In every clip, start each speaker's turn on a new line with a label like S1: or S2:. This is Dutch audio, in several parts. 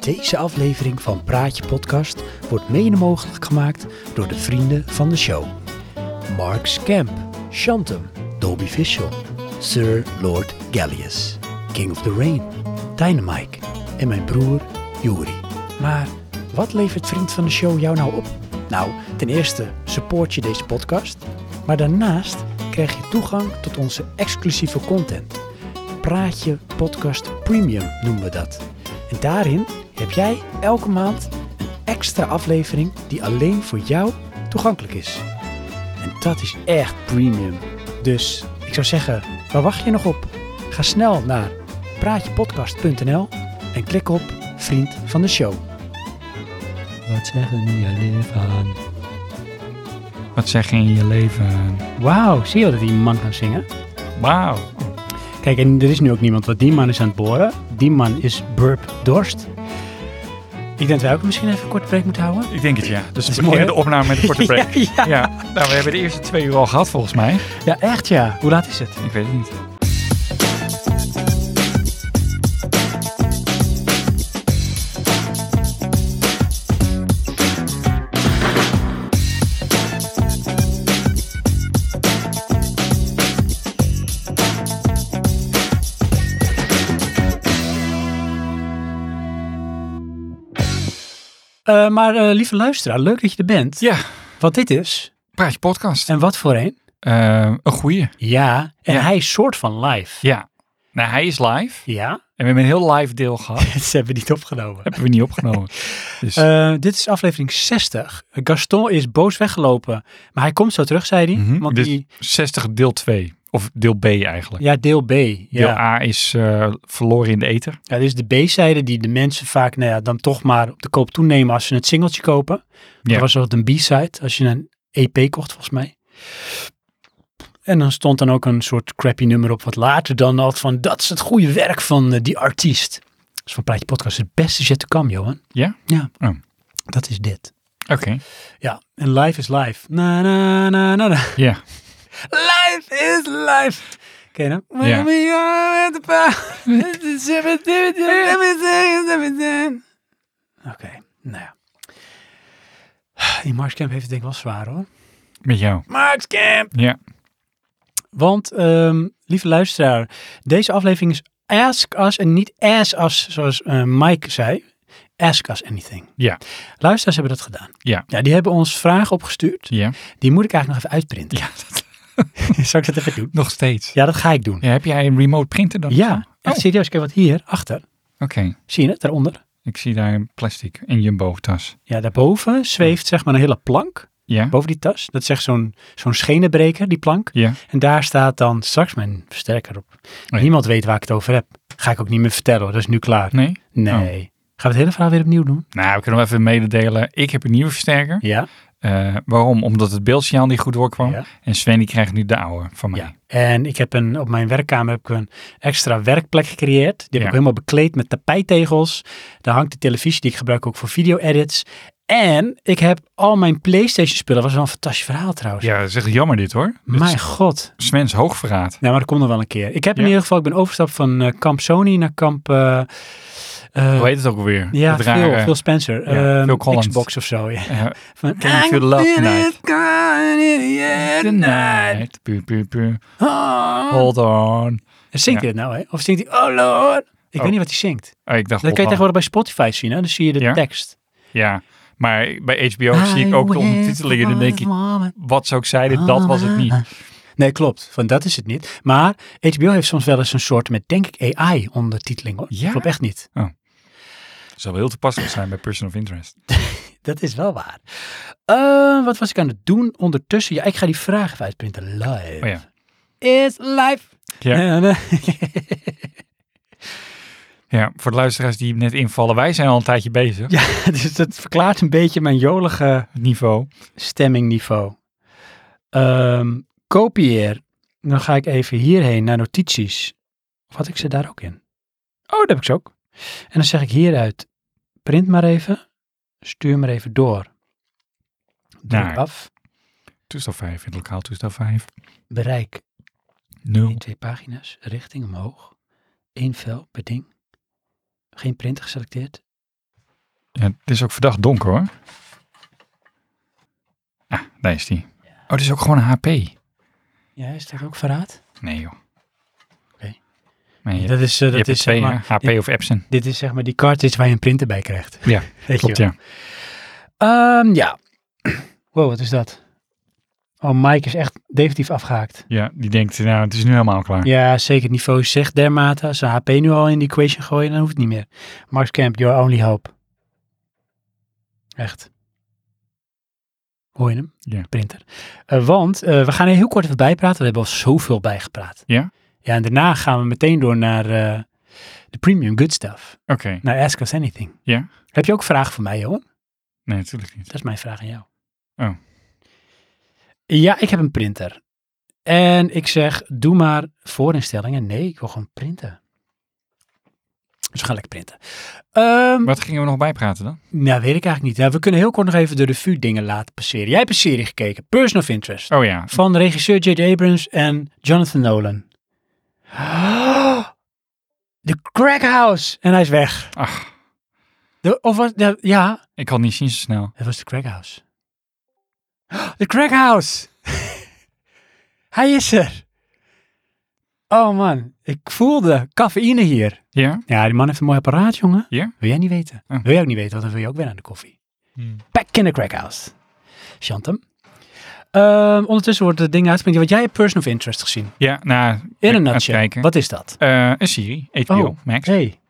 S1: Deze aflevering van Praatje Podcast wordt mede mogelijk gemaakt door de vrienden van de show. Mark's Camp, Shantum, Dolby Visual, Sir Lord Gallius, King of the Rain, Dynamike en mijn broer Juri. Maar wat levert vriend van de show jou nou op? Nou, ten eerste support je deze podcast, maar daarnaast krijg je toegang tot onze exclusieve content. Praatje Podcast Premium noemen we dat. En daarin heb jij elke maand een extra aflevering die alleen voor jou toegankelijk is. En dat is echt premium. Dus ik zou zeggen, waar wacht je nog op? Ga snel naar praatjepodcast.nl en klik op Vriend van de Show. Wat zeggen jullie van?
S2: Wat zeg je in je leven?
S1: Wauw, zie je dat die man kan zingen?
S2: Wauw.
S1: Kijk, en er is nu ook niemand, want die man is aan het boren. Die man is Burp Dorst. Ik denk dat wij ook misschien even een korte break moeten houden.
S2: Ik denk het ja. Dus
S1: is
S2: we
S1: mooi, hè?
S2: beginnen de opname met een korte break.
S1: Ja, ja.
S2: ja. nou we hebben de eerste twee uur al gehad volgens mij.
S1: ja, echt ja. Hoe laat is het?
S2: Ik weet het niet.
S1: Eh, maar eh, lieve luisteraar, leuk dat je er bent.
S2: Ja,
S1: Wat dit is
S2: praatje podcast.
S1: en wat voor een.
S2: Eh, een goeie.
S1: Ja, en
S2: Ja.
S1: hij is soort van live.
S2: Ja. Nou hij is live.
S1: Ja,
S2: En we hebben een heel live deel gehad.
S1: ze hebben niet opgenomen.
S2: hebben we niet opgenomen. Dus
S1: Eh, dit is aflevering 60. Gaston is boos weggelopen, maar hij komt zo terug, zei hij.
S2: mhm.
S1: Want
S2: Dit is
S1: die,
S2: 60 deel 2. Of deel B eigenlijk.
S1: ja, deel B.
S2: Deel
S1: Ja.
S2: A is eh, verloren in de ether.
S1: Ja, dit is de B-zijde die de mensen vaak nou ja, dan toch maar op de koop toenemen als ze het singeltje kopen.
S2: Ja.
S1: Dat was altijd een B-side als je een EP kocht volgens mij. En dan stond dan ook een soort crappy nummer op wat later dan had van dat is het goede werk van eh, die artiest. Dus van Plaatje Podcast het beste jet to come, Johan.
S2: Ja?
S1: Ja.
S2: Oh.
S1: Dat is dit.
S2: Oké.
S1: Ja, en live is live. Na, na, na, na, na.
S2: Ja.
S1: Life is life. Ken je hem?
S2: Ja.
S1: We are at the Oké, nou ja. Die Marks Camp heeft het denk ik wel zwaar hoor.
S2: Met jou.
S1: Marks Camp!
S2: Ja.
S1: Want, ehm, lieve luisteraar, deze aflevering is Ask Us en niet Ask Us, zoals eh, Mike zei. Ask Us Anything.
S2: Ja.
S1: Luisteraars hebben dat gedaan.
S2: Ja.
S1: Ja, die hebben ons vragen opgestuurd.
S2: Ja.
S1: Die moet ik eigenlijk nog even uitprinten.
S2: Ja. dat-
S1: Zal ik dat even doen?
S2: nog steeds.
S1: Ja, dat ga ik doen.
S2: Ja, heb jij een remote printer dan?
S1: Ja,
S2: Oh.
S1: echt serieus. Kijk wat hier achter.
S2: Oké.
S1: Zie je het daaronder?
S2: Ik zie daar een plastic en jumbo tas.
S1: Ja, daarboven zweeft zeg maar een hele plank
S2: Ja?
S1: boven die tas. Dat is echt zo'n zo'n schenenbreker, die plank.
S2: Ja.
S1: En daar staat dan straks mijn versterker op.
S2: Nee.
S1: Niemand weet waar ik het over heb. Ga ik ook niet meer vertellen, hoor. dat is nu klaar.
S2: Nee?
S1: Nee.
S2: Oh.
S1: Gaan we het hele verhaal weer opnieuw doen?
S2: Nou, we kunnen wel even mededelen. Ik heb een nieuwe versterker.
S1: Ja.
S2: Eh, waarom? Omdat het beeldsignaal niet goed doorkwam.
S1: Ja.
S2: En Sven die krijgt nu de oude van mij.
S1: ja. En ik heb een, op mijn werkkamer heb ik een extra werkplek gecreëerd. Die heb ik
S2: Ja.
S1: helemaal bekleed met tapijttegels. Daar hangt de televisie die ik gebruik ook voor video-edits. En ik heb al mijn PlayStation-spullen. was wel een fantastisch verhaal trouwens.
S2: Ja, dat is echt jammer dit hoor. Dit
S1: Mijn
S2: is
S1: god.
S2: Sven's hoogverraad.
S1: Nou, maar dat komt nog wel een keer. Ik heb in
S2: Ja.
S1: ieder geval, ik ben overgestapt van eh, kamp Sony naar kamp... eh, eh,
S2: Hoe heet het ook alweer?
S1: ja,
S2: Het
S1: veel,
S2: rare-
S1: veel Spencer.
S2: Ja,
S1: Ehm,
S2: Phil Collins.
S1: Xbox of zo, ja.
S2: eh,
S1: Van,
S2: Can you feel the love tonight? the
S1: tonight?
S2: night. Pu, pu, pu.
S1: Oh.
S2: Hold on.
S1: Zingt
S2: Ja.
S1: hij dat nou, hè? Of zingt hij, oh lord. Ik
S2: Oh.
S1: weet niet wat hij zingt.
S2: Oh, ik dacht
S1: Dat kan je
S2: hold on.
S1: tegenwoordig bij Spotify zien, hè? Dan zie je de
S2: Ja?
S1: tekst.
S2: Ja, maar bij HBO zie ik ook de ondertiteling. En dan denk ik, wat zou ik zeiden? Dat was het niet.
S1: Nee, klopt. Van dat is het niet. Maar HBO heeft soms wel eens een soort met, denk ik, AI-ondertiteling, hoor.
S2: Ja?
S1: Klopt echt niet.
S2: Het zou wel heel toepasselijk zijn bij Person of Interest.
S1: Dat is wel waar. Eh, wat was ik aan het doen ondertussen? Ja, ik ga die vragen even uitprinten. Live.
S2: Oh ja.
S1: Is live.
S2: Ja.
S1: En, eh,
S2: Ja, voor de luisteraars die net invallen, wij zijn al een tijdje bezig.
S1: ja, dus dat verklaart een beetje mijn jolige
S2: Het niveau.
S1: stemmingniveau. Ehm, kopieer. Dan ga ik even hierheen naar notities. Of had ik ze daar ook in? Oh, dat heb ik ze ook. En dan zeg ik hieruit, print maar even. Stuur maar even door. Druk
S2: Naar.
S1: af.
S2: Toestel 5 in het lokaal toestel 5.
S1: Bereik
S2: 0.
S1: In twee pagina's, richting omhoog. Eén vel per ding. Geen printer geselecteerd.
S2: Ja, het is ook verdacht donker hoor. Ah, daar is die. Oh, het is ook gewoon een HP.
S1: Ja, is dat ook verraad?
S2: Nee joh.
S1: Oké.
S2: Maar je,
S1: dat is, eh,
S2: je
S1: dat
S2: hebt er
S1: is zeg
S2: twee,
S1: maar,
S2: hè? HP
S1: dit,
S2: of Epson.
S1: dit is zeg maar die cartridge waar je een printer bij krijgt.
S2: Ja,
S1: Weet
S2: klopt
S1: je
S2: ja.
S1: wel. Ehm, ja. Wow, wat is dat? Oh, Mike is echt definitief afgehaakt.
S2: Ja, die denkt, nou het is nu helemaal klaar.
S1: Ja, zeker. Het niveau zegt dermate. Als ze HP nu al in die equation gooien, dan hoeft het niet meer. Max Camp, your only hope. Echt. Hoor je hem?
S2: Ja.
S1: Printer. Eh, want eh, we gaan er heel kort even bijpraten. We hebben al zoveel bijgepraat.
S2: Ja?
S1: Ja, en daarna gaan we meteen door naar eh, de premium good stuff.
S2: Oké,
S1: Naar Ask Us Anything.
S2: Ja.
S1: Heb je ook vragen voor mij, Johan?
S2: nee natuurlijk niet.
S1: Dat is mijn vraag aan jou.
S2: Oh.
S1: Ja, ik heb een printer. En ik zeg, doe maar voorinstellingen. Nee, ik wil gewoon printen. Dus we gaan lekker printen. Ehm,
S2: Wat gingen we nog bijpraten dan?
S1: nou, weet ik eigenlijk niet. Ja, we kunnen heel kort nog even de revue dingen laten passeren. Jij hebt een serie gekeken, Person of Interest.
S2: Oh ja,
S1: Van regisseur J.J. Abrams en Jonathan Nolan. De Crack House. En hij is weg.
S2: ach,
S1: De, of was, de- ja,
S2: ik had niet zien zo snel.
S1: Het was de crackhouse. De crackhouse! Hij is er! Oh man, ik voelde cafeïne hier.
S2: Ja?
S1: Ja, die man heeft een mooi apparaat, jongen.
S2: Ja?
S1: Wil jij niet weten?
S2: Oh. Hmm.
S1: Wil jij ook niet weten, want dan wil je ook weer aan de koffie. Back in the crackhouse. Chantem. Ehm, ondertussen wordt het ding uitgeprint. Want jij hebt Person of Interest gezien.
S2: Ja, nou,
S1: In
S2: ik-
S1: een
S2: aan het
S1: nutshell.
S2: kijken.
S1: Wat is dat?
S2: Eh, een serie, HBO
S1: Oh.
S2: Max.
S1: Hey.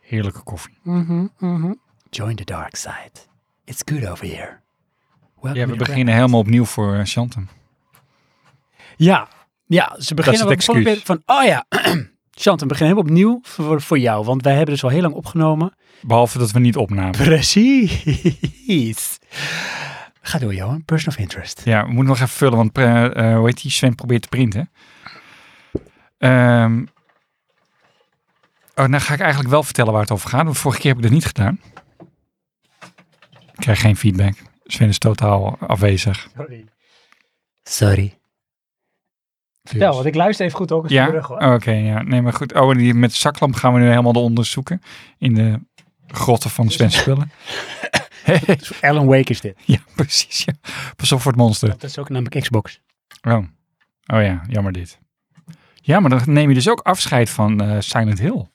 S2: Heerlijke koffie.
S1: Mhm, mhm. Join the dark side. It's good over here. Welcome
S2: Ja,
S1: to
S2: we
S1: the
S2: beginnen helemaal opnieuw voor eh, Chantem.
S1: Ja, ja ze beginnen
S2: het
S1: wel-
S2: excuus.
S1: van, oh ja, Chantem, begin helemaal opnieuw voor, voor jou, want wij hebben dus al heel lang opgenomen.
S2: Behalve dat we niet opnamen.
S1: Precies. Ga door, Johan. Person of interest.
S2: Ja, we moeten nog even vullen, want eh, eh, hoe heet die? Sven probeert te printen. Ehm oh, nou ga ik eigenlijk wel vertellen waar het over gaat, want vorige keer heb ik dat niet gedaan. Ik krijg geen feedback. Sven is totaal afwezig.
S1: Sorry. Sorry. Ja, want ik luister even goed ook eens
S2: Dus- Ja,
S1: terug, hoor.
S2: oké. ja. Nee, maar goed. Oh, en die, met de zaklamp gaan we nu helemaal de onderzoeken. In de grotten van Sven spullen.
S1: Alan Wake is dit.
S2: ja, precies. Ja. Pas op voor het monster.
S1: Dat is ook namelijk Xbox.
S2: Oh. oh ja, jammer dit. Ja, maar dan neem je dus ook afscheid van eh, Silent Hill.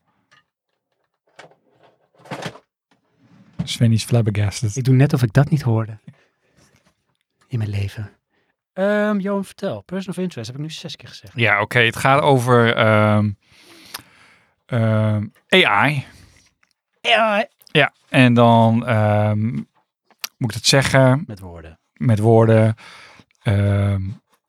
S2: Sven is flabbergasted.
S1: Ik doe net of ik dat niet hoorde. In mijn leven. Ehm, Johan, vertel. Person of interest heb ik nu zes keer gezegd.
S2: Ja, oké. Het gaat over ehm, ehm, AI.
S1: Ja,
S2: Ja, en dan ehm, moet ik dat zeggen.
S1: Met woorden.
S2: met woorden. ehm,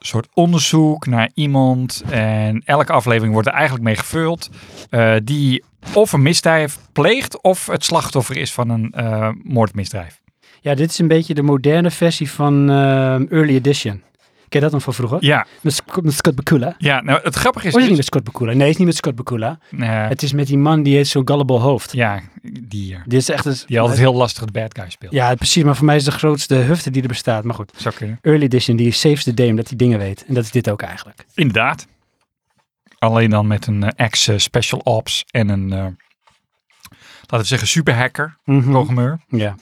S2: een soort onderzoek naar iemand. En elke aflevering wordt er eigenlijk mee gevuld. eh, die of een misdrijf pleegt of het slachtoffer is van een eh, moordmisdrijf.
S1: Ja, dit is een beetje de moderne versie van ehm, Early Edition. Ken je dat dan van vroeger?
S2: Ja,
S1: Met, Sc- met Scott Bakula. Of
S2: ja nou het grappige is...
S1: is het niet
S2: dus-
S1: met Scott Bakula? Nee, het is niet met Scott Bakula.
S2: Nee,
S1: Het is met die man die heeft zo'n gullible hoofd.
S2: ja, die hier.
S1: Dit is echt een...
S2: Die altijd heel lastig het bad guy speelt.
S1: Ja, precies. Maar voor mij is het de grootste hufte die er bestaat. Maar goed,
S2: Zou kunnen.
S1: Early Edition, die saves the day omdat hij dingen weet. En dat is dit ook eigenlijk.
S2: Inderdaad. Alleen dan met een eh, ex-special ops en een, eh, laten we zeggen, superhacker, programmeur.
S1: Ja.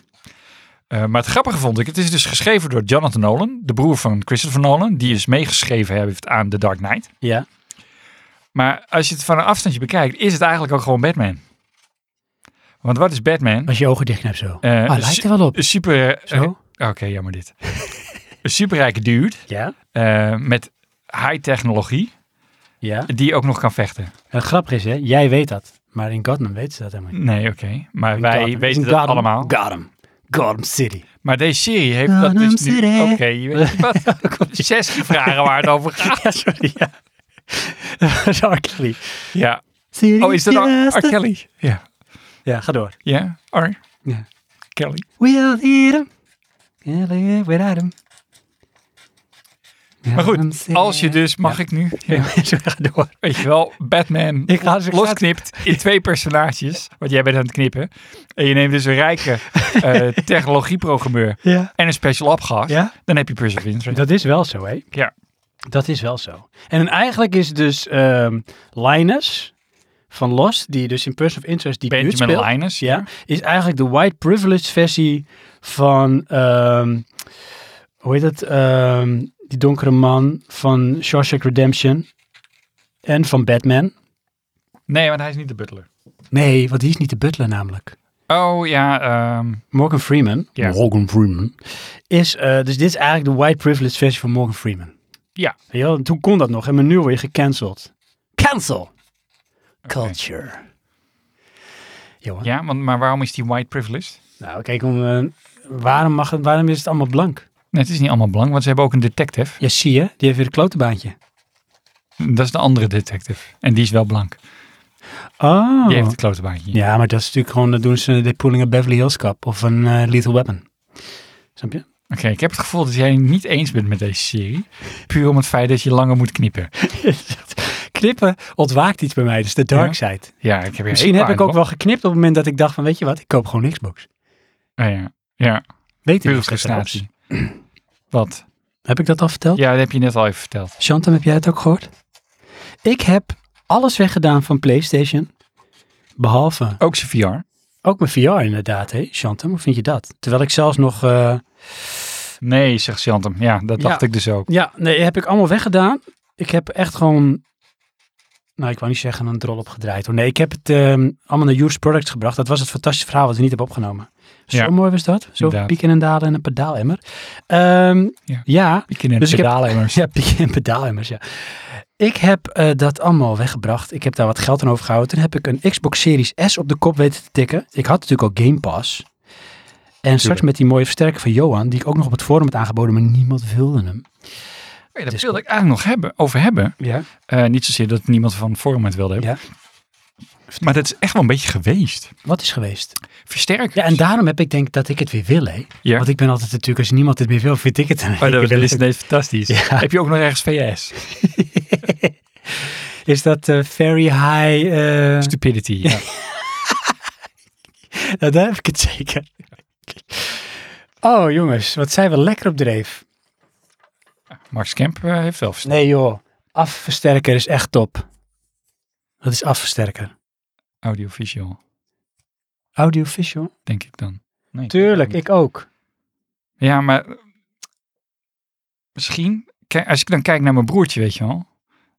S2: Eh, maar het grappige vond ik, het is dus geschreven door Jonathan Nolan, de broer van Christopher Nolan, die dus meegeschreven heeft aan The Dark Knight.
S1: Ja.
S2: Maar als je het van een afstandje bekijkt, is het eigenlijk ook gewoon Batman. Want wat is Batman?
S1: Als je ogen dichtknijpt zo.
S2: Eh,
S1: ah, lijkt er wel op.
S2: Een super... eh,
S1: Zo?
S2: Oké, jammer dit. een superrijke dude
S1: Ja.
S2: eh, met high technologie,
S1: Ja.
S2: die ook nog kan vechten.
S1: En grappig is, hè? jij weet dat. Maar in Gotham weten ze dat helemaal niet.
S2: Nee, oké. Maar
S1: In
S2: wij
S1: Gotham.
S2: weten
S1: In
S2: dat
S1: Gotham.
S2: allemaal.
S1: Gotham. Gotham City.
S2: Maar deze serie heeft dat
S1: Gotham
S2: dus nu...
S1: City.
S2: Oké, je weet wat? 60 vragen waar het over gaat.
S1: Ja, sorry. Ja. Sorry, Kelly.
S2: Ja, Oh, is dat R. R. Kelly? Ja.
S1: Ja, ga door.
S2: Ja, R.
S1: Ja.
S2: Kelly.
S1: We'll eat him. Can't live without him.
S2: Maar goed, als je dus, mag ik nu? Ja.
S1: ga door.
S2: Weet je wel, Batman
S1: Ik ga
S2: dus-
S1: zo-
S2: losknipt in twee personages, want jij bent aan het knippen. En je neemt dus een rijke eh, technologieprogrammeur
S1: Ja.
S2: en een special op gast.
S1: Ja?
S2: Dan heb je Person of Interest.
S1: Dat is wel zo, hè?
S2: Ja.
S1: Dat is wel zo. En eigenlijk is dus ehm Linus van Lost, die dus in Person of Interest die buurt
S2: Benjamin
S1: speelt,
S2: Linus.
S1: ja, is eigenlijk de white privilege versie van, ehm, hoe heet het, ehm, die donkere man van Shawshank Redemption en van Batman.
S2: Nee, want hij is niet de butler.
S1: Nee, want die is niet de butler namelijk.
S2: Oh ja, ehm,
S1: Morgan Freeman.
S2: Ja.
S1: Morgan Freeman. Is, eh, dus dit is eigenlijk de white privilege versie van Morgan Freeman.
S2: Ja.
S1: Weet je wel, toen kon dat nog. En maar nu word je gecanceld. Cancel. Culture. Johan.
S2: ja want, maar waarom is die white privileged?
S1: Nou, kijk, om, eh, waarom, mag het, waarom is het allemaal blank?
S2: Nee, het is niet allemaal belangrijk, want ze hebben ook een detective.
S1: Ja, zie je. Die heeft weer een klotenbaantje.
S2: Dat is de andere detective. En die is wel blank.
S1: Oh.
S2: Die heeft het klote baantje.
S1: Ja, maar dat is natuurlijk gewoon, dat doen ze, de pulling een Beverly Hills Cup of een eh, Lethal Weapon. Snap je?
S2: Oké, ik heb het gevoel dat jij niet eens bent met deze serie. Puur om het feit dat je langer moet knippen.
S1: Knippen ontwaakt iets bij mij, dus de dark
S2: Ja.
S1: side.
S2: Ja, ik heb
S1: Misschien heb ik ook wel geknipt op het moment dat ik dacht van, weet je wat, ik koop gewoon Xbox.
S2: wel... ja, ja
S1: Weet u
S2: pure
S1: nog steeds trouwens?
S2: frustratie. Wat?
S1: Heb ik dat al verteld?
S2: Ja, dat heb je net al even verteld.
S1: Chantem, heb jij het ook gehoord? Ik heb alles weggedaan van PlayStation. Behalve
S2: Ook zijn VR.
S1: ook mijn VR inderdaad, hè, Chantem. Hoe vind je dat? Terwijl ik zelfs nog... eh,
S2: Nee, zegt Chantem. Ja, dat
S1: Ja.
S2: dacht ik dus ook.
S1: ja, nee, heb ik allemaal weggedaan. Ik heb echt gewoon... Nou, ik wou niet zeggen een drol opgedraaid hoor. Nee, ik heb het ehm, allemaal naar Use Products gebracht. Dat was het fantastische verhaal wat we niet hebben opgenomen. Zo
S2: Ja.
S1: mooi was dat. Zo
S2: Inderdaad.
S1: pieken en dalen en een pedaalemmer. Ehm,
S2: Ja.
S1: ja,
S2: Ik in een
S1: Dus ik heb-
S2: pedalen immers.
S1: Ja, pieken en pedaalimmers, ja. Ik heb eh, dat allemaal weggebracht. Ik heb daar wat geld aan overgehouden. Toen heb ik een Xbox Series S op de kop weten te tikken. Ik had natuurlijk al Game Pass. En straks met die mooie versterker van Johan, die ik ook nog op het forum had aangeboden, maar niemand wilde hem.
S2: Hey, daar
S1: Dus-
S2: wilde ik eigenlijk nog hebben, over hebben.
S1: Ja.
S2: Eh, niet zozeer dat niemand van het forum het wilde hebben.
S1: Ja.
S2: Maar dat is echt wel een beetje geweest.
S1: Wat is geweest?
S2: Versterkers.
S1: Ja, en daarom heb ik denk dat ik het weer wil, hè.
S2: Ja.
S1: Want ik ben altijd natuurlijk, als niemand het meer wil, vind ik het. een-
S2: Oh,
S1: ik
S2: dat,
S1: wil
S2: dat is
S1: het-
S2: ineens fantastisch.
S1: Ja.
S2: Heb je ook nog ergens VS?
S1: Is dat eh, very high... eh,
S2: Stupidity. Ja.
S1: Nou, daar heb ik het zeker. Oh, jongens, wat zijn we lekker op dreef.
S2: Max Kemp eh, heeft wel versterkt.
S1: Nee joh, afversterker is echt top. Dat is afversterker.
S2: Audiovisual,
S1: Audiovisual?
S2: denk ik dan. Nee,
S1: Tuurlijk, ik ook.
S2: Ja, maar eh, misschien, kijk, als ik dan kijk naar mijn broertje, weet je wel.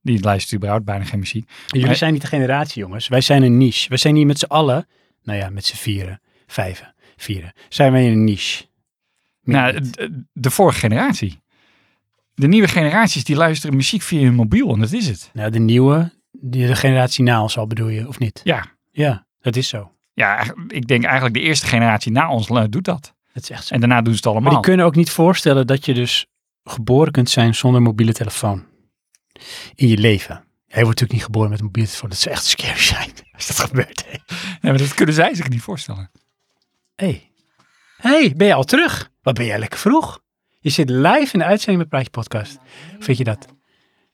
S2: Die luistert überhaupt bijna geen muziek.
S1: Jullie
S2: Maar-
S1: zijn niet de generatie jongens, wij zijn een niche. Wij zijn hier met z'n allen, nou ja, met z'n vieren, vijven, vieren, zijn wij een niche. Meer
S2: nou,
S1: niet.
S2: d- de vorige generatie. De nieuwe generaties die luisteren muziek via hun mobiel en dat is het.
S1: nou, de nieuwe, die- de generatie na ons al bedoel je, of niet?
S2: Ja.
S1: Ja, dat is zo.
S2: Ja, eigenlijk- ik denk eigenlijk de eerste generatie na ons eh, doet dat.
S1: Dat is echt zo.
S2: En daarna doen ze het
S1: Maar
S2: allemaal.
S1: die kunnen ook niet voorstellen dat je dus geboren kunt zijn zonder mobiele telefoon. In je leven. Hij wordt natuurlijk niet geboren met een mobiele telefoon. Dat zou echt scary zijn als dat gebeurt. hè.
S2: Nee, maar dat kunnen zij zich niet voorstellen.
S1: Hey. Hey, ben je al terug? Wat ben jij lekker vroeg? Je zit live in de uitzending met Praatje Podcast. Hoe vind je dat? Dat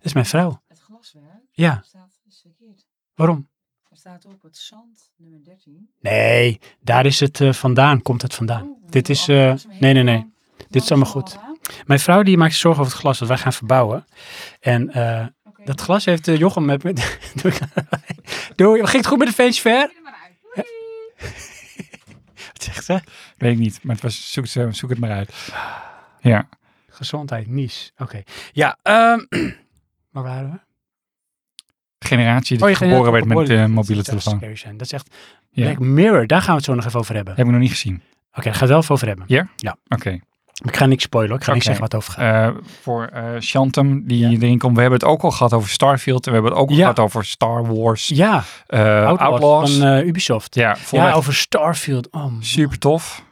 S1: is mijn vrouw.
S3: Het glaswerk
S1: Ja,
S3: staat is verkeerd.
S1: waarom?
S3: Er staat op het zand nummer 13.
S1: Nee, daar is het eh, vandaan, komt het vandaan.
S3: Oh,
S1: Dit is,
S3: oh,
S1: eh,
S3: als we
S1: nee, nee,
S3: helemaal-
S1: nee. Dit is allemaal goed. Mijn vrouw die maakt zich zorgen over het glas dat wij gaan verbouwen. En eh,
S3: Oké.
S1: dat glas heeft eh, Jochem met... met doe, doe, ging het goed met de feestje ver?
S3: Doe er maar uit. Doei.
S1: Wat zegt ze?
S2: Weet ik niet, maar het was, zoek, het- zoek het maar uit. Ja,
S1: Gezondheid, nies. Oké. Ja, ehm waar waren we? Oh,
S2: de generatie die
S1: je
S2: geboren werd
S1: geboren
S2: met eh
S1: werd.
S2: mobiele
S1: Dat zou
S2: telefoon.
S1: scary zijn. Dat is echt...
S2: Ja.
S1: Black Mirror, daar gaan we het zo nog even over hebben.
S2: Heb ik nog niet gezien.
S1: Oké, daar gaan we het wel even over hebben.
S2: Oké.
S1: Ik ga niks spoilen, hoor. ik ga niks
S2: Oké.
S1: zeggen wat over gaat.
S2: Eh, voor eh Shantum, die erin komt. We hebben het ook al gehad over Starfield. En we hebben het ook al
S1: Ja.
S2: gehad over Star Wars.
S1: ja,
S2: eh,
S1: Outlaws,
S2: Outlaws.
S1: van eh, Ubisoft.
S2: ja,
S1: Ja,
S2: volgens
S1: over Starfield. Oh, man.
S2: super tof.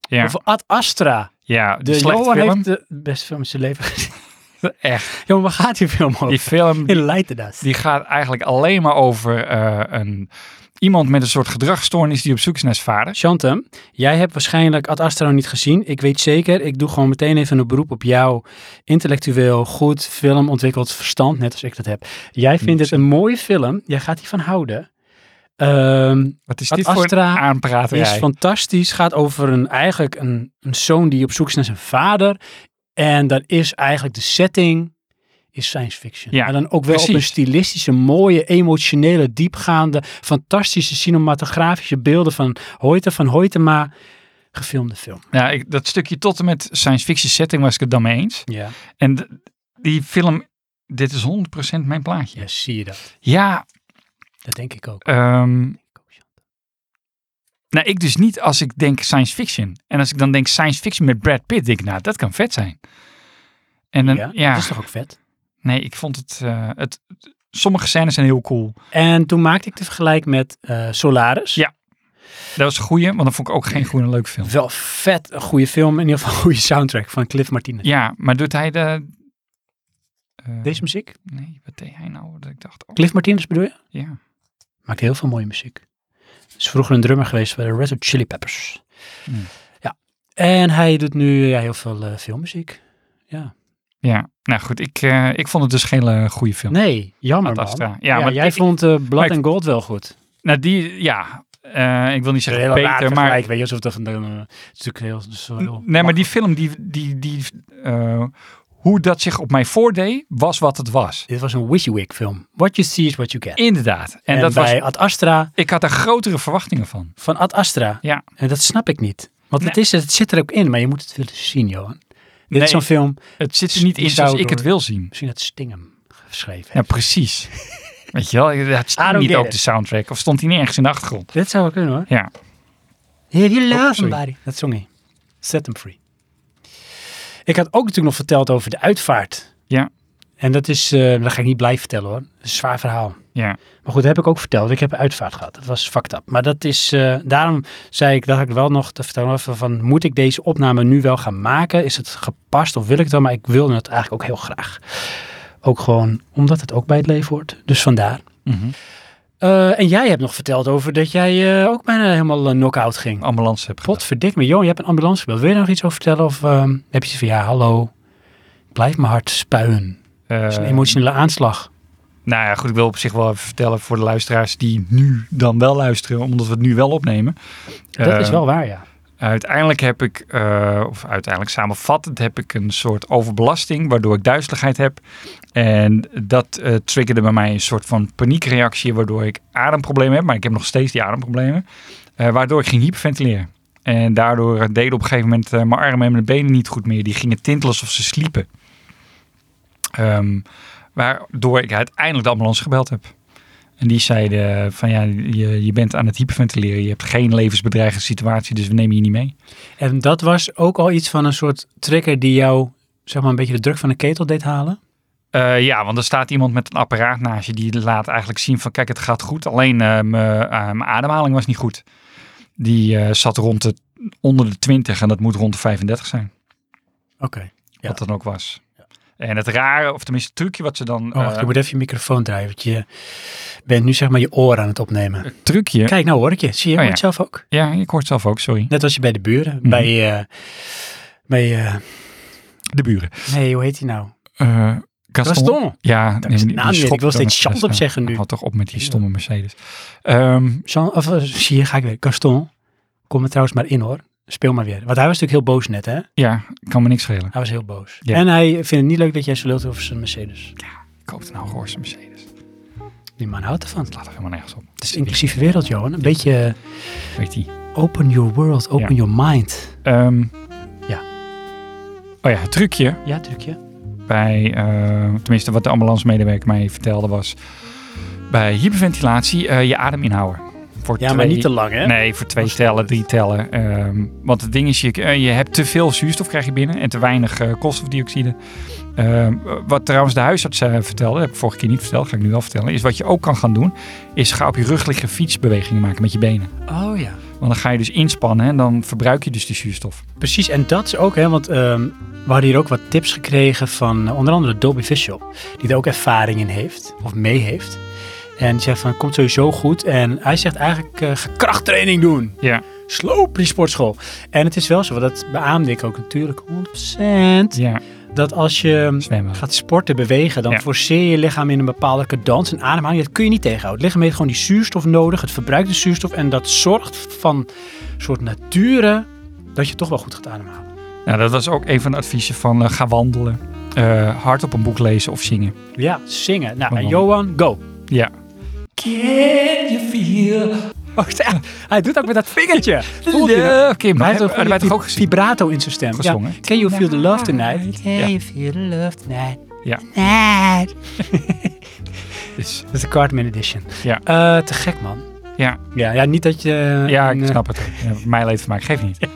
S2: Ja,
S1: Over Ad Astra.
S2: ja de
S1: De
S2: slechte
S1: Johan
S2: film.
S1: heeft de beste film in zijn leven gezien.
S2: Echt,
S1: Johan, waar gaat die film over?
S2: die film
S1: In Leiden dat.
S2: die gaat eigenlijk alleen maar over eh, een, iemand met een soort gedragsstoornis die op zoek is naar zijn vader.
S1: Chantem, jij hebt waarschijnlijk Ad Astra nog niet gezien. Ik weet zeker, ik doe gewoon meteen even een beroep op jouw intellectueel goed filmontwikkeld verstand, net als ik dat heb. Jij
S2: Hmm.
S1: vindt het een mooie film, jij gaat hiervan houden. Ehm
S2: Wat is
S1: Ad
S2: dit voor een
S1: Astra
S2: aanpraterij?
S1: is fantastisch, gaat over een, eigenlijk een, een zoon die op zoek is naar zijn vader. En dat is eigenlijk de setting, is science fiction.
S2: Ja,
S1: maar dan ook wel op een
S2: precies.
S1: stilistische, mooie, emotionele, diepgaande, fantastische cinematografische beelden van Hoyte, van Hoytema gefilmde film.
S2: Ja, ik, dat stukje tot en met science fiction setting was ik het dan mee eens.
S1: Ja,
S2: En d- die film, dit is 100% mijn plaatje.
S1: ja zie je dat.
S2: Ja,
S1: Dat denk ik ook.
S2: ehm, nou ik dus niet als ik denk science fiction. En als ik dan denk science fiction met Brad Pitt, denk ik, nou dat kan vet zijn. En dan, ja,
S1: ja, Dus- dat is toch ook vet?
S2: nee, ik vond het, eh, het, sommige scènes zijn heel cool.
S1: En toen maakte ik de vergelijk met eh, Solaris.
S2: Ja. Dat was een goeie, want dan vond ik ook geen goede leuk film.
S1: Wel vet, een goede film. In ieder geval een goede soundtrack van Cliff Martinez.
S2: Ja, maar doet hij de... eh,
S1: Deze muziek?
S2: Nee, wat deed hij nou? Dat ik dacht, oh,
S1: Cliff Martinez bedoel je?
S2: ja.
S1: Maakt heel veel mooie muziek. Is vroeger een drummer geweest bij de Red Hot Chili Peppers.
S2: Hmm.
S1: Ja. En hij doet nu ja, heel veel eh, filmmuziek.
S2: Ja, nou goed, ik, eh, ik vond het dus geen eh, goede film.
S1: Nee, jammer
S2: Ad
S1: man.
S2: Astra.
S1: Ja,
S2: Ja, maar
S1: jij
S2: ik-
S1: vond eh, Blood
S2: ik-
S1: and Gold wel goed.
S2: Nou, die, ja. eh, ik wil niet
S1: Een
S2: zeggen
S1: hele rare
S2: beter, maar...
S1: vergelijk, weet je, alsof dat een... eh, het is natuurlijk heel... zo heel
S2: Nee, maar die film, die, die, die, eh, hoe dat zich op mij voordeed, was wat het was.
S1: Dit was een WYSIWYG film. What you see is what you get.
S2: Inderdaad. En,
S1: En,
S2: dat
S1: bij
S2: was,
S1: Ad Astra,
S2: ik had er grotere verwachtingen van.
S1: van Ad Astra.
S2: Ja.
S1: En dat snap ik niet. Want het, is, het zit er ook in, maar je moet het willen zien, Johan. Dit
S2: Nee.
S1: is zo'n film,
S2: Het zit er niet
S1: Die
S2: in
S1: zou
S2: zoals ik
S1: door-
S2: het wil zien.
S1: misschien dat Sting hem geschreven
S2: Ja,
S1: heeft.
S2: precies. Weet je wel, het
S1: I
S2: stond
S1: don't
S2: niet
S1: get
S2: op
S1: it.
S2: de soundtrack. Of stond hij nergens in de achtergrond.
S1: Dit zou wel kunnen hoor.
S2: Ja.
S1: If you
S2: Oh,
S1: love
S2: sorry.
S1: somebody. Dat zong hij. Set them free. Ik had ook natuurlijk nog verteld over de uitvaart.
S2: Ja.
S1: En dat is, eh dat ga ik niet blijven vertellen hoor. Dat is een zwaar verhaal.
S2: Ja.
S1: Maar goed, dat heb ik ook verteld. Ik heb een uitvaart gehad. Dat was fucked up. Maar dat is, eh, daarom zei ik, dat ik wel nog te vertellen over van, moet ik deze opname nu wel gaan maken? Is het gepast of wil ik het wel? Maar ik wilde het eigenlijk ook heel graag. Ook gewoon, omdat het ook bij het leven hoort. Dus vandaar.
S2: Mhm.
S1: Eh, en jij hebt nog verteld over dat jij eh, ook bijna helemaal eh, knock-out ging.
S2: Ambulance heb gedaan.
S1: Potverdik me, joh, je hebt een ambulance gebeld. Wil je daar nog iets over vertellen? Of ehm, heb je zoiets van, ja, hallo, blijf mijn hart spuien. Dat is een
S2: Eh,
S1: emotionele aanslag.
S2: Nou ja, goed, ik wil op zich wel even vertellen voor de luisteraars die nu dan wel luisteren, omdat we het nu wel opnemen.
S1: Dat is
S2: Eh,
S1: wel waar, ja.
S2: Uiteindelijk heb ik, eh, of uiteindelijk samenvattend, heb ik een soort overbelasting, waardoor ik duizeligheid heb. En dat eh, triggerde bij mij een soort van paniekreactie, waardoor ik ademproblemen heb, maar ik heb nog steeds die ademproblemen. eh, waardoor ik ging hyperventileren. En daardoor deden op een gegeven moment eh, mijn armen en mijn benen niet goed meer. Die gingen tintelen alsof ze sliepen. Ehm, waardoor ik uiteindelijk de ambulance gebeld heb. En die zeiden van ja, je, je bent aan het hyperventileren. Je hebt geen levensbedreigende situatie, dus we nemen je niet mee.
S1: En dat was ook al iets van een soort trigger die jou, zeg maar, een beetje de druk van de ketel deed halen.
S2: Eh, ja, want er staat iemand met een apparaat naast je die laat eigenlijk zien van kijk, het gaat goed. Alleen eh, mijn eh, mijn ademhaling was niet goed. Die eh, zat rond de, onder de 20 en dat moet rond de 35 zijn,
S1: Oké. Ja.
S2: wat dan ook was. En het rare, of tenminste het trucje wat ze dan...
S1: Oh, wacht,
S2: eh,
S1: je moet even je microfoon draaien, want je bent nu, zeg maar, je oren aan het opnemen.
S2: het trucje...
S1: Kijk, nou hoor ik je. Zie je,
S2: Oh,
S1: hoor
S2: ja.
S1: het zelf ook?
S2: Ja, ik hoor het zelf ook, sorry.
S1: Net als je bij de buren,
S2: Mhm.
S1: bij, eh, bij eh,
S2: De buren.
S1: nee, hoe heet hij nou?
S2: Eh Gaston.
S1: Gaston.
S2: Ja,
S1: is de naam niet. Ik
S2: schopt
S1: wil steeds
S2: dan-
S1: Chantem
S2: dat is-
S1: zeggen nu.
S2: Houd toch op met die stomme Mercedes. Ehm,
S1: Jean, of eh, zie je, ga ik weer. Gaston, kom er trouwens maar in hoor. Speel maar weer. Want hij was natuurlijk heel boos net, hè?
S2: ja, kan me niks schelen.
S1: Hij was heel boos.
S2: Ja.
S1: En hij vindt het niet leuk dat jij zo lult over zijn Mercedes.
S2: Koopt nou gewoon een Mercedes.
S1: Die man houdt ervan.
S2: Laat er helemaal nergens op.
S1: Het is een inclusieve wereld, Johan. Een beetje
S2: Weet die.
S1: eh, open your world, open
S2: Ja.
S1: your mind.
S2: Ehm,
S1: Ja.
S2: Oh ja, het trucje
S1: Ja, trucje.
S2: bij, eh, tenminste wat de ambulancemedewerker mij vertelde was, bij hyperventilatie eh, je adem inhouden. Voor
S1: Ja, maar
S2: twee-
S1: niet te lang, hè?
S2: Nee, voor twee
S1: Dat is-
S2: tellen, drie tellen. Ehm, want het ding is, je, eh, je hebt te veel zuurstof krijg je binnen en te weinig eh, koolstofdioxide. Ehm, wat trouwens de huisarts eh, vertelde, heb ik vorige keer niet verteld, ga ik nu wel vertellen, is wat je ook kan gaan doen, is ga op je rug liggen fietsbewegingen maken met je benen.
S1: Oh ja.
S2: Want dan ga je dus inspannen en dan verbruik je dus de zuurstof.
S1: Precies, en dat is ook, hè, want ehm, we hadden hier ook wat tips gekregen van eh, onder andere Dolby Visual, die er ook ervaring in heeft, of mee heeft. En die zegt van, het komt sowieso goed. En hij zegt eigenlijk, eh, ga krachttraining doen.
S2: Ja.
S1: Sloop die sportschool. En het is wel zo, want dat beaamde ik ook natuurlijk 100%,
S2: Ja,
S1: dat als je
S2: zwemmen.
S1: gaat sporten, bewegen, dan
S2: Ja.
S1: forceer je lichaam in een bepaalde cadans en ademhaling. Dat kun je niet tegenhouden. Het lichaam heeft gewoon die zuurstof nodig, het verbruikt de zuurstof en dat zorgt van soort nature dat je toch wel goed gaat ademhalen.
S2: Nou, dat was ook een van de adviezen van eh, ga wandelen. eh, hardop een boek lezen of zingen.
S1: Ja, zingen. Nou,
S2: Oh,
S1: en
S2: man.
S1: Johan, go.
S2: Ja.
S1: Can you feel? Oh, ja, hij doet ook met dat vingertje. Voel je dat?
S2: Love, Kim.
S1: Hij
S2: Hij
S1: heeft ook,
S2: heeft toch ook
S1: ook
S2: gezien.
S1: vibrato in zijn stem.
S2: Gezongen.
S1: Ja. Can you feel the love tonight? Can
S2: you
S1: feel the love tonight?
S2: Ja.
S1: Tonight.
S2: Dus,
S1: Dat is de Cartman edition.
S2: Ja.
S1: Eh, te gek, man.
S2: Ja.
S1: Ja, ja niet dat je... eh,
S2: ja,
S1: een,
S2: ik
S1: eh,
S2: snap het. Ja, mijn leedvermaak, geeft niet. Ja.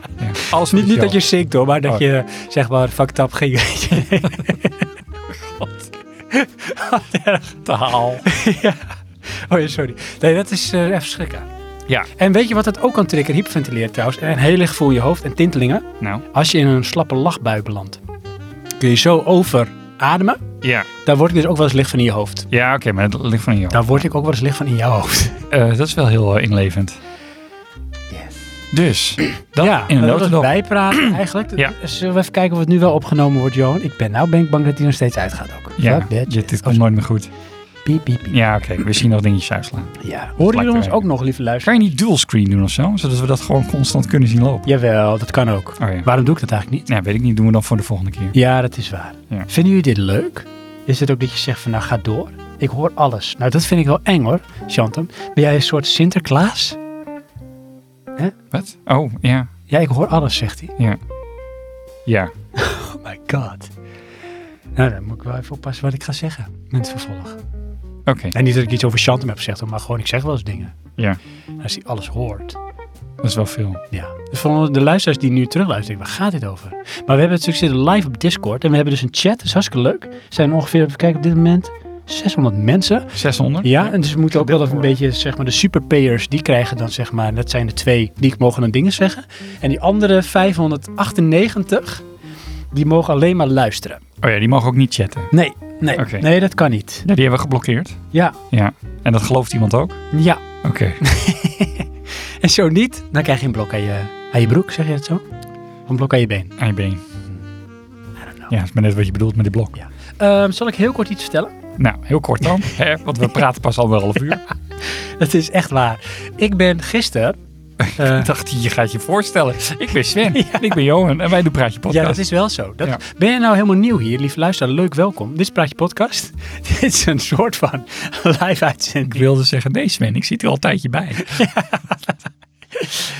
S2: Alles
S1: Niet,
S2: voor
S1: niet
S2: de
S1: dat je
S2: show.
S1: zingt hoor, maar dat
S2: Oh.
S1: je zeg maar fucked up ging. Wat erg taal. ja. Oh ja, sorry. Nee, dat is eh, even schrikken.
S2: Ja.
S1: En weet je wat het ook kan triggeren? Hyperventileren trouwens. En een heel licht gevoel in je hoofd en tintelingen.
S2: Nou,
S1: Als je in een slappe lachbui belandt. Kun je zo overademen.
S2: ja.
S1: Daar word ik dus ook wel eens licht van in je hoofd.
S2: Ja, oké, maar dat ligt van jou.
S1: Daar word ik ook wel eens licht van in jouw hoofd.
S2: Eh, dat is wel heel eh, inlevend. Dus, dat
S1: ja,
S2: in een
S1: dat was
S2: notendop.
S1: bijpraten eigenlijk.
S2: Ja.
S1: Zullen we even kijken of het nu wel opgenomen wordt, Johan? Ik ben nou ben ik bang dat die nog steeds uitgaat ook.
S2: Ja,
S1: Fuck that
S2: dit, dit
S1: shit.
S2: komt nooit meer goed.
S1: Piep, piep, piep.
S2: Ja, oké, we zien nog dingetjes uitslaan.
S1: Ja. Horen
S2: lijkt
S1: jullie
S2: er
S1: ons
S2: wel.
S1: ook nog, lieve
S2: Kan
S1: luisteraars?
S2: je niet dual screen doen of zo? Zodat we dat gewoon constant kunnen zien lopen.
S1: Jawel, dat kan ook.
S2: Oh ja.
S1: Waarom doe ik dat eigenlijk niet?
S2: Nou, weet ik niet. Doen we dan voor de volgende keer.
S1: Ja, dat is waar.
S2: Ja.
S1: Vinden jullie dit leuk? Is het ook dat je zegt van nou ga door? Ik hoor alles. Nou, dat vind ik wel eng hoor, Chantem. Ben jij een soort Sinterklaas?
S2: Wat? Oh, ja.
S1: Ja, ik hoor alles, zegt hij.
S2: Ja. Ja.
S1: Oh my god. Nou, dan moet ik wel even oppassen wat ik ga zeggen. In het vervolg.
S2: Oké.
S1: En niet dat ik iets over Chantem heb gezegd, hoor, maar gewoon ik zeg wel eens dingen.
S2: Ja.
S1: En Als hij alles hoort.
S2: Dat is wel veel.
S1: Ja. Dus voor de luisteraars die nu terugluisteren, waar gaat dit over? Maar we hebben natuurlijk zitten live op Discord en we hebben dus een chat. Dat is hartstikke leuk. Er zijn ongeveer, even kijken, op dit moment 600 mensen.
S2: 600?
S1: Ja, en dus we moeten ook wel even een
S2: Gedeeld
S1: beetje, zeg maar, de superpayers, die krijgen dan, zeg maar, dat zijn de twee die mogen dan dingen zeggen. En die andere 598, die mogen alleen maar luisteren.
S2: Oh ja, die mogen ook niet chatten.
S1: Nee, nee,
S2: Oké.
S1: nee, dat kan niet.
S2: Ja, die hebben we geblokkeerd.
S1: Ja,
S2: Ja. En dat gelooft iemand ook?
S1: ja.
S2: Oké.
S1: En zo niet, dan krijg je een blok aan je, aan je broek, zeg je dat zo? Of een blok aan je been.
S2: Aan je been. Ja, dat is maar net wat je bedoelt met die blok.
S1: Ehm, zal ik heel kort iets vertellen?
S2: Nou, heel kort dan. hè, want we praten pas anderhalf uur.
S1: Dat is echt waar. Ik ben gisteren. eh,
S2: Ik dacht, je gaat je voorstellen. Ik ben Sven. En ik ben Johan. En wij doen Praatje
S1: ja,
S2: Podcast.
S1: dat is wel zo. Dat,
S2: Ja.
S1: Ben je nou helemaal nieuw hier, lief luisteraar? Leuk, welkom. Dit is Praatje Podcast. Dit is een soort van live uitzending.
S2: Ik wilde zeggen, nee Sven, ik zit er al een tijdje bij.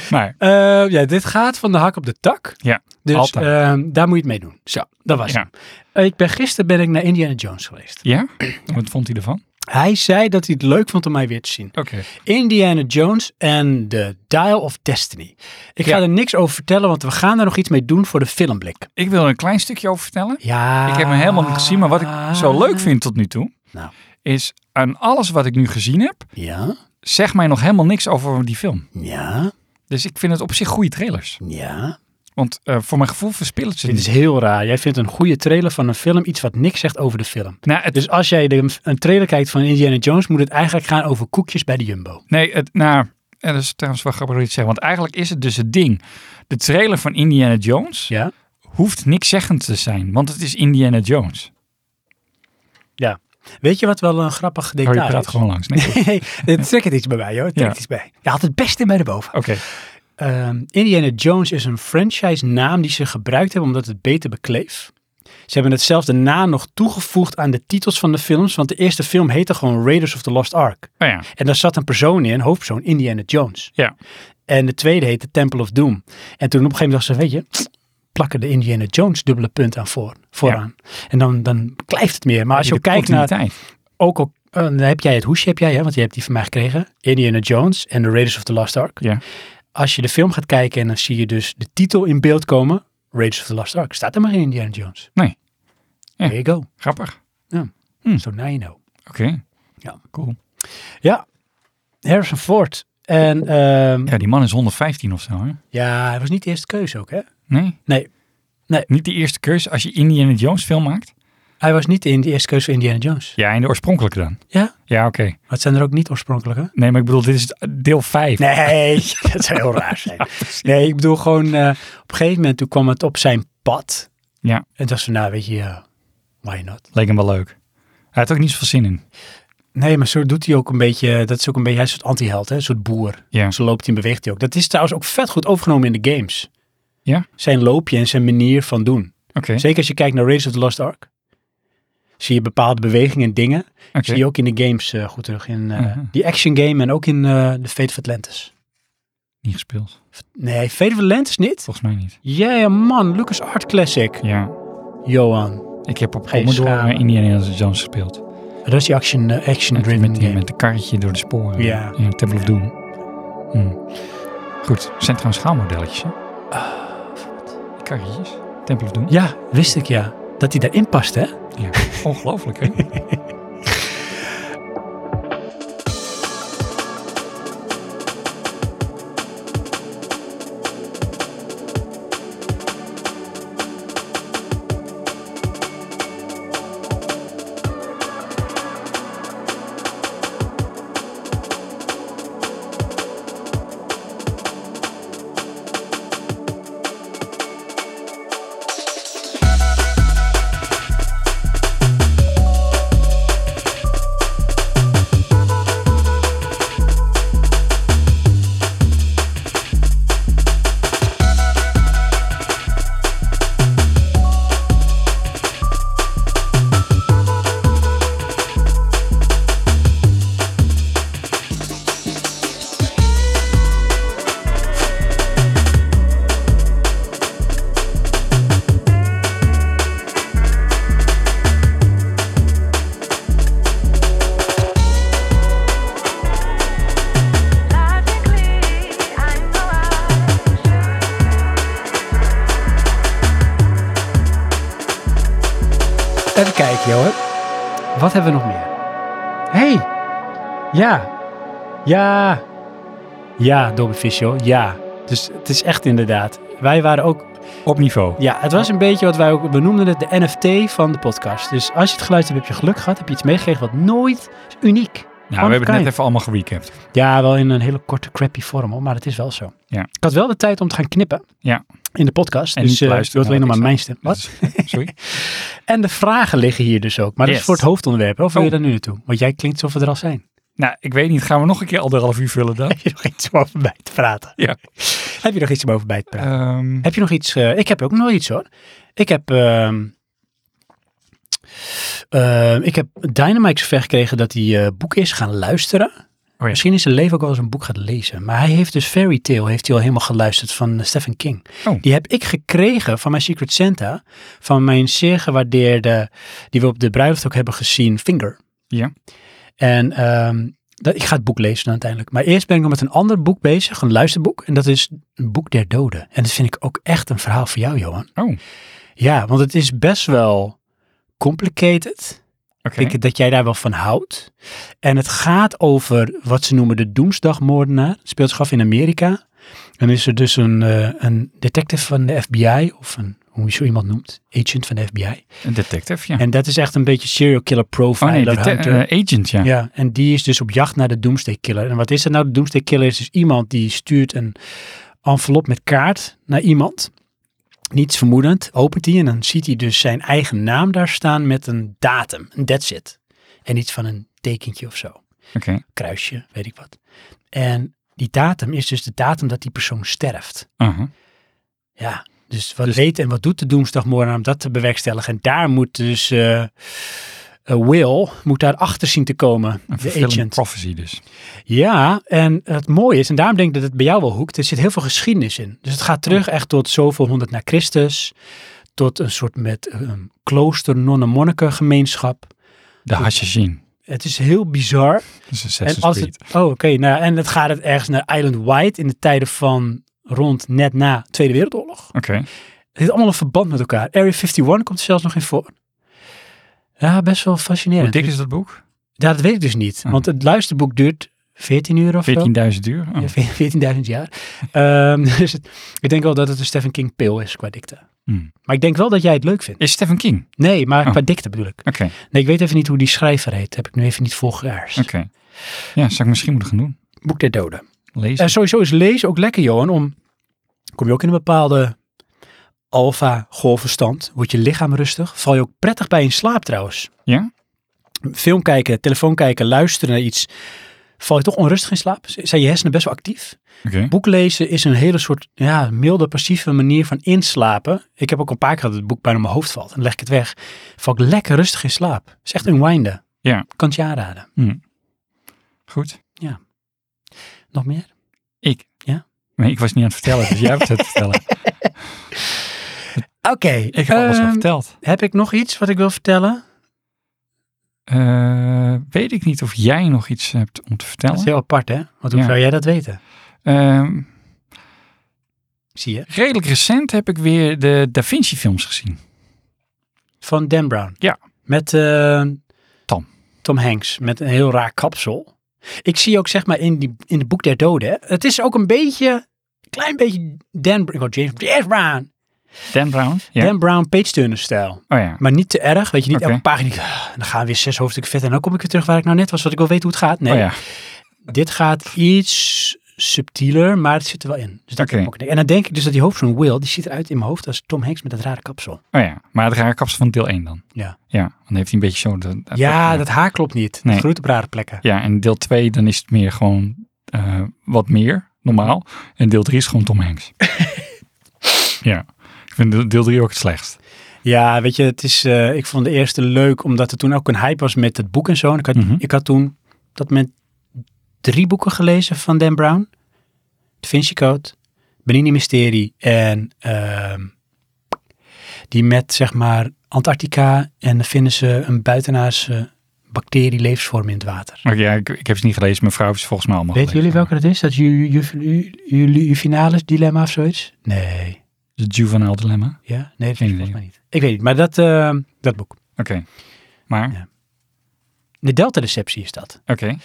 S2: Maar,
S1: Eh, ja, dit gaat van de hak op de tak.
S2: ja.
S1: Dus
S2: Altijd.
S1: ehm, daar moet je het mee doen. Zo, dat was
S2: Ja.
S1: het. Eh, Ik ben, gisteren ben ik naar Indiana Jones geweest.
S2: Ja? Wat vond hij ervan?
S1: Hij zei dat hij het leuk vond om mij weer te zien.
S2: Oké.
S1: Indiana Jones en The Dial of Destiny. Ik ga
S2: Ja.
S1: er niks over vertellen, want we gaan er nog iets mee doen voor de filmblik.
S2: Ik wil er een klein stukje over vertellen.
S1: Ja.
S2: Ik heb hem helemaal niet gezien, maar wat ik zo leuk vind tot nu toe,
S1: Ah. Nou.
S2: is aan alles wat ik nu gezien heb,
S1: Ja,
S2: zeg mij nog helemaal niks over die film.
S1: ja,
S2: Dus ik vind het op zich goede trailers.
S1: ja.
S2: Want eh, voor mijn gevoel verspillen ze
S1: Dit is
S2: niet.
S1: heel raar. Jij vindt een goede trailer van een film iets wat niks zegt over de film.
S2: Nou, het,
S1: Dus als jij de, een trailer kijkt van Indiana Jones, moet het eigenlijk gaan over koekjes bij de Jumbo.
S2: nee, het, nou, en dat is trouwens wel grappig dat je het zegt. Want eigenlijk is het dus het ding. De trailer van Indiana Jones
S1: Ja?
S2: hoeft niks zeggend te zijn, want het is Indiana Jones.
S1: Weet je wat wel een grappig
S2: Oh, je
S1: detail
S2: praat
S1: is?
S2: gewoon langs. Nee, goed.
S1: Nee, het trekt iets bij mij, hoor. Het trekt
S2: Ja.
S1: iets bij. Je had het beste bij de boven.
S2: Oké,
S1: Ehm, Indiana Jones is een franchise-naam die ze gebruikt hebben omdat het beter bekleef. Ze hebben het zelfs daarna nog toegevoegd aan de titels van de films, want de eerste film heette gewoon Raiders of the Lost Ark.
S2: nou ja.
S1: En daar zat een persoon in, een hoofdpersoon, Indiana Jones.
S2: Ja.
S1: En de tweede heette Temple of Doom. En toen op een gegeven moment dacht ze, weet je, plakken de Indiana Jones dubbele punt aan voor, vooraan. En dan, dan blijft het meer. Maar als je ook
S2: De
S1: kijkt naar,
S2: continuïteit.
S1: ook al eh, dan heb jij het hoesje, heb jij, hè, want je hebt die van mij gekregen. Indiana Jones en The Raiders of the Lost Ark.
S2: Ja.
S1: Als je de film gaat kijken en dan zie je dus de titel in beeld komen. Raiders of the Lost Ark. Staat er maar in Indiana Jones.
S2: Nee. Ja. Hm.
S1: There you go.
S2: Grappig.
S1: So now you know.
S2: Oké.
S1: Ja.
S2: cool.
S1: Ja, Harrison Ford. En ehm, ja.
S2: Ja, die man is 115 of zo, hè?
S1: hij was niet de eerste keuze ook hè.
S2: Nee?
S1: Nee. Nee.
S2: Niet de eerste keuze als je Indiana Jones film maakt?
S1: Hij was niet in de eerste keuze voor Indiana Jones.
S2: Ja, in de oorspronkelijke dan.
S1: Ja?
S2: Ja, oké.
S1: Maar het zijn er ook niet oorspronkelijke.
S2: Nee, maar ik bedoel, dit is deel 5.
S1: Nee, dat zou heel raar zijn. Nee, ik bedoel gewoon, eh, op een gegeven moment toen kwam het op zijn pad.
S2: Ja.
S1: En dacht ze, nou weet je, eh, why not?
S2: Leek hem wel leuk. Hij had ook niet zoveel zin in.
S1: Nee, maar zo doet hij ook een beetje, dat is ook een beetje, hij is een soort anti-held, hè, een soort boer.
S2: Ja.
S1: Zo loopt hij en beweegt hij ook. Dat is trouwens ook vet goed overgenomen in de games.
S2: Ja.
S1: Zijn loopje en zijn manier van doen.
S2: Oké.
S1: Zeker als je kijkt naar Raiders of the Lost Ark. Zie je bepaalde bewegingen en dingen.
S2: oké.
S1: Zie je ook in de games eh, goed terug. In eh,
S2: Mhm.
S1: die action game en ook in eh The Fate of Atlantis.
S2: Niet gespeeld.
S1: Nee, Fate of Atlantis niet.
S2: Volgens mij niet.
S1: Ja yeah, man, Lucas Art Classic.
S2: Ja.
S1: Johan.
S2: Ik heb op
S1: Ga je
S2: Commodore
S1: schamen.
S2: eh, Indiana Jones gespeeld.
S1: Dat is die action, eh,
S2: Met,
S1: action-driven
S2: met, die,
S1: game.
S2: met de karretje door de sporen.
S1: Ja.
S2: ja Temple of Doom. Hm. Goed. Het zijn trouwens schaalmodelletjes, hè? Die karretjes. Temple of Doom.
S1: Ja, wist ik ja. Dat hij daarin past, hè?
S2: Ja. Ongelooflijk, hè?
S1: Even kijken, joh. Wat hebben we nog meer? Hé! Hey. Ja! Ja! Ja, Dobby Fish, joh. Ja. Dus het is echt inderdaad. Wij waren ook...
S2: Op niveau.
S1: Ja, het was een beetje wat wij ook benoemden het, de NFT van de podcast. Dus als je het geluisterd hebt, heb je geluk gehad. Heb je iets meegekregen wat nooit... is uniek.
S2: Nou, we hebben het
S1: kind.
S2: net even allemaal gerecapt.
S1: Ja, wel in een hele korte, crappy vorm, hoor, maar het is wel zo.
S2: Ja.
S1: Ik had wel de tijd om te gaan knippen.
S2: Ja.
S1: In de podcast.
S2: En
S1: dus
S2: niet
S1: eh, je
S2: luisteren
S1: hoort alleen nog
S2: naar
S1: maar
S2: wat
S1: mijn stem. Wat?
S2: Sorry.
S1: En de vragen liggen hier dus ook. Maar dat
S2: Yes.
S1: is voor het hoofdonderwerp. hè? Of wil je
S2: Oh.
S1: daar nu naartoe? Want jij klinkt alsof we er al zijn.
S2: Nou, ik weet niet. Gaan we nog een keer anderhalf uur vullen dan?
S1: Heb je nog iets om over bij te praten?
S2: Ja.
S1: Heb je nog iets om over bij te praten?
S2: Ehm,
S1: Heb je nog iets? eh, ik heb ook nog iets hoor. Ik heb, ehm ehm, ik heb Dynamite zover gekregen dat hij eh, boek is gaan luisteren.
S2: Oh ja.
S1: Misschien is zijn leven ook wel eens een boek gaat lezen. Maar hij heeft dus Fairy Tale heeft hij al helemaal geluisterd van eh, Stephen King.
S2: Oh.
S1: Die heb ik gekregen van mijn Secret Santa. Van mijn zeer gewaardeerde, die we op de bruiloft ook hebben gezien, Finger.
S2: Ja.
S1: En ehm, dat, ik ga het boek lezen dan uiteindelijk. Maar eerst ben ik nog met een ander boek bezig, een luisterboek. En dat is een boek der doden. En dat vind ik ook echt een verhaal voor jou, Johan.
S2: Oh.
S1: Ja, want het is best wel complicated.
S2: Oké.
S1: Ik denk dat jij daar wel van houdt. En het gaat over wat ze noemen de Doemsdagmoordenaar. Het speelt zich af in Amerika. En is er dus een, eh, een detective van de FBI, of een, hoe je zo iemand noemt, agent van de FBI.
S2: Een detective, ja.
S1: En dat is echt een beetje serial killer
S2: Oh nee,
S1: profiler.
S2: dete-
S1: hunter.
S2: eh, agent, ja.
S1: Ja, en die is dus op jacht naar de Doomsday Killer. En wat is dat nou? De Doomsday Killer is dus iemand die stuurt een envelop met kaart naar iemand. Niets vermoedend, opent die en dan ziet hij dus zijn eigen naam daar staan met een datum, een that's it. En iets van een tekentje of zo,
S2: Oké.
S1: kruisje, weet ik wat. En die datum is dus de datum dat die persoon sterft.
S2: Aha.
S1: Ja, dus wat weet en wat doet de doemsdagmoordenaar om dat te bewerkstelligen? En daar moet dus eh, eh, Will, moet daar achter zien te komen,
S2: Een
S1: de
S2: fulfilling
S1: agent.
S2: prophecy dus.
S1: Ja, en het mooie is, en daarom denk ik dat het bij jou wel hoekt, er zit heel veel geschiedenis in. Dus het gaat terug echt tot zoveel honderd na Christus, tot een soort met eh, een klooster nonnen-monniken gemeenschap.
S2: De Hashashin.
S1: Het is heel bizar.
S2: Dus
S1: En
S2: Assassin's
S1: als
S2: Creed.
S1: het, oh, oké. nou, en het gaat het ergens naar Island White in de tijden van rond net na Tweede Wereldoorlog.
S2: Oké.
S1: Het heeft allemaal een verband met elkaar. Area 51 komt er zelfs nog in voor. Ja, best wel
S2: Hoe
S1: fascinerend.
S2: dik is dat boek?
S1: Ja, dat weet ik dus niet.
S2: Ah.
S1: Want het luisterboek duurt 14 uur of zo.
S2: 14.000 uur? Oh.
S1: Ja, ve- 14.000 jaar. Ehm, dus het- ik denk wel dat het een Stephen King pil is qua dikte.
S2: Hmm.
S1: Maar ik denk wel dat jij het leuk vindt.
S2: Is Stephen King?
S1: Nee, maar
S2: Oh.
S1: qua dikte bedoel ik.
S2: Oké.
S1: Nee, ik weet even niet hoe die schrijver heet. Heb ik nu even niet volgeaars.
S2: Oké. Ja, zou ik misschien moeten gaan doen.
S1: Boek der doden.
S2: Lezen.
S1: En Eh, sowieso is lezen ook lekker, Johan. Om, kom je ook in een bepaalde alfa-golfverstand. Wordt je lichaam rustig. Val je ook prettig bij in slaap trouwens.
S2: Ja?
S1: Film kijken, telefoon kijken, luisteren naar iets. val je toch onrustig in slaap. Z- Zijn je hersenen best wel actief.
S2: Oké.
S1: Boek lezen is een hele soort ja, milde, passieve manier van inslapen. Ik heb ook een paar keer gehad dat het boek bijna op mijn hoofd valt. En dan leg ik het weg. Val ik lekker rustig in slaap. Het is echt een winder.
S2: Ja.
S1: Kan het je aanraden.
S2: Goed.
S1: Nog meer?
S2: Ik.
S1: Ja?
S2: Nee, ik was niet aan het vertellen, dus jij hebt het vertellen.
S1: Oké.
S2: Ik heb alles al
S1: ehm,
S2: verteld.
S1: heb ik nog iets wat ik wil vertellen?
S2: Eh, weet ik niet of jij nog iets hebt om te
S1: Dat is
S2: vertellen.
S1: heel apart, hè? Want hoe
S2: Ja.
S1: zou jij dat weten?
S2: Ehm,
S1: Zie je?
S2: redelijk recent heb ik weer de Da Vinci films gezien.
S1: Van Dan Brown.
S2: Ja.
S1: Met eh,
S2: Tom.
S1: Tom Hanks. Met een heel raar kapsel. Ik zie ook zeg maar in, die, in het boek der doden. hè, Het is ook een beetje, klein beetje Dan, Br- ik wou James, James Brown.
S2: Dan Brown? Ja.
S1: Dan Brown, page turner stijl.
S2: Oh ja.
S1: Maar niet te erg. Weet je, niet
S2: Oké.
S1: elke pagina. denk ik, "Ah, dan gaan we weer zes hoofdstukken verder. En dan kom ik weer terug waar ik nou net was. Want ik wil weten hoe het gaat. Nee,
S2: Oh ja.
S1: dit gaat iets subtieler, maar het zit er wel in. Dus dat
S2: Oké.
S1: kan ook niet. En dan denk ik dus dat die hoofdpersoon Will, die ziet eruit in mijn hoofd als Tom Hanks met dat rare kapsel.
S2: Oh ja. Maar het rare kapsel van deel 1 dan.
S1: Ja.
S2: Ja. Dan heeft hij een beetje zo... de-
S1: ja, dat haar klopt niet.
S2: Nee.
S1: Het groeit op rare plekken.
S2: Ja, en deel 2 dan is het meer gewoon eh, wat meer, normaal. En deel 3 is gewoon Tom Hanks. ja, ik vind deel- deel 3 ook het slechtst.
S1: Ja, weet je, het is, eh, ik vond de eerste leuk omdat er toen ook een hype was met het boek en zo. En ik, had,
S2: Mhm.
S1: ik had toen op dat moment drie boeken gelezen van Dan Brown. Da Vinci Code, Benini Mysterie en ehm, die met zeg maar Antarctica en dan vinden ze een buitenaardse bacterie levensvorm in het water.
S2: Maar ja, ik, ik heb ze niet gelezen. Mijn vrouw heeft ze volgens mij allemaal
S1: Weten jullie welke dat is? Dat jullie ju, ju, ju- ju- finalis dilemma of zoiets? Nee.
S2: Het juvenile dilemma. Oké.
S1: Ja? Nee, dat
S2: Geen
S1: is
S2: idee.
S1: volgens mij niet. Ik weet niet, maar dat, ehm, dat boek.
S2: Maar,
S1: Ja. De Delta-deceptie is dat.
S2: oké.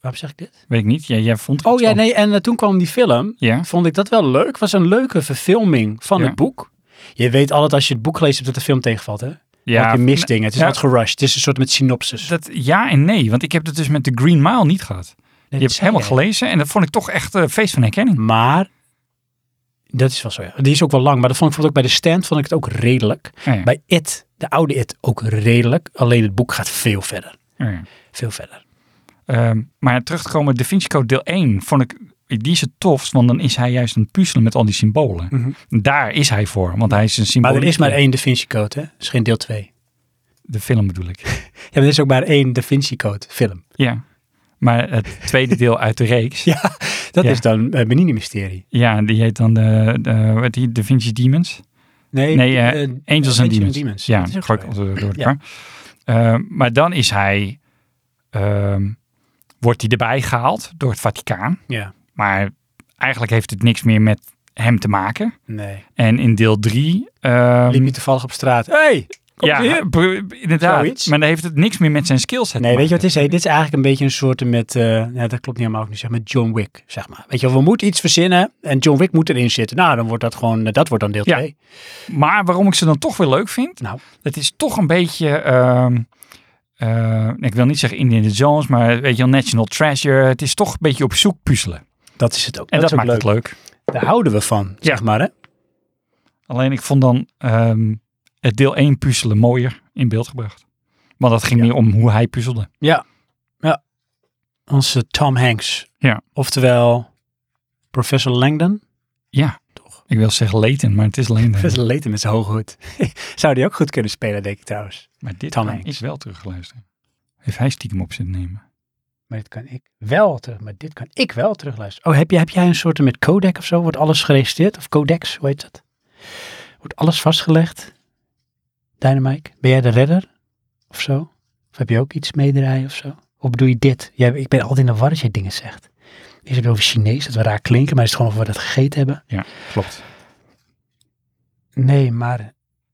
S1: Waarom zeg ik dit?
S2: Weet ik niet. Jij, jij vond het
S1: Oh ja, nee, en eh, toen kwam die film.
S2: Ja,
S1: Vond ik dat wel leuk. Was een leuke verfilming van
S2: Ja.
S1: het boek. Je weet altijd als je het boek gelezen hebt dat de film tegenvalt, hè?
S2: ja,
S1: Want je mist dingen. Het is
S2: ja.
S1: wat gerushed. Het is een soort met synopsis.
S2: dat, ja en nee. Want ik heb het dus met de Green Mile niet gehad.
S1: Nee,
S2: je
S1: dat
S2: hebt het
S1: zei
S2: helemaal
S1: jij.
S2: gelezen en dat vond ik toch echt een feest van herkenning.
S1: Maar, dat is wel zo, ja. Die is ook wel lang. Maar dat vond ik bijvoorbeeld ook bij de stand vond ik het ook redelijk.
S2: Ja, ja.
S1: Bij It, de oude It, ook redelijk. Alleen het boek gaat veel verder.
S2: Ja, ja.
S1: Veel verder.
S2: Ehm, maar terug te komen, Da Vinci Code deel 1 vond ik, die is het tofst, want dan is hij juist een puzzelen met al die symbolen.
S1: Mhm.
S2: Daar is hij voor, want hij is een symbool.
S1: Maar er is maar één Da Vinci Code, hè? Er is geen deel 2.
S2: De film bedoel ik.
S1: Ja, maar er is ook maar één Da Vinci Code film.
S2: ja. Maar het tweede deel uit de reeks, ja,
S1: Ja, dat
S2: Ja.
S1: is dan eh Benini Mysterie.
S2: die heet dan de, de, wat die, Da Vinci Demons.
S1: Nee,
S2: Nee, eh,
S1: eh,
S2: Angels and Demons. Ja,
S1: Dat is ook
S2: gooi ik
S1: zo.
S2: altijd door elkaar. Ehm, maar dan is hij, ehm, wordt hij erbij gehaald door het Vaticaan.
S1: Ja,
S2: Maar eigenlijk heeft het niks meer met hem te maken.
S1: nee.
S2: En in deel 3...
S1: Liep je toevallig op straat. hey, kom
S2: ja,
S1: Ehm, ja. hier.
S2: b- inderdaad.
S1: Zoiets.
S2: Maar dan heeft het niks meer met zijn skillset.
S1: Nee,
S2: te
S1: weet je wat het
S2: maken.
S1: is? Hey, dit is eigenlijk een beetje een soort met, eh, ja, dat klopt niet helemaal ook niet, zeg maar John Wick, zeg maar. Weet je, wel, we moeten iets verzinnen en John Wick moet erin zitten. Nou, dan wordt dat gewoon, eh, dat wordt dan deel
S2: Ja.
S1: 2.
S2: Maar waarom ik ze dan toch weer leuk vind,
S1: Nou.
S2: het is toch een beetje, ehm, eh, ik wil niet zeggen Indiana Jones, maar weet je wel, National Treasure. Het is toch een beetje op zoek puzzelen.
S1: Dat is het ook.
S2: En dat,
S1: is ook
S2: maakt het leuk.
S1: Daar houden we van, zeg maar, hè.
S2: Alleen ik vond dan ehm, het deel 1 puzzelen mooier in beeld gebracht. Want dat ging
S1: Ja.
S2: meer om hoe hij puzzelde.
S1: Onze Tom Hanks.
S2: Ja.
S1: Oftewel, professor Langdon.
S2: Ja,
S1: Toch.
S2: ik wil zeggen Leighton, maar het is eh, Leighton.
S1: Professor Layton met zijn hoge hoed. Zou die ook goed kunnen spelen, denk ik trouwens.
S2: Maar dit
S1: Tom
S2: kan
S1: Hanks.
S2: is wel teruggeluisterd. Heeft hij stiekem op zitten nemen?
S1: Maar dit kan ik wel terug. Maar dit kan ik wel terugluisteren. Oh, heb, je, heb jij een soort met codec of zo? Wordt alles geregistreerd? Of codex, hoe heet dat? Wordt alles vastgelegd? Dynamite, ben jij de redder? Of zo? Of heb je ook iets meedraaien of zo? Of bedoel je dit? Jij, ik ben altijd in de war als jij dingen zegt. Is het over Chinees, dat we raar klinken, maar is het gewoon of we dat gegeten hebben?
S2: Klopt.
S1: Nee, maar...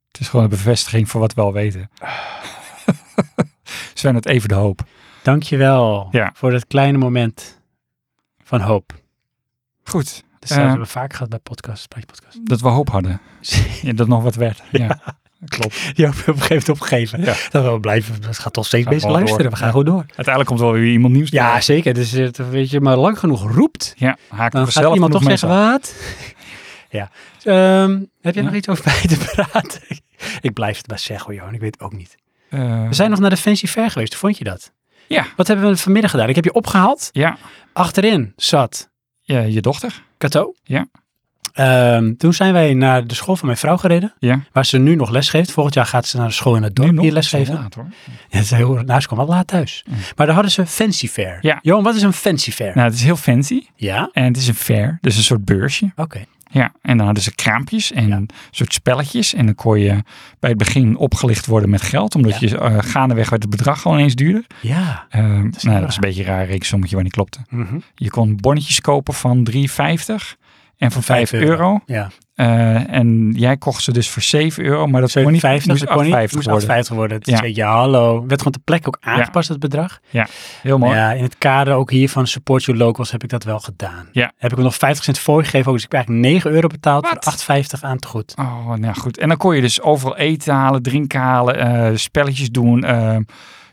S2: Het is gewoon een bevestiging voor wat we al weten. Zijn het even de hoop.
S1: Dankjewel
S2: Ja.
S1: voor dat kleine moment van hoop.
S2: Goed,
S1: Dat hebben
S2: Eh.
S1: we vaak gehad bij podcasts, bij podcasts.
S2: dat we hoop hadden. Ja, dat nog wat werd. Ja, klopt.
S1: Die hebben we op een gegeven moment opgegeven.
S2: Ja.
S1: Dat we blijven, dat gaat toch steeds
S2: Gaan
S1: bezig
S2: gewoon
S1: luisteren.
S2: door.
S1: We gaan gewoon door.
S2: Uiteindelijk komt er wel weer iemand nieuws.
S1: Ja, zeker. Dus het, weet je, maar lang genoeg roept,
S2: ja haak
S1: dan Nou, gaat
S2: vanzelf
S1: iemand toch
S2: genoeg
S1: zeggen
S2: mensen
S1: wat. ja. Ehm, heb jij
S2: Ja.
S1: nog iets over bij te praten? ik blijf het maar zeggen, hoor, Johan. Ik weet het ook niet.
S2: af. Eh,
S1: We zijn nog naar de Fancy Fair geweest. Hoe vond je dat?
S2: Ja.
S1: Wat hebben we vanmiddag gedaan? Ik heb je opgehaald.
S2: Ja.
S1: Achterin zat
S2: Ja, je dochter.
S1: Cato.
S2: Ja.
S1: Ehm, toen zijn wij naar de school van mijn vrouw gereden.
S2: Ja.
S1: Waar ze nu nog les geeft. Volgend jaar gaat ze naar de school in het
S2: Nu
S1: dorp
S2: nog
S1: hier
S2: een
S1: lesgeven.
S2: soldaat, hoor.
S1: Ja, ze, heel, nou, ze kwam wel laat thuis. Maar daar hadden ze Fancy Fair.
S2: Mm. Ja.
S1: Johan, wat is een Fancy Fair?
S2: Nou, het is heel fancy.
S1: Ja?
S2: En het is een fair, dus een soort beursje.
S1: Oké.
S2: Ja, en dan hadden ze kraampjes en
S1: Ja.
S2: een soort spelletjes. En dan kon je bij het begin opgelicht worden met geld, omdat je eh, gaandeweg werd het bedrag al ineens duurder.
S1: Ja.
S2: Ehm, nou,
S1: raar.
S2: dat is een beetje een raar rekensommetje waar niet klopte. Je kon bonnetjes kopen van 3,50 en van 5
S1: euro.
S2: euro.
S1: Ja.
S2: Eh, en jij kocht ze dus voor 7 euro, maar dat kon niet,
S1: 750,
S2: moest
S1: dat kon niet. Moest
S2: 8,50 worden.
S1: 8,50 worden. Toen
S2: Ja.
S1: zei ik, ja, hallo. Werd gewoon de plek ook aangepast, dat bedrag?
S2: Heel mooi.
S1: Ja, in het kader ook hier van Support Your Locals heb ik dat wel gedaan.
S2: Ja.
S1: Heb ik hem nog 50 cent voorgegeven, ook, dus ik heb eigenlijk 9 euro betaald
S2: Wat?
S1: voor 8,50 aan het goed.
S2: Oh, nou goed. En dan kon je dus overal eten halen, drinken halen, eh, spelletjes doen, eh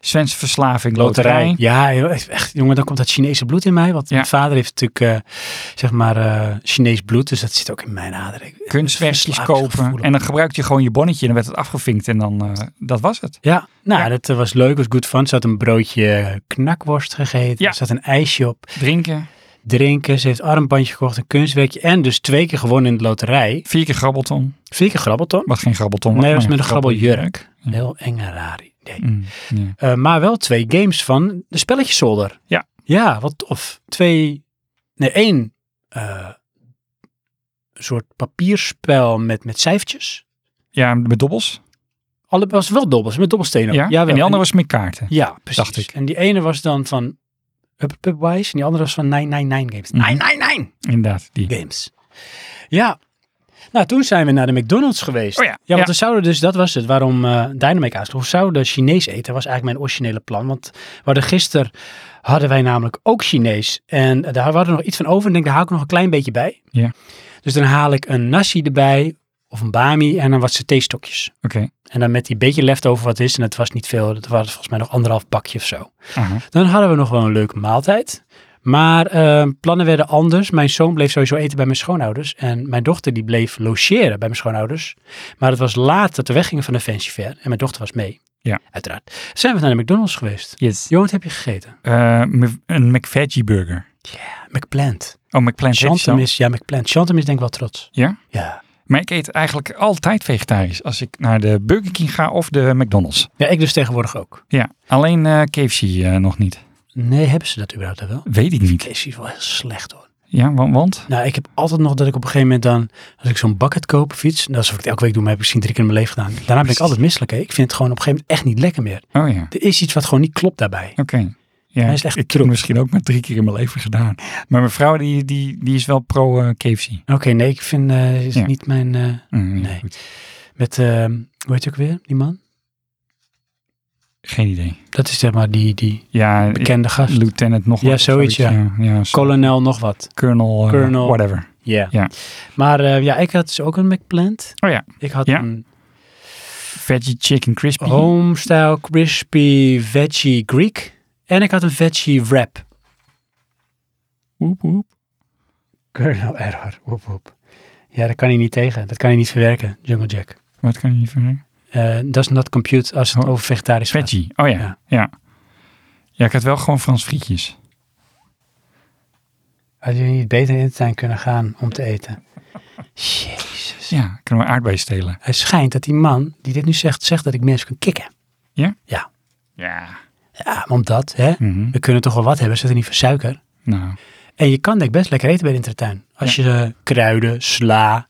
S2: Sven's verslaving, loterij.
S1: Ja, joh, echt, jongen, dan komt dat Chinese bloed in mij. Want
S2: Ja.
S1: mijn vader heeft natuurlijk, eh, zeg maar, eh, Chinees bloed. Dus dat zit ook in mijn aderen. Ik-
S2: kunstwerkjes kopen.
S1: verslavingsgevoelig.
S2: En dan gebruikte je gewoon je bonnetje en dan werd het afgevinkt en dan, eh, dat was het.
S1: Ja, nou,
S2: Ja.
S1: dat eh, was leuk. was good fun. Ze had een broodje knakworst gegeten.
S2: Ja.
S1: Er zat een ijsje op.
S2: Drinken,
S1: Drinken. Ze heeft armbandje gekocht, een kunstwerkje. En dus twee keer gewonnen in de loterij.
S2: vier keer grabbelton,
S1: Vier keer grabbelton.
S2: wat geen grabbelton
S1: Nee, dat was
S2: maar
S1: met een grabbeljurk.
S2: Ja.
S1: Heel eng en raar idee.
S2: Mm, ja.
S1: Eh, maar wel twee games van de spelletjeszolder.
S2: Ja.
S1: Ja, wat tof. Twee, nee één eh, soort papierspel met, met cijfertjes.
S2: ja, met dobbels.
S1: Alle was wel dobbels, met dobbelstenen. ook.
S2: Ja,
S1: Jawel.
S2: en die andere was met kaarten.
S1: Ja, precies.
S2: dacht ik.
S1: En die ene was dan van Up Up Wise en die andere was van 999 Games.
S2: Mhm.
S1: 999
S2: Inderdaad, die.
S1: Games. Ja. Nou, toen zijn we naar de McDonald's geweest.
S2: Oh ja,
S1: Ja, want
S2: ja.
S1: we zouden dus, dat was het, waarom eh Dynamic aansloeg. We zouden Chinees eten, was eigenlijk mijn originele plan. Want we hadden gisteren, hadden wij namelijk ook Chinees. En eh, daar hadden we nog iets van over. En ik denk, daar haal ik nog een klein beetje bij.
S2: Ja.
S1: Dus dan haal ik een nasi erbij, of een bami, en dan wat satéstokjes.
S2: Oké,
S1: En dan met die beetje leftover wat is, en het was niet veel. Dat was volgens mij nog anderhalf bakje of zo.
S2: aha.
S1: Dan hadden we nog wel een leuke maaltijd. Maar eh, plannen werden anders. Mijn zoon bleef sowieso eten bij mijn schoonouders. En mijn dochter die bleef logeren bij mijn schoonouders. Maar het was laat dat we weggingen van de Fancy Fair. En mijn dochter was mee.
S2: Ja.
S1: Uiteraard. Zijn we naar de McDonald's geweest.
S2: Yes.
S1: Johan, wat heb je gegeten?
S2: Eh, m- een McVeggie burger.
S1: McPlant.
S2: Oh, McPlant heet die
S1: Chantem
S2: zo.
S1: is, ja, McPlant. Chantem is denk ik wel trots.
S2: Ja?
S1: Ja.
S2: Maar ik eet eigenlijk altijd vegetarisch als ik naar de Burger King ga of de McDonald's.
S1: Ja, ik dus tegenwoordig ook.
S2: Ja, alleen eh, KFC eh, nog niet.
S1: Nee, hebben ze dat überhaupt wel?
S2: Weet ik niet.
S1: Deze is wel heel slecht hoor.
S2: Ja, wa- want?
S1: Nou, ik heb altijd nog dat ik op een gegeven moment dan, als ik zo'n bucket koop of iets, dat is wat ik het elke week doe, maar heb ik misschien drie keer in mijn leven gedaan. Daarna ben ik altijd misselijk. Hè. Ik vind het gewoon op een gegeven moment echt niet lekker meer.
S2: Oh ja.
S1: Er is iets wat gewoon niet klopt daarbij.
S2: Oké. Ja,
S1: Hij is echt
S2: ik heb
S1: troep.
S2: het misschien ook maar drie keer in mijn leven gedaan. Maar mijn vrouw die, die, die is wel pro eh, KFC.
S1: Oké, nee, ik vind eh is
S2: Ja.
S1: niet mijn. eh,
S2: Mm, ja,
S1: Nee.
S2: goed.
S1: met, eh, hoe heet je ook weer, die man?
S2: Geen idee.
S1: Dat is zeg maar die, die
S2: Ja, ik-
S1: bekende gast.
S2: lieutenant nog
S1: Ja,
S2: wat of
S1: zoiets,
S2: Ja, ja, zo-
S1: Kolonel nog wat.
S2: Colonel, eh,
S1: Colonel.
S2: whatever. Ja.
S1: Maar eh, ja, ik had dus ook een McPlant.
S2: Oh ja.
S1: Ik had
S2: Ja?
S1: een
S2: Veggie chicken crispy.
S1: Oh. homestyle crispy veggie Greek. En ik had een veggie wrap.
S2: Woep, woep.
S1: Colonel Error. Woep, woep. Ja, dat kan hij niet tegen. Dat kan hij niet verwerken, Jungle Jack.
S2: Wat kan je hier verder?
S1: Eh, dat is not compute als het
S2: Oh.
S1: over vegetarisch gaat.
S2: Veggie. Oh ja.
S1: Ja.
S2: ja. Ja. ik had wel gewoon Frans frietjes.
S1: Had je niet beter in de tuin kunnen gaan om te eten? Jezus.
S2: Ja, kunnen we aardbeien stelen.
S1: Het schijnt dat die man die dit nu zegt, zegt dat ik mensen kan kicken.
S2: Ja.
S1: Ja, maar omdat, hè?
S2: Mhm.
S1: We kunnen toch wel wat hebben, zit er niet voor suiker.
S2: Nou,
S1: En je kan denk ik best lekker eten bij de intertuin. Als je eh, kruiden, sla.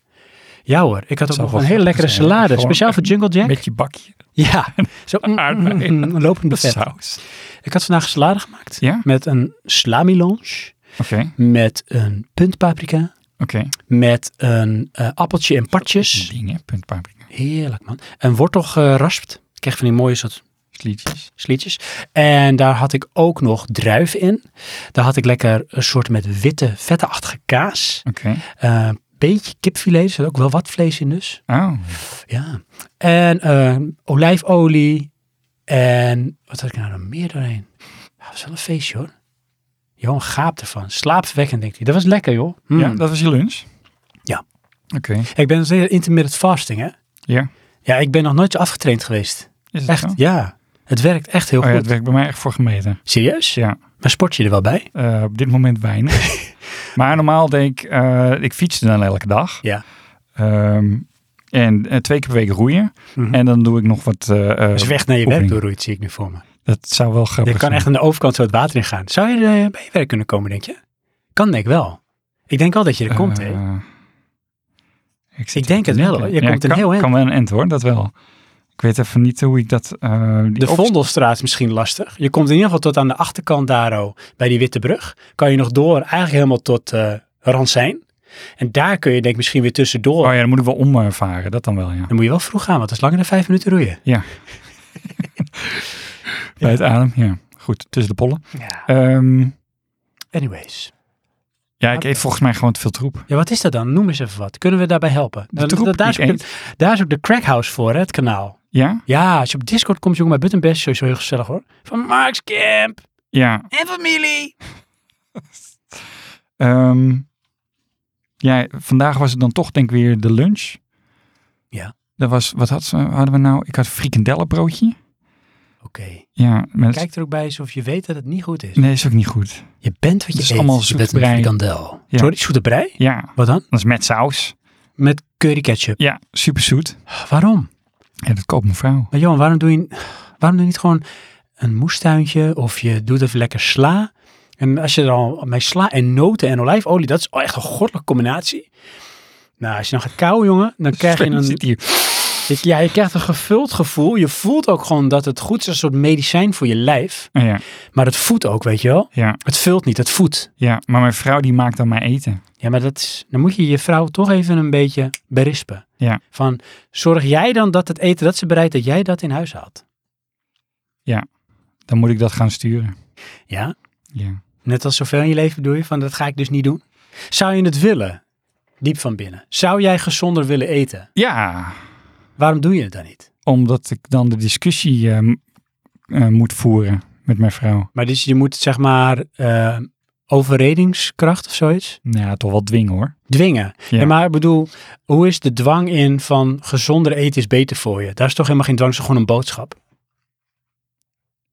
S1: Ja hoor, ik had ook
S2: Zou
S1: nog
S2: wel
S1: een hele
S2: grappig
S1: lekkere
S2: zijn, hè?
S1: salade.
S2: Gewoon
S1: Speciaal voor Jungle Jack.
S2: met je bakje.
S1: Ja, zo mm, mm,
S2: Aardbeien.
S1: mm, een lopend
S2: De
S1: buffet.
S2: saus.
S1: Ik had vandaag salade gemaakt.
S2: Ja?
S1: Met een slamilonge.
S2: Oké,
S1: Met een puntpaprika.
S2: oké.
S1: Met een eh, appeltje en partjes.
S2: Dingen, punt paprika.
S1: Heerlijk man. Een wortel geraspt. eh, Ik kreeg van die mooie soort
S2: Slietjes.
S1: slietjes. En daar had ik ook nog druif in. Daar had ik lekker een soort met witte, vetteachtige kaas.
S2: Oké.
S1: Eh, beetje kipfilet, er zat ook wel wat vlees in dus.
S2: Oh,
S1: Ja. En eh, olijfolie. En wat had ik nou nog meer doorheen? Ja, dat was wel een feestje hoor. Johan gaapt ervan. Slaapverwekkend denkt hij. Dat was lekker joh. Mm.
S2: Ja, dat was je lunch?
S1: Ja.
S2: Oké,
S1: Ik ben nog steeds intermittent fasting hè.
S2: ja.
S1: Ja, ik ben nog nooit zo afgetraind geweest.
S2: Is het
S1: Echt,
S2: zo?
S1: ja.
S4: Het werkt echt heel
S2: Oh ja,
S4: goed.
S2: het werkt bij mij echt voor gemeten.
S1: Serieus?
S2: Ja.
S1: Maar sport je er wel bij?
S2: Eh, op dit moment weinig. maar normaal denk ik, eh, ik fietste dan elke dag.
S1: Ja.
S2: Ehm, en eh, twee keer per week roeien.
S1: Mhm.
S2: En dan doe ik nog wat... eh, eh,
S1: Dus weg naar je werk
S2: oefeningen.
S1: doorroeit, zie ik nu voor me.
S2: Dat zou wel grappig
S1: Je kan
S2: zijn.
S1: echt aan de overkant zo het water in gaan. Zou je eh, bij je werk kunnen komen, denk je? Kan denk ik wel. Ik denk wel dat je er komt, hè?
S2: Eh, ik, zit
S1: Ik denk
S2: even
S1: het
S2: te
S1: wel,
S2: denken.
S1: hoor. Je komt een
S2: kan,
S1: heel eind.
S2: kan wel een end hoor, dat wel. Ik weet even niet hoe ik dat... eh, die
S1: De
S2: op-
S1: Vondelstraat is misschien lastig. Je komt in ieder geval tot aan de achterkant daar, oh, bij die Witte Brug. Kan je nog door, eigenlijk helemaal tot eh Ransijn. En daar kun je denk ik misschien weer tussendoor.
S2: Oh ja, dan moet ik wel omvaren. Dat dan wel, ja.
S1: Dan moet je wel vroeg gaan, want dat is langer dan vijf minuten roeien.
S2: Bij het adem, ja. Goed, tussen de pollen.
S1: Ja.
S2: Ehm,
S1: Anyways.
S2: ja, ik eet volgens mij gewoon te veel troep.
S1: Ja, wat is dat dan? Noem eens even wat. Kunnen we daarbij helpen?
S2: De
S1: Dan-
S2: troep
S1: dat- daar, is
S2: die ik
S1: ook, daar is ook de crackhouse voor, hè, het kanaal.
S2: Ja?
S1: Ja, als je op Discord komt, jongen, bij Buttonbash, sowieso heel gezellig hoor. Van Marks Camp
S2: Ja.
S1: en familie.
S2: Ehm, ja, vandaag was het dan toch denk ik weer de lunch.
S1: Ja.
S2: Dat was, wat had, ze- hadden we nou? Ik had frikandellenbroodje.
S1: Oké.
S2: Ja, met...
S1: Kijk er ook bij alsof je weet dat het niet goed is.
S2: Nee, is ook niet goed.
S1: Je bent wat je
S2: Het is
S1: eet.
S2: allemaal
S1: je bent een
S2: zoetebrei.
S1: frikandel.
S2: Ja.
S1: Sorry, zoete brei?
S2: Ja,
S1: Wat dan?
S2: dat is met saus.
S1: Met curry ketchup.
S2: Ja, super zoet.
S1: Ah, Waarom?
S2: Ja, dat koopt mijn vrouw.
S1: Maar Johan, waarom doe je, waarom doe je niet gewoon een moestuintje of je doet even lekker sla? En als je er al mee sla en noten en olijfolie, dat is echt een goddelijke combinatie. Nou, als je dan gaat kauwen, jongen, dan krijg je
S2: Sven
S1: een...
S2: zit hier.
S1: Ik- ja, je krijgt een gevuld gevoel. Je voelt ook gewoon dat het goed is als een soort medicijn voor je lijf.
S2: Oh ja,
S1: Maar het voedt ook, weet je wel.
S2: ja,
S1: Het vult niet, het voedt.
S2: ja, maar mijn vrouw die maakt dan mijn eten.
S1: Ja, maar dat is, dan moet je je vrouw toch even een beetje berispen.
S2: Ja.
S1: Van, zorg jij dan dat het eten dat ze bereidt, dat jij dat in huis haalt.
S2: Dan moet ik dat gaan sturen.
S1: Ja,
S2: Ja.
S1: net als zoveel in je leven bedoel je van, dat ga ik dus niet doen. Zou je het willen? Diep van binnen. Zou jij gezonder willen eten?
S2: Ja,
S1: Waarom doe je het dan niet?
S2: omdat ik dan de discussie eh, m- eh, moet voeren met mijn vrouw.
S1: Maar dus je moet zeg maar eh, overredingskracht of zoiets
S2: Nou ja, toch wel dwingen hoor.
S1: dwingen.
S2: Ja.
S1: Ja, maar ik bedoel, hoe is de dwang in van gezonder eten is beter voor je? Daar is toch helemaal geen dwang, dat is gewoon een boodschap.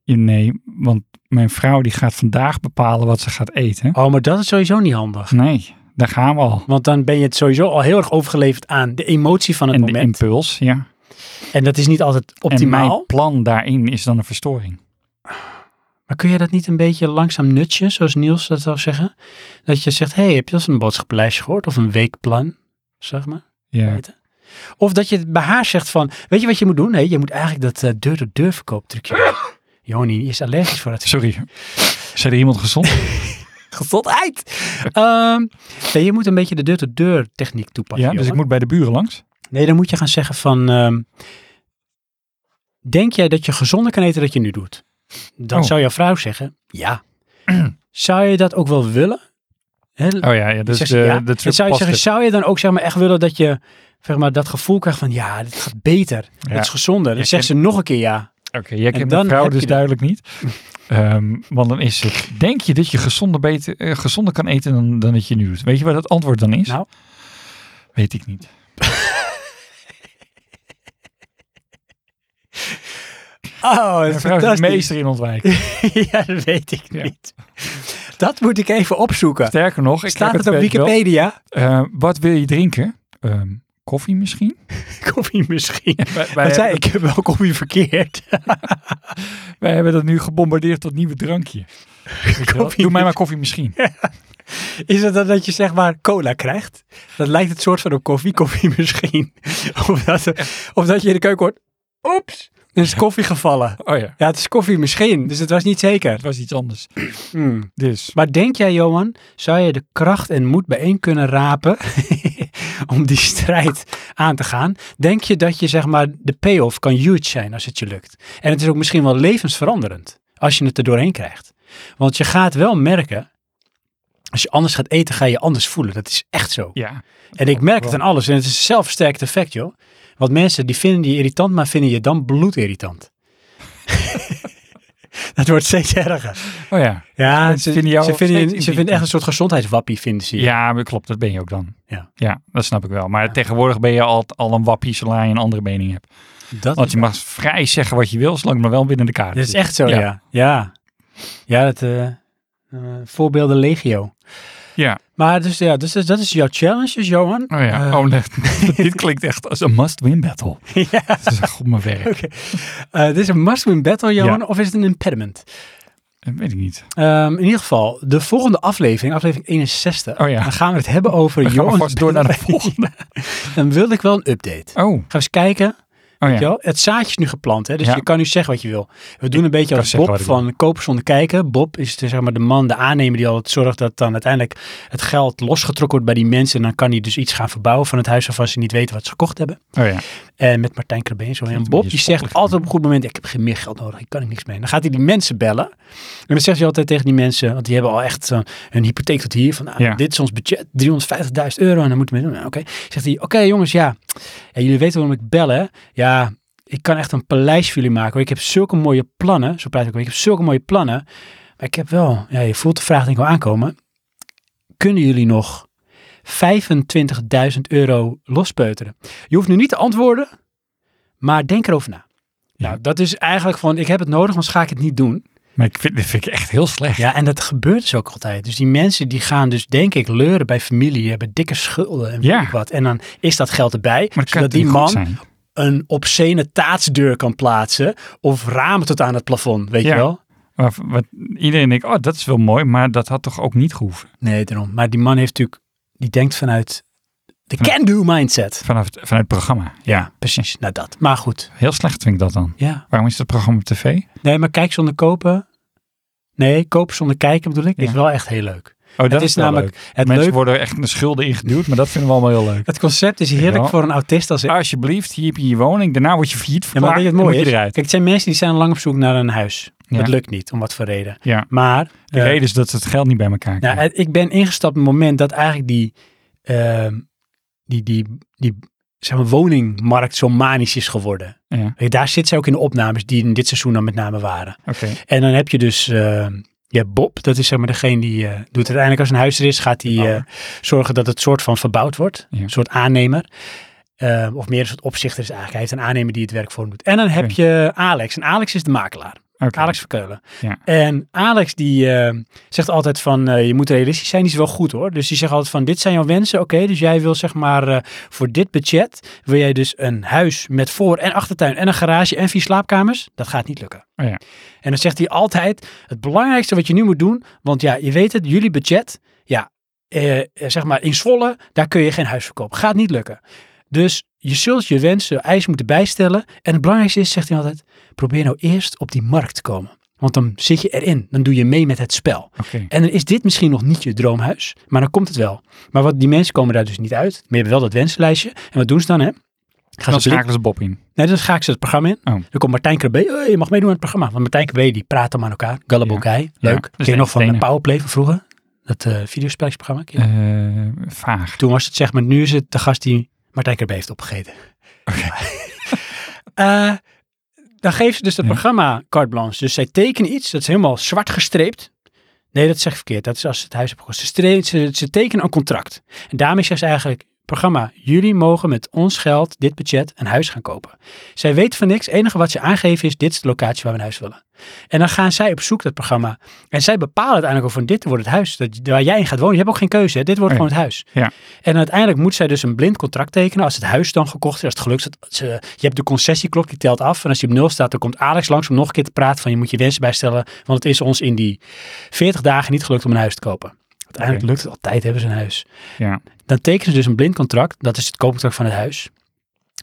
S2: Ja, Nee, want mijn vrouw die gaat vandaag bepalen wat ze gaat eten.
S1: Oh, maar dat is sowieso niet handig.
S2: Nee, daar gaan we al.
S1: Want dan ben je het sowieso al heel erg overgeleverd aan de emotie van het
S2: En de
S1: moment.
S2: impuls, ja.
S1: En dat is niet altijd
S2: En
S1: optimaal.
S2: mijn plan daarin is dan een verstoring.
S1: Maar kun je dat niet een beetje langzaam nutchen, zoals Niels dat zou zeggen? Dat je zegt, hey, heb je dat een boodschappenlijstje gehoord? Of een weekplan, zeg maar.
S2: Ja,
S1: Eten. Of dat je het bij haar zegt van, weet je wat je moet doen? Nee, je moet eigenlijk dat eh, deur-door-deur verkooptrucje doen. Joni is allergisch voor dat
S2: sorry. Zijn er iemand gezond?
S1: Gezondheid. Ehm nee, je moet een beetje de deur-to-deur techniek toepassen.
S2: Ja, dus ik
S1: Johan.
S2: moet bij de buren langs.
S1: Nee, dan moet je gaan zeggen van... ehm, denk jij dat je gezonder kan eten dan je nu doet? Dan
S2: Oh.
S1: zou jouw vrouw zeggen, ja. zou je dat ook wel willen? Hè,
S2: Oh ja, ja dus
S1: zegt
S2: de,
S1: ze Hm. ja.
S2: de
S1: En
S2: truc
S1: zou, je
S2: past dus.
S1: zeggen,
S2: het.
S1: zou je dan ook zeg maar, echt willen dat je zeg maar, dat gevoel krijgt van ja, dit gaat beter,
S2: Ja.
S1: het is gezonder. Dan
S2: Ja,
S1: zegt ze nog een keer ja.
S2: Oké, jij kent
S1: dan
S2: mijn vrouw
S1: heb
S2: dus
S1: je dat.
S2: duidelijk niet. Ehm, want dan is het, denk je dat je gezonder, beter, eh, gezonder kan eten dan, dan dat je nu doet? Weet je wat het antwoord dan is?
S1: Nou?
S2: Weet ik niet.
S1: Oh, dat
S2: Mijn
S1: is
S2: vrouw is de
S1: fantastisch.
S2: meester in ontwijken.
S1: ja, dat weet ik
S2: Ja.
S1: niet. Dat moet ik even opzoeken.
S2: Sterker nog, ik
S1: Staat
S2: heb
S1: het op
S2: weet je wel.
S1: Wikipedia?
S2: Eh, wat wil je drinken? Ehm, koffie misschien?
S1: Koffie misschien.
S2: Wij, wij
S1: Wat zei
S2: hebben,
S1: ik? Ik heb wel koffie verkeerd.
S2: wij hebben dat nu gebombardeerd tot nieuwe drankje. Weet je wel?
S1: Koffie
S2: Doe mij maar koffie misschien.
S1: Is het dan dat je zeg maar cola krijgt? Dat lijkt het soort van op koffie. Koffie misschien. Of dat, of dat je in de keuken hoort. Oeps, er is koffie gevallen.
S2: Oh ja,
S1: Ja, het is koffie misschien. Dus het was niet zeker.
S2: het was iets anders.
S1: Hmm.
S2: Dus,
S1: Maar denk jij, Johan, zou je de kracht en moed bijeen kunnen rapen om die strijd aan te gaan? Denk je dat je, zeg maar, de payoff kan huge zijn als het je lukt? En het is ook misschien wel levensveranderend als je het er doorheen krijgt. Want je gaat wel merken, als je anders gaat eten, ga je je anders voelen. Dat is echt zo.
S2: ja.
S1: En ik merk het aan alles. En het is een zelfversterkend effect, joh. Want mensen die vinden je irritant, maar vinden je dan bloedirritant. Dat wordt steeds erger.
S2: Oh ja.
S1: Ja,
S2: Mensen
S1: ze vinden,
S2: vinden jou
S1: ze vinden,
S2: steeds
S1: ze
S2: intiemer.
S1: vinden echt een soort gezondheidswappie, vinden ze je.
S2: Ja, maar klopt. Dat ben je ook dan.
S1: Ja.
S2: ja dat snap ik wel. Maar tegenwoordig ben je al, al een wappie zodra je een andere mening hebt.
S1: dat
S2: Want
S1: is,
S2: je mag vrij zeggen wat je wil, zolang het maar wel binnen de kaart
S1: dat is echt zo, ja.
S2: Ja.
S1: Ja, ja. dat, eh, eh, voorbeelden legio.
S2: Ja.
S1: Maar dus, ja, dus, dus dat is jouw challenge, dus Johan.
S2: Oh ja.
S1: Eh,
S2: oh, nee. Dit klinkt echt als een must-win battle.
S1: ja.
S2: Dat is echt op mijn werk.
S1: Eh, dit is een must-win battle, Johan, of is het een impediment?
S2: Dat weet ik niet.
S1: Ehm, in ieder geval, de volgende aflevering, aflevering 61,
S2: Oh ja.
S1: dan gaan we het hebben over
S2: We gaan maar
S1: Johan's
S2: vast door naar de volgende.
S1: Dan wilde ik wel een update.
S2: Oh, oh
S1: Gaan we eens kijken.
S2: ja.
S1: weet je wel? Het zaadje is nu geplant, hè? dus
S2: Ja.
S1: je kan nu zeggen wat je wil. We doen een beetje
S2: kan
S1: als
S2: zeggen
S1: Bob
S2: wat ik wil.
S1: van Kopen zonder kijken. Bob is de, zeg maar, de man, de aannemer die altijd zorgt dat dan uiteindelijk het geld losgetrokken wordt bij die mensen. En dan kan hij dus iets gaan verbouwen van het huis waarvan ze niet weten wat ze gekocht hebben.
S2: Oh ja.
S1: En met Martijn Krabbe en zo. En
S2: Klinkt een
S1: Bob
S2: beetje
S1: die zegt
S2: spottelijk.
S1: altijd op een goed moment, ik heb geen meer geld nodig, ik kan ik niks mee. En dan gaat hij die mensen bellen. En dan zegt hij altijd tegen die mensen, want die hebben al echt zo'n- hun hypotheek tot hier. Van, nou,
S2: Ja.
S1: dit is ons budget, 350.000 euro en dan moeten we doen. Nou, oké. Zegt hij, oké jongens, ja. ja, jullie weten waarom ik bel hè. Ja, ik kan echt een paleis voor jullie maken. hoor. Ik heb zulke mooie plannen, zo praat ik ook, ik heb zulke mooie plannen. Maar ik heb wel, ja, je voelt de vraag denk ik wel aankomen. Kunnen jullie nog 25.000 euro lospeuteren? Je hoeft nu niet te antwoorden, maar denk erover na.
S2: Ja.
S1: Nou, dat is eigenlijk van, ik heb het nodig, anders ga ik het niet doen.
S2: Maar ik vind, dit vind ik echt heel slecht.
S1: Ja, en dat gebeurt dus ook altijd. Dus die mensen die gaan dus, denk ik, leuren bij familie, die hebben dikke schulden en weet
S2: Ja.
S1: ik wat. En dan is dus dat geld erbij,
S2: Maar het kan
S1: zodat die
S2: niet goed
S1: man
S2: zijn.
S1: een obscene taatsdeur kan plaatsen of ramen tot aan het plafond, weet
S2: Ja.
S1: je wel?
S2: Maar wat, iedereen denkt, oh, dat is wel mooi, maar dat had toch ook niet gehoeven.
S1: Nee, daarom. Maar die man heeft natuurlijk, die denkt vanuit de can-do mindset.
S2: Vanaf het, vanuit het programma. Ja.
S1: Precies, nou dat. Maar goed,
S2: Heel slecht vind ik dat dan.
S1: ja.
S2: Waarom is dat programma op tv? Oh,
S1: Nee, maar kijk zonder kopen. Nee, kopen zonder kijken bedoel ik,
S2: Ja.
S1: is wel echt heel leuk.
S2: Oh, dat
S1: het is,
S2: wel
S1: namelijk
S2: leuk.
S1: het
S2: Mensen
S1: leuk.
S2: worden echt de schulden ingeduwd, maar dat vinden we allemaal heel leuk.
S1: Het concept is heerlijk
S2: Ja.
S1: voor een autist als
S2: Alsjeblieft, hier heb je je woning. Daarna word je failliet
S1: Ja,
S2: verklaard.
S1: maar weet je
S2: en
S1: wat mooi
S2: moet
S1: is?
S2: je eruit.
S1: Kijk, het zijn mensen die zijn lang op zoek naar een huis.
S2: Ja.
S1: Dat lukt niet, om wat voor reden.
S2: Ja.
S1: Maar
S2: De
S1: eh,
S2: reden is dat ze het geld niet bij elkaar
S1: nou,
S2: krijgen.
S1: het- ik ben ingestapt op het moment dat eigenlijk die, ehm, die, die, die zeg maar, woningmarkt zo manisch is geworden.
S2: Ja,
S1: Weet je, Daar zit ze ook in de opnames die in dit seizoen dan met name waren.
S2: oké.
S1: En dan heb je dus eh, je hebt Bob, dat is zeg maar degene die eh, doet uiteindelijk als een huis er is, gaat hij
S2: Verbouwer.
S1: eh, zorgen dat het soort van verbouwd wordt.
S2: Ja.
S1: Een soort aannemer. Eh, of meer een soort opzichter is eigenlijk. Hij heeft een aannemer die het werk voor hem doet. En dan heb
S2: Oké.
S1: je Alex. En Alex is de makelaar.
S2: Oké.
S1: Alex Verkeulen.
S2: Ja.
S1: En Alex die eh, zegt altijd van eh, je moet realistisch zijn. Die is wel goed hoor. Dus die zegt altijd van dit zijn jouw wensen. Oké, dus jij wil zeg maar eh, voor dit budget wil jij dus een huis met voor- en achtertuin en een garage en vier slaapkamers. Dat gaat niet lukken.
S2: Oh ja.
S1: En dan zegt hij altijd het belangrijkste wat je nu moet doen. Want ja, je weet het, jullie budget. Ja, eh, eh, zeg maar in Zwolle, daar kun je geen huis verkopen. Gaat niet lukken. Dus je zult je wensen, eisen moeten bijstellen. En het belangrijkste is, zegt hij altijd, probeer nou eerst op die markt te komen. Want dan zit je erin, dan doe je mee met het spel.
S2: Oké.
S1: En dan is dit misschien nog niet je droomhuis, maar dan komt het wel. Maar wat, die mensen komen daar dus niet uit. Maar je hebt wel dat wensenlijstje. En wat doen ze dan, hè? Gaan
S2: Dan
S1: ze blik-
S2: schakelen ze Bob in.
S1: Nee, dan ga ik ze het programma in.
S2: Oh.
S1: Dan komt Martijn Krabbe. "Hey, je mag meedoen aan het programma. Want Martijn Krabbe, die praat dan met elkaar. Gullabogei.
S2: Ja.
S1: Leuk.
S2: Dus
S1: Ken je nog van de
S2: entertainer.
S1: Powerplay van vroeger? Dat eh videospelletjesprogramma. Ken je dat?
S2: Eh, vaag.
S1: Toen was het zeg maar, nu is het de gast die Martijn Krabbe heeft opgegeten. Eh, dan geeft ze dus dat
S2: Ja.
S1: programma carte blanche. Dus zij tekenen iets, dat is helemaal zwart gestreept. Nee, dat zeg ik verkeerd. Dat is als ze het huis hebben gekocht. Ze, stre- ze, ze tekenen een contract. En daarmee zegt ze eigenlijk, programma, jullie mogen met ons geld, dit budget, een huis gaan kopen. Zij weten van niks. Het enige wat ze aangeven is, dit is de locatie waar we een huis willen. En dan gaan zij op zoek, dat programma. En zij bepalen uiteindelijk ook van, dit wordt het huis dat, waar jij in gaat wonen. Je hebt ook geen keuze, hè? dit wordt
S2: Nee.
S1: gewoon het huis.
S2: Oh Ja.
S1: En uiteindelijk moet zij dus een blind contract tekenen. Als het huis dan gekocht is, als het gelukt is. dat ze- je hebt de concessieklok, die telt af. En als je op nul staat, dan komt Alex langs om nog een keer te praten van je moet je wensen bijstellen. Want het is ons in die 40 dagen niet gelukt om een huis te kopen. Uiteindelijk
S2: Oké.
S1: lukt het altijd, hebben ze een huis.
S2: Ja.
S1: Dan tekenen ze dus een blind contract. Dat is het koopcontract van het huis.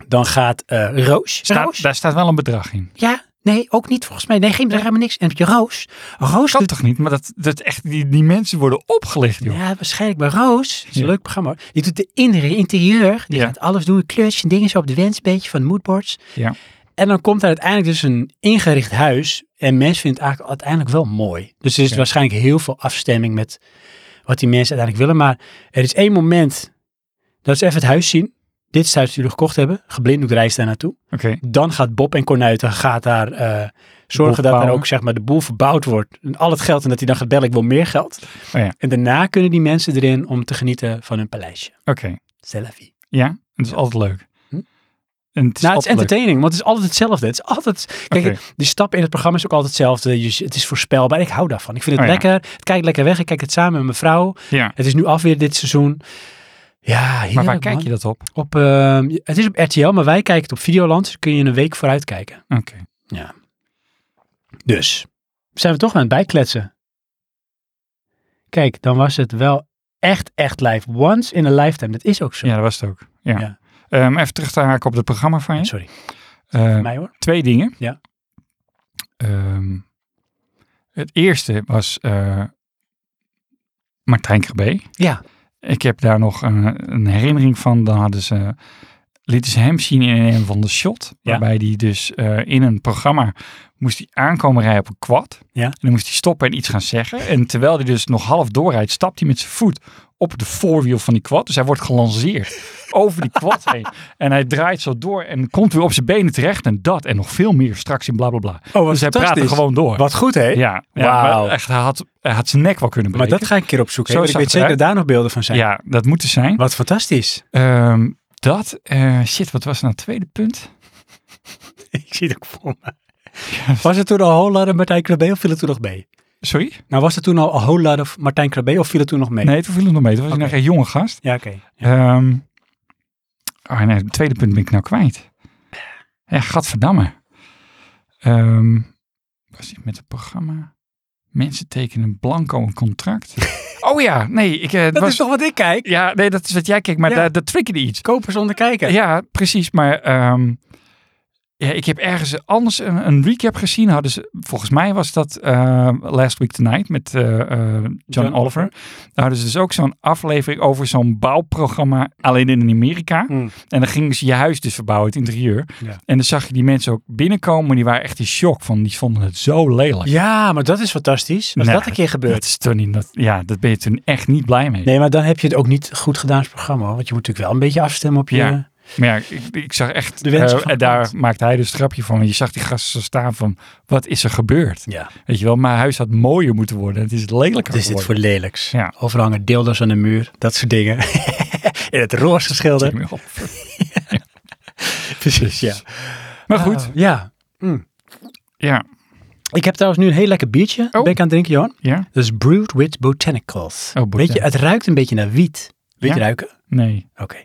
S1: Dan gaat eh Roos.
S2: Staat,
S1: Roos?
S2: daar staat wel een bedrag in.
S1: Ja, nee, ook niet volgens mij. Nee, geen bedrag, helemaal niks. En heb je Roos. Roos
S2: Kan
S1: doet-
S2: toch niet? Maar dat, dat echt, die, die mensen worden opgelicht, joh.
S1: Ja, waarschijnlijk bij Roos. Dat is een
S2: Ja.
S1: leuk programma. hoor. Die doet de inri- interieur. Die
S2: Ja.
S1: gaat alles doen. Kleurtjes en dingen zo op de wensbeetje van de moodboards.
S2: Ja.
S1: En dan komt er uiteindelijk dus een ingericht huis. En mensen vinden het eigenlijk uiteindelijk wel mooi. Dus er is
S2: Ja.
S1: waarschijnlijk heel veel afstemming met wat die mensen uiteindelijk willen. Maar er is één moment, dat ze even het huis zien. dit is het huis dat jullie gekocht hebben. Geblinddoekt reis daar naartoe.
S2: Oké.
S1: Dan gaat Bob en Cornuiten gaat daar eh, zorgen dat daar
S2: bouwen.
S1: ook zeg maar, de boel verbouwd wordt. En al het geld en dat hij dan gaat bellen, ik wil meer geld.
S2: Oh ja.
S1: En daarna kunnen die mensen erin om te genieten van hun paleisje.
S2: Oké.
S1: C'est la vie.
S2: Ja, het is altijd leuk.
S1: Hm?
S2: En het is
S1: nou, het is
S2: altijd leuk.
S1: entertaining, want het is altijd hetzelfde. Het is altijd... Kijk,
S2: Oké.
S1: die stap in het programma is ook altijd hetzelfde. Je- het is voorspelbaar. Ik hou daarvan. Ik vind het
S2: Oh ja.
S1: lekker. Het kijkt lekker weg. Ik kijk het samen met mijn vrouw.
S2: Ja.
S1: Het is nu af weer dit seizoen. Ja,
S2: Maar
S1: heerlijk,
S2: waar kijk
S1: man.
S2: je dat op?
S1: Op, ehm, het is op RTL, maar wij kijken het op Videoland. Dus kun je een week vooruit kijken.
S2: Oké.
S1: Dus zijn we toch aan het bijkletsen. Kijk, dan was het wel echt, echt live. Once in a lifetime. Dat is ook zo.
S2: Ja, dat was het ook. Ja.
S1: Ja.
S2: Ehm, even terug te haken op het programma van je.
S1: Sorry,
S2: Ehm,
S1: mij hoor.
S2: twee dingen.
S1: Ja.
S2: Ehm, het eerste was eh, Martijn Krabbe.
S1: Ja.
S2: Ik heb daar nog een, een herinnering van. Dan hadden ze, lieten ze hem zien in een van de shot.
S1: Ja.
S2: Waarbij hij dus eh, in een programma moest hij aankomen rijden op een kwad.
S1: Ja.
S2: En dan moest hij stoppen en iets gaan zeggen. En terwijl hij dus nog half doorrijdt, stapt hij met zijn voet op de voorwiel van die kwad. Dus hij wordt gelanceerd over die kwad heen. En hij draait zo door en komt weer op zijn benen terecht. En dat en nog veel meer straks in blablabla. Bla,
S1: Oh,
S2: bla. Dus hij praat er gewoon door.
S1: Wat goed, hè?
S2: Ja, ja
S1: Wauw.
S2: maar echt, hij had, hij had zijn nek wel kunnen
S1: maar
S2: breken.
S1: dat ga ik een keer opzoeken.
S2: Zo
S1: Zo ik
S2: zag
S1: weet
S2: het
S1: zeker dat
S2: eruit.
S1: daar nog beelden van zijn.
S2: Ja, dat moet er zijn.
S1: Wat fantastisch.
S2: Ehm, dat, eh, shit, wat was nou het tweede punt?
S1: ik zie het ook voor me. Was het toen al Hollander Martijn Krabbe of viel het toen nog mee?
S2: Sorry?
S1: Nou, was het toen al Hollander of Martijn Krabbe of viel het toen nog mee?
S2: Nee, toen viel het nog mee. Toen was hij
S1: Oké.
S2: nog een jonge gast.
S1: Ja, oké.
S2: Ehm, oh nee, het tweede punt ben ik nou kwijt. Ja, gadverdamme. Ehm was dit met het programma? Mensen tekenen blanco een contract. oh ja, nee. Ik, eh, het
S1: Dat
S2: was,
S1: is toch wat ik kijk?
S2: Ja, nee, dat is wat jij kijkt, maar
S1: Ja.
S2: daar, daar triggerde iets.
S1: Kopen zonder kijken.
S2: Ja, precies. Maar ehm, ja, ik heb ergens anders een, een recap gezien. Hadden ze, volgens mij was dat eh, Last Week Tonight met eh, eh, John,
S1: John
S2: Oliver.
S1: Oliver.
S2: Daar hadden ze dus ook zo'n aflevering over zo'n bouwprogramma alleen in Amerika.
S1: Hmm.
S2: En dan gingen ze je huis dus verbouwen, het interieur.
S1: Ja.
S2: En dan zag je die mensen ook binnenkomen. maar Die waren echt in shock van, die vonden het zo lelijk.
S1: Ja, maar dat is fantastisch. Als
S2: Nou,
S1: dat een keer
S2: Dat
S1: gebeurt.
S2: is toch niet, dat, ja, dat ben je toen echt niet blij mee.
S1: Nee, maar dan heb je het ook niet goed gedaan als programma. hoor. Want je moet natuurlijk wel een beetje afstemmen op je...
S2: Ja. Maar ja, ik, ik zag echt,
S1: De wens
S2: eh,
S1: van
S2: en daar
S1: God.
S2: maakte hij dus een grapje van. want Je zag die gasten zo staan van, wat is er gebeurd?
S1: Ja.
S2: Weet je wel, mijn huis had mooier moeten worden. Het is lelijker
S1: Wat is dit
S2: geworden.
S1: voor lelijks?
S2: Ja.
S1: Overal hangen deelders aan de muur. Dat soort dingen. In het roze geschilderd.
S2: Zeg maar op.
S1: Precies, ja.
S2: Maar goed,
S1: Ah, ja.
S2: ja,
S1: Ik heb trouwens nu een heel lekker biertje. Ben ik aan het drinken, Johan.
S2: ja,
S1: Dat is Brewed with Botanicals.
S2: Oh, botanicals.
S1: Weet je, het ruikt een beetje naar wiet. Weet je
S2: Ja?
S1: ruiken?
S2: nee.
S1: Oké.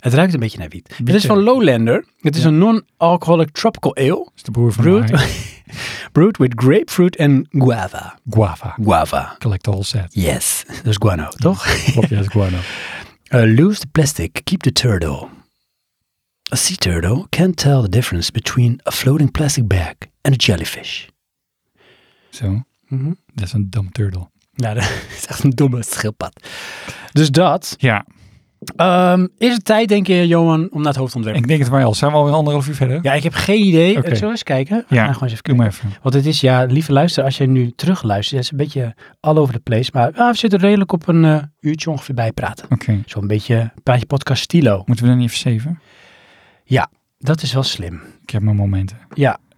S1: Het ruikt een beetje naar wiet. Het is
S2: Witte.
S1: van Lowlander. Het is
S2: Ja.
S1: een non-alcoholic tropical ale.
S2: Is de broer van
S1: Brewed,
S2: mij.
S1: brewed with grapefruit en guava.
S2: Guava.
S1: Guava.
S2: Collect all set.
S1: Yes. Dat is guano, toch?
S2: Klopt, ja, is guano.
S1: Uh, lose the plastic, keep the turtle. A sea turtle can't tell the difference between a floating plastic bag and a jellyfish.
S2: Zo,
S1: Mhm.
S2: dat is een dumb turtle.
S1: Nou, dat is echt een domme schildpad. Dus dat.
S2: Ja,
S1: Ehm, is het tijd, denk je, Johan, om naar het hoofdontwerp?
S2: ik denk het wel. Zijn we alweer anderhalf uur verder?
S1: Ja, ik heb geen idee.
S2: Oké.
S1: Eh, Zullen we eens kijken? We
S2: Ja,
S1: gaan gewoon eens even
S2: Doe
S1: kijken.
S2: maar even.
S1: Want het is, ja, lieve luister, als je nu terugluistert, het is een beetje all over the place. Maar ah, we zitten redelijk op een eh, uurtje ongeveer bij praten.
S2: Oké.
S1: Zo'n beetje praatje podcast stilo.
S2: Moeten we dan niet even zeven?
S1: Dat is wel slim.
S2: Ik heb mijn momenten.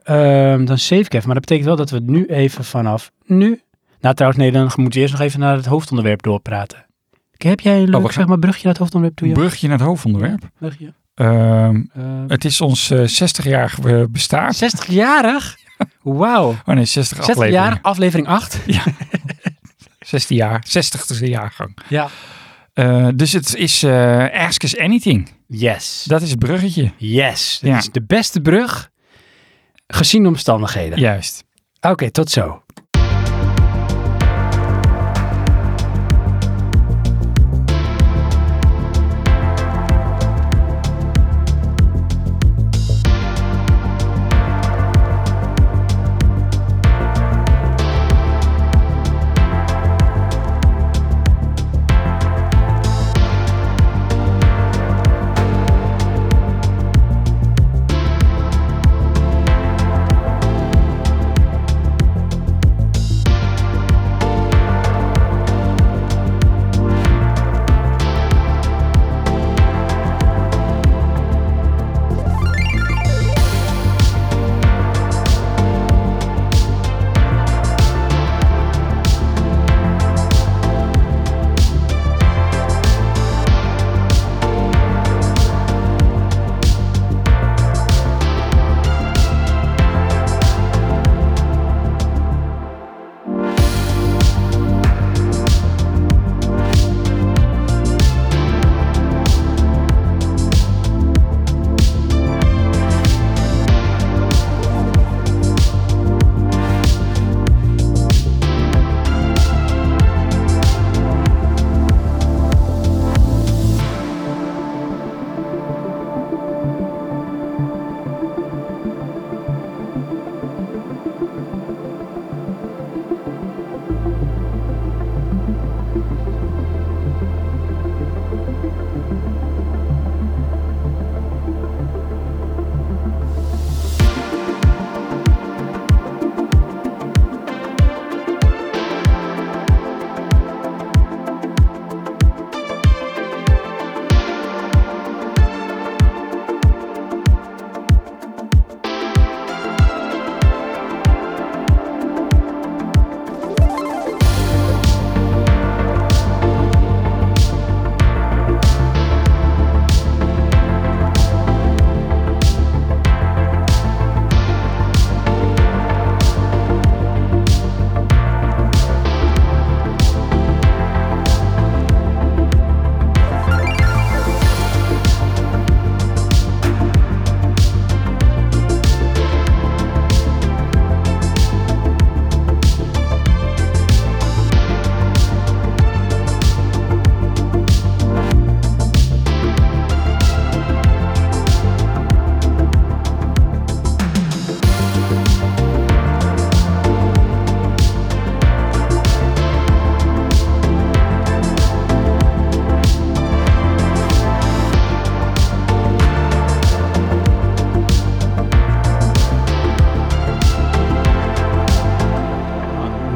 S1: Ehm, dan save ik even. Maar dat betekent wel dat we het nu even vanaf nu... Nou, trouwens, nee, dan moeten we eerst nog even naar het hoofdonderwerp doorpraten. K- Heb jij een leuk,
S2: we gaan-
S1: zeg maar, brugje naar het hoofdonderwerp toe? Johan?
S2: Oh, Brugje naar het hoofdonderwerp.
S1: Brugje.
S2: Ehm,
S1: Eh,
S2: het is ons eh, 60-jarig eh, bestaan.
S1: 60-jarig? Wauw.
S2: Oh nee, 60
S1: 60
S2: afleveringen.
S1: jaar, aflevering 8.
S2: 16 jaar, 60ste jaargang.
S1: Ja.
S2: Eh, dus het is eh, Ask Us Anything.
S1: Yes.
S2: Dat is het bruggetje.
S1: Yes. Dit
S2: Ja.
S1: is de beste brug gezien de omstandigheden.
S2: Juist.
S1: Oké, tot zo.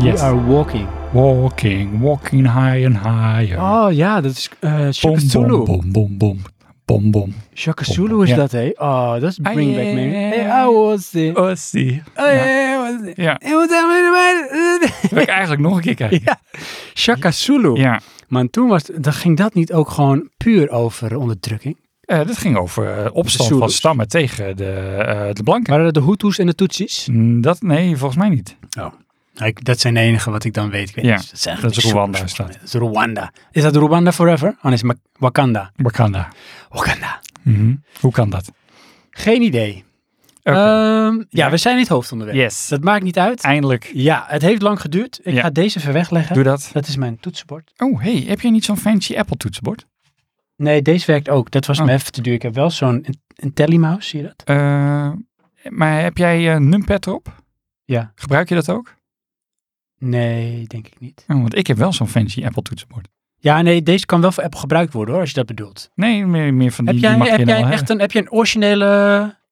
S1: We are walking.
S2: Walking, walking high and higher.
S1: Oh ja, dat is eh Shaka
S2: bom,
S1: Zulu.
S2: bom, bom, bom, bom. Bom, bom.
S1: Shaka Zulu is
S2: Ja.
S1: dat, hé. Oh, dat is Bring
S2: Ah,
S1: Back
S2: ja,
S1: Memories.
S2: ja, ja,
S1: Hey,
S2: ja.
S1: I was there. Oh,
S2: Oh, zie.
S1: ja, ja, I was there.
S2: Ja,
S1: En wat hebben we erbij?
S2: wil ik eigenlijk nog een keer kijken.
S1: Ja, Shaka Zulu.
S2: Ja,
S1: Maar toen was, dan ging dat niet ook gewoon puur over onderdrukking?
S2: Eh, dat ging over eh, opstand van
S1: Zulus.
S2: stammen tegen de, eh, de blanken.
S1: Waren dat de Hutus en de Tutsis?
S2: Mm, Dat, nee, volgens mij niet.
S1: Nou, ik- dat zijn de enige wat ik dan weet. Ik weet
S2: Ja,
S1: niet, dat, zijn
S2: dat is
S1: geen
S2: Rwanda,
S1: zoekers,
S2: is dat.
S1: volgens mij. is Rwanda. Is dat Rwanda Forever? Dan is Ma- Wakanda.
S2: Wakanda.
S1: Wakanda.
S2: Mhm. Hoe kan dat?
S1: Geen idee.
S2: Oké.
S1: Ehm, ja,
S2: Ja.
S1: we zijn in het hoofdonderwerp.
S2: yes.
S1: Dat maakt niet uit.
S2: Eindelijk.
S1: Ja, het heeft lang geduurd. Ik
S2: Ja.
S1: ga deze even wegleggen.
S2: Doe dat.
S1: Dat is mijn toetsenbord.
S2: Oh, hey, heb jij niet zo'n fancy Apple toetsenbord?
S1: Nee, deze werkt ook. Dat was
S2: Oh.
S1: me even te duur. Ik heb wel zo'n in- Intellimouse, zie je dat?
S2: Eh, maar heb jij een numpad erop?
S1: Ja.
S2: Gebruik je dat ook?
S1: Nee, denk ik niet.
S2: Oh, want ik heb wel zo'n fancy Apple toetsenbord.
S1: Ja, nee, deze kan wel voor Apple gebruikt worden hoor, als je dat bedoelt.
S2: Nee, meer, meer van die,
S1: heb
S2: die
S1: jij,
S2: mag je nou,
S1: heb
S2: dan
S1: jij
S2: wel
S1: echt
S2: hebben.
S1: een, heb je een originele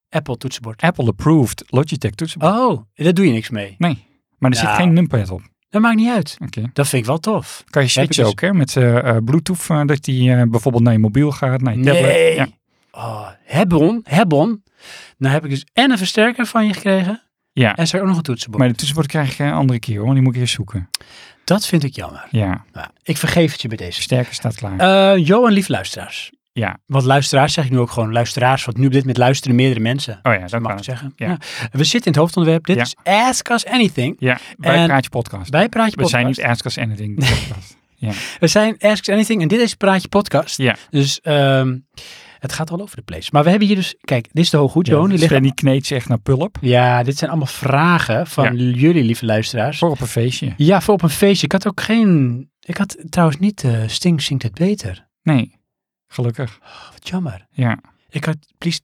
S1: Apple toetsenbord?
S2: Apple approved Logitech toetsenbord.
S1: Oh, daar doe je niks mee.
S2: Nee, maar er
S1: Nou.
S2: zit geen numpad op.
S1: Dat maakt niet uit.
S2: Oké.
S1: Dat vind ik wel tof.
S2: Kan je
S1: Heb ik
S2: switchen
S1: dus-
S2: ook, hè? Met eh, eh, Bluetooth, eh, dat die eh, bijvoorbeeld naar je mobiel gaat, naar je
S1: Nee.
S2: tablet. Ja.
S1: Oh, hebon, hebon. Nou heb ik dus en een versterker van je gekregen
S2: ja.
S1: en zo ook nog een toetsenbord.
S2: Maar de toetsenbord krijg ik een andere keer, hoor. want Die moet ik eerst zoeken.
S1: Dat vind ik jammer.
S2: Ja,
S1: Nou, ik vergeef het je bij deze.
S2: sterker staat klaar.
S1: Eh Jo en lief luisteraars.
S2: Ja.
S1: Want luisteraars zeg ik nu ook gewoon luisteraars. Want nu op dit moment luisteren meerdere mensen.
S2: oh ja, dat
S1: mag
S2: kan.
S1: ik zeggen.
S2: Ja.
S1: Ja. We zitten in het hoofdonderwerp. Dit
S2: Ja.
S1: is Ask Us Anything.
S2: Ja, bij
S1: En-
S2: Praatje Podcast.
S1: Bij Praatje
S2: We
S1: Podcast.
S2: zijn niet Ask Us Anything podcast.
S1: We zijn Ask Us Anything en dit is Praatje Podcast.
S2: Ja.
S1: Dus ehm, het gaat al over de place. Maar we hebben hier dus, kijk, dit is de hooghoed,
S2: Ja,
S1: Johan. die ligt-
S2: Svenny kneedt zich naar Pulp.
S1: Ja, dit zijn allemaal vragen van jullie, lieve luisteraars.
S2: Voor op een feestje.
S1: Ja, voor op een feestje. Ik had ook geen, ik had trouwens niet eh, Sting zingt het beter.
S2: Nee, gelukkig.
S1: Oh, wat jammer.
S2: Ja,
S1: Ik had, please.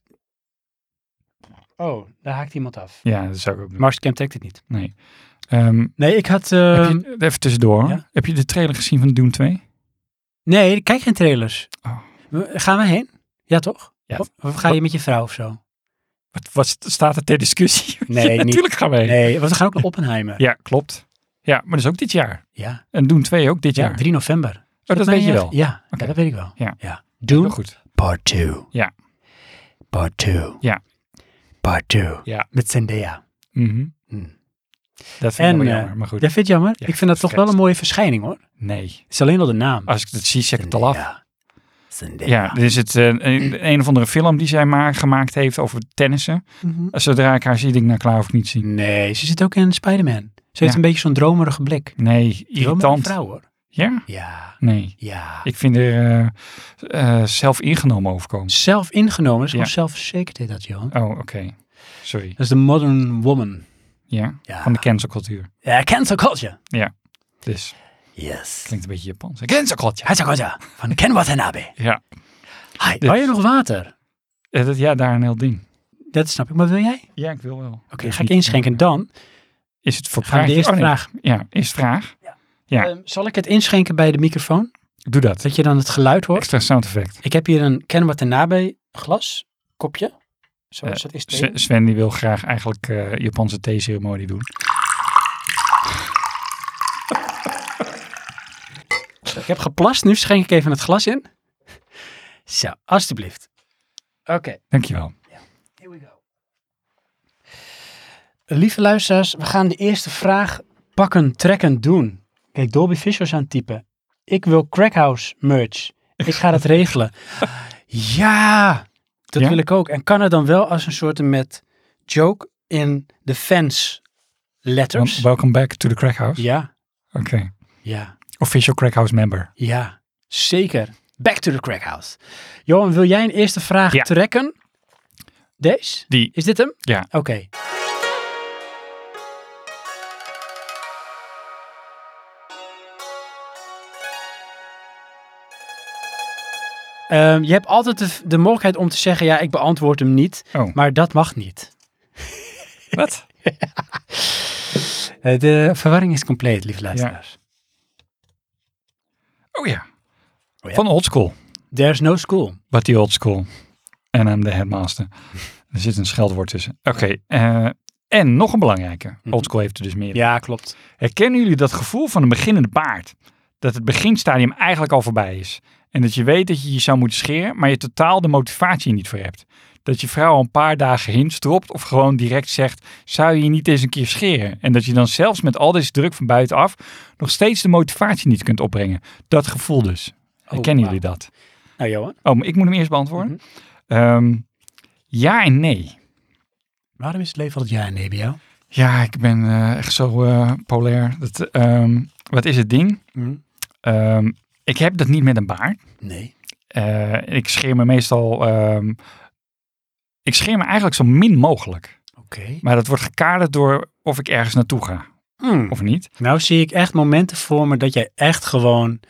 S1: Oh, daar haakt iemand af.
S2: ja dat zou ik ook doen.
S1: Mars Camp trekt het niet.
S2: nee. Ehm,
S1: Nee, ik had, ehm,
S2: heb je, even tussendoor. hoor.
S1: ja?
S2: Heb je de trailer gezien van Doom 2?
S1: nee, ik kijk geen trailers.
S2: Oh.
S1: We- Gaan we heen? Ja, toch?
S2: Ja.
S1: Of, of ga je met je vrouw of zo?
S2: Wat, wat staat er ter discussie?
S1: Nee,
S2: Ja,
S1: niet.
S2: Natuurlijk gaan wij.
S1: Nee, want we gaan ook naar Oppenheimer.
S2: Ja, klopt. Ja, maar dat is ook dit jaar.
S1: Ja,
S2: En Doom 2 ook dit
S1: ja,
S2: jaar.
S1: 3 november.
S2: Oh, dat weet je wel.
S1: Ja, ja,
S2: Oké.
S1: dat weet ik wel.
S2: Ja. Heel
S1: Doom
S2: goed.
S1: part 2.
S2: Ja.
S1: Part 2.
S2: Ja.
S1: Part 2.
S2: Ja.
S1: Met Zendaya.
S2: Mhm.
S1: Hm.
S2: Dat vind ik
S1: En,
S2: wel
S1: eh,
S2: jammer, maar goed.
S1: Dat vind je jammer?
S2: Ja,
S1: ik vind dat toch wel
S2: vergeet.
S1: een mooie verschijning hoor.
S2: Nee.
S1: Het is alleen al de naam.
S2: Als ik dat zie, zeg ik Oh, het al af.
S1: Zendaya.
S2: Ja, er is het, eh, een, een of andere film die zij maar gemaakt heeft over tennissen.
S1: Mhm.
S2: Zodra ik haar zie, denk ik, nou klaar of niet zien.
S1: Nee, ze zit ook in Spider-Man. Ze
S2: Ja.
S1: heeft een beetje zo'n dromerige blik.
S2: Nee,
S1: Dromerige
S2: irritant.
S1: vrouw hoor.
S2: Ja?
S1: Ja,
S2: Nee.
S1: ja.
S2: Ik vind er eh, eh, zelf ingenomen overkomen.
S1: Zelf ingenomen, is gewoon
S2: Ja.
S1: zelfverzekerd heet dat Johan.
S2: Oh, oké. Sorry.
S1: Dat is de modern woman.
S2: Ja?
S1: Ja.
S2: Van de cancelcultuur.
S1: Ja, cancel culture.
S2: Dus,
S1: Yes.
S2: klinkt een beetje Japans. Cancelcultuur.
S1: Cancel culture van Ken Watanabe.
S2: Ja.
S1: Hi.
S2: Dus-
S1: Wil je nog water?
S2: Eh, dat, ja, daar een heel ding.
S1: Dat snap ik, maar wil jij?
S2: Ja, ik wil wel. Oké,
S1: Oké, ga ik inschenken. Dan
S2: Is het voor
S1: gaan we de
S2: praatje?
S1: eerste
S2: Oh, nee.
S1: vraag.
S2: Ja, eerst vraag. Ja.
S1: Ehm, zal ik het inschenken bij de microfoon?
S2: Doe dat.
S1: Dat je dan het geluid hoort.
S2: Extra sound effect.
S1: Ik heb hier een Ken Watanabe glas kopje. Zo
S2: Eh,
S1: is dat is het
S2: S- Sven die wil graag eigenlijk eh, Japanse theeceremonie doen.
S1: Ik heb geplast, nu schenk ik even het glas in. Zo, alstublieft. Oké,
S2: Dankjewel.
S1: here we go. Lieve luisteraars, we gaan de eerste vraag pakken, trekken, doen. Kijk, Dolby Visuals aan het typen. Ik wil Crackhouse merch. Ik ga dat regelen. Ja, dat
S2: Ja?
S1: wil ik ook. En kan het dan wel als een soort met joke in de fans letters?
S2: Wel- Welcome back to the Crack House.
S1: Ja,
S2: Oké.
S1: ja,
S2: Official Crack House member.
S1: ja, zeker. Back to the crackhouse. Johan, wil jij een eerste vraag
S2: Ja.
S1: trekken? Deze?
S2: Die.
S1: Is dit hem?
S2: Ja.
S1: Oké. Ehm, je hebt altijd de, de mogelijkheid om te zeggen, ja, ik beantwoord hem niet.
S2: Oh.
S1: Maar dat mag niet.
S2: Wat?
S1: Eh, de verwarring is compleet, lieve luisteraars.
S2: Oh ja.
S1: Oh ja.
S2: Van old school.
S1: There's no school.
S2: But the old school. En I'm the headmaster. Er zit een scheldwoord tussen. Oké. eh, En nog een belangrijke.
S1: Mhm.
S2: Oldschool heeft er dus meer.
S1: Ja, klopt.
S2: Herkennen jullie dat gevoel van een beginnend paard? Dat het beginstadium eigenlijk al voorbij is. En dat je weet dat je je zou moeten scheren, maar je totaal de motivatie niet voor hebt. Dat je vrouw al een paar dagen hints dropt of gewoon direct zegt, zou je je niet eens een keer scheren? En dat je dan zelfs met al deze druk van buitenaf nog steeds de motivatie niet kunt opbrengen. Dat gevoel dus. Herkennen
S1: Oh, wauw.
S2: jullie dat?
S1: Nou, Johan.
S2: Oh, maar ik moet hem eerst beantwoorden.
S1: Mhm.
S2: Ehm, ja en nee.
S1: Waarom is het leven altijd ja en nee bij jou?
S2: Ja, ik ben eh, echt zo eh, polair. Dat, ehm, wat is het ding? Ehm, ik heb dat niet met een baard.
S1: Nee.
S2: Eh, ik scheer me meestal. ehm, ik scheer me eigenlijk zo min mogelijk.
S1: Oké.
S2: Maar dat wordt gekaderd door of ik ergens naartoe ga of niet.
S1: Nou zie ik echt momenten voor me dat jij echt gewoon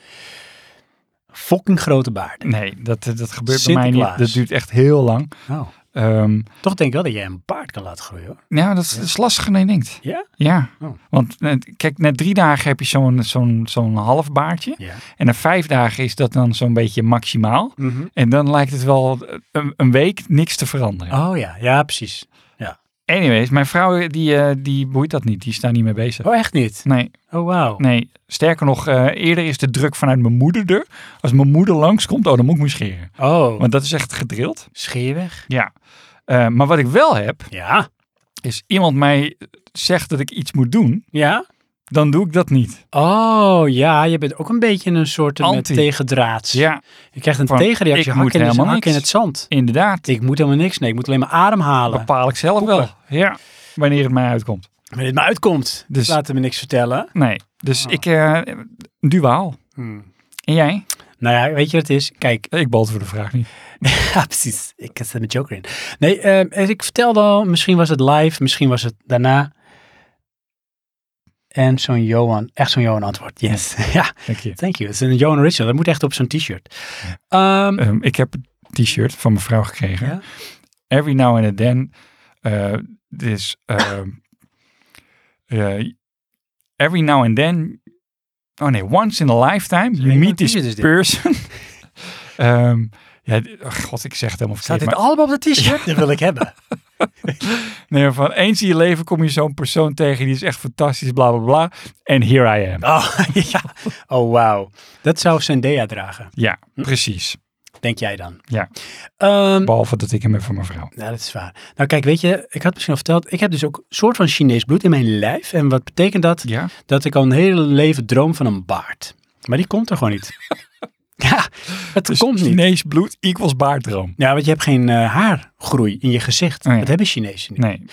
S1: fucking grote baarden.
S2: Nee, dat, eh, dat gebeurt bij mij niet.
S1: Sinterklaas.
S2: Dat duurt echt heel lang.
S1: Nou,
S2: Ehm,
S1: toch denk ik wel dat jij een baard kan laten groeien hoor.
S2: nou, dat is, dat is lastiger dan je denkt.
S1: Ja?
S2: Ja.
S1: Oh.
S2: Want net- kijk, na drie dagen heb je zo'n zo'n zo'n half baardje.
S1: Ja.
S2: En na vijf dagen is dat dan zo'n beetje maximaal. En dan lijkt het wel eh, een, een week niks te veranderen.
S1: Oh ja, ja precies.
S2: Anyways, mijn vrouw die, eh, die boeit dat niet. Die is daar niet mee bezig.
S1: Oh echt niet?
S2: Nee,
S1: Oh wauw.
S2: nee. Sterker nog, eh, eerder is de druk vanuit mijn moeder er. Als mijn moeder langskomt, oh, dan moet ik me scheren.
S1: Oh,
S2: Want dat is echt gedrild.
S1: scheer weg.
S2: Ja. Eh, maar wat ik wel heb,
S1: Ja.
S2: is iemand mij zegt dat ik iets moet doen,
S1: Ja?
S2: dan doe ik dat niet.
S1: Oh ja, je bent ook een beetje een soort met
S2: Anti.
S1: tegendraads.
S2: Ja,
S1: Je krijgt een
S2: Van,
S1: tegenreactie,
S2: ik
S1: hak
S2: moet
S1: in, het-
S2: helemaal
S1: hak in
S2: niks.
S1: het zand.
S2: inderdaad.
S1: Ik moet helemaal niks, nee, ik moet alleen maar ademhalen.
S2: Bepaal ik zelf wel. Ja, wanneer het mij uitkomt.
S1: Wanneer het me uitkomt,
S2: Dus-
S1: laten we niks vertellen.
S2: Nee, dus
S1: Oh.
S2: ik, eh duaal. En jij?
S1: Nou ja, weet je wat het is? Kijk,
S2: Ik balt voor de vraag niet.
S1: Ja, precies. Ik zet mijn joker in. Nee, ehm, ik vertelde al, misschien was het live, misschien was het daarna. En zo'n Johan, echt zo'n Johan antwoord. Yes. ja,
S2: Dank je.
S1: thank you. Het is een Johan original. Dat moet echt op zo'n t-shirt. Ehm,
S2: Ehm, ik heb een t-shirt van mijn vrouw gekregen.
S1: Ja?
S2: Every now and then. eh, dus. ehm, eh, every now and then. Oh nee, once in a lifetime. You
S1: Wat
S2: meet this
S1: t-shirt is dit?
S2: person. Ehm, ja, d- oh god, ik zeg het helemaal
S1: Staat
S2: verkeerd.
S1: dit
S2: maar-
S1: allemaal op dat t-shirt? Dat wil ik hebben.
S2: nee, van eens in je leven kom je zo'n persoon tegen. Die is echt fantastisch, bla bla bla. En here I am.
S1: Oh, ja. Oh, wauw. Dat zou Zendaya dragen,
S2: Ja, precies.
S1: denk jij dan?
S2: Ja.
S1: Ehm,
S2: Behalve dat ik hem heb van mijn vrouw.
S1: Ja, dat is waar. Nou kijk, weet je, ik had misschien al verteld, ik heb dus ook een soort van Chinees bloed in mijn lijf. En wat betekent dat?
S2: Ja?
S1: dat ik al een hele leven droom van een baard. Maar die komt er gewoon niet. ja, het
S2: Dus
S1: komt niet.
S2: Chinees bloed equals baardroom.
S1: Ja, want je hebt geen eh, haargroei in je gezicht.
S2: Oh ja.
S1: Dat hebben Chinezen niet.
S2: Nee.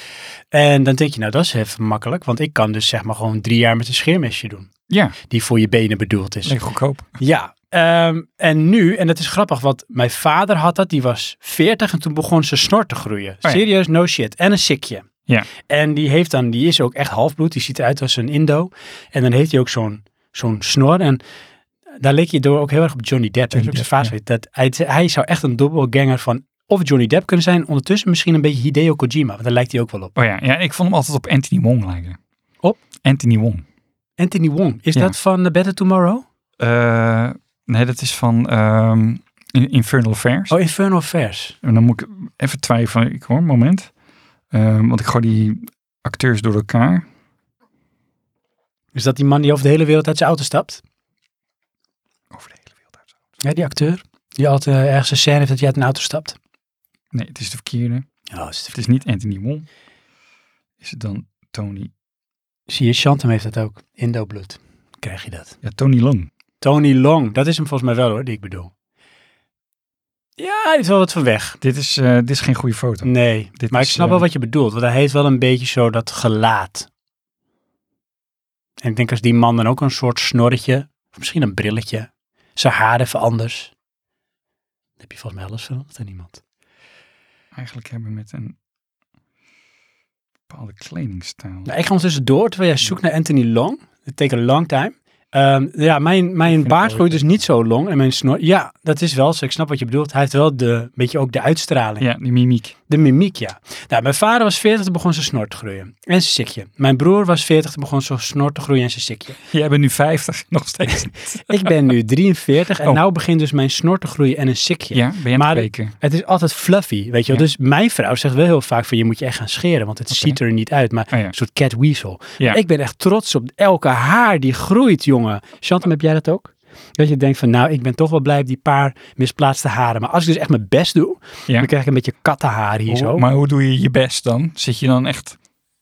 S1: En dan denk je, nou dat is even makkelijk. Want ik kan dus zeg maar gewoon drie jaar met een scheermesje doen.
S2: Ja,
S1: Die voor je benen bedoeld is.
S2: lekker goedkoop.
S1: Ja. ehm, en nu, en dat is grappig, want mijn vader had dat. Die was 40 en toen begon zijn snor te groeien.
S2: ja.
S1: Serieus, no shit. En een sikje.
S2: Ja.
S1: En die, heeft dan, die is ook echt halfbloed. Die ziet eruit als een Indo. En dan heeft hij ook zo'n zo'n snor. En daar leek je door ook heel erg op Johnny Depp.
S2: Johnny
S1: Johnny Depp
S2: Depp,
S1: vaas weet dat hij, hij zou echt een doppelganger van of Johnny Depp kunnen zijn. Ondertussen misschien een beetje Hideo Kojima. Want daar lijkt hij ook wel op.
S2: Oh ja, ja, ik vond hem altijd op Anthony Wong lijken.
S1: Op?
S2: Anthony Wong.
S1: Anthony Wong. Is
S2: Ja.
S1: dat van The Better Tomorrow?
S2: Eh, nee, dat is van ehm, In- Infernal Affairs.
S1: Oh, Inferno Affairs.
S2: En dan moet ik even twijfelen, ik hoor, moment. Ehm, want ik gooi die acteurs door elkaar.
S1: Is dat die man die over de hele wereld uit zijn auto stapt?
S2: Over de hele wereld uit.
S1: Ja, die acteur. Die altijd eh, ergens een scène heeft dat jij uit een auto stapt.
S2: Nee, het is de verkeerde.
S1: Ja, is
S2: Het is niet Anthony Wong. Is het dan Tony?
S1: Zie je, Chantem heeft dat ook. Indo-bloed. Krijg je dat.
S2: Ja, Tony Long.
S1: Tony Long. Dat is hem volgens mij wel hoor, die ik bedoel. Ja, hij heeft wel wat van weg.
S2: Dit is, eh, dit is geen goede foto.
S1: Nee,
S2: Dit
S1: maar
S2: is,
S1: ik snap
S2: eh,
S1: wel wat je bedoelt. Want hij heeft wel een beetje zo dat gelaat. En ik denk als die man dan ook een soort snorretje, of misschien een brilletje, zijn haar even anders. Dan heb je volgens mij alles veranderd aan iemand.
S2: Eigenlijk hebben we met een bepaalde kledingstijl.
S1: Nou, ik ga ondertussen door, terwijl jij zoekt naar Anthony Long. Het take a long time. Ehm, ja, mijn, mijn
S2: vind
S1: baard
S2: het wel
S1: groeit dus niet zo long en mijn snor... Ja, dat is wel zo. Ik snap wat je bedoelt. Hij heeft wel de, beetje ook de uitstraling.
S2: Ja, die mimiek.
S1: De mimiek, ja. Nou, mijn vader was 40, toen begon zijn snor te groeien. En zijn sikje. Mijn broer was 40, toen begon zijn snor te groeien en zijn sikje.
S2: Jij bent nu 50 nog steeds.
S1: Ik ben nu 43 en
S2: Oh.
S1: nou begint dus mijn snor te groeien en een sikje.
S2: ja, ben je aan
S1: Maar-
S2: het kweken?
S1: Het is altijd fluffy, weet je wel.
S2: Ja.
S1: Dus mijn vrouw zegt wel heel vaak van je moet je echt gaan scheren, want het ziet er niet uit. Maar
S2: Oh ja.
S1: een soort cat weasel.
S2: Ja.
S1: Ik ben echt trots op elke haar die groeit, jongen. Chantem, heb jij dat ook? Dat je denkt van nou, ik ben toch wel blij op die paar misplaatste haren. Maar als ik dus echt mijn best doe,
S2: Ja.
S1: dan krijg ik een beetje kattenhaar hier
S2: Hoe-
S1: zo.
S2: maar hoe doe je je best dan? Zit je dan echt...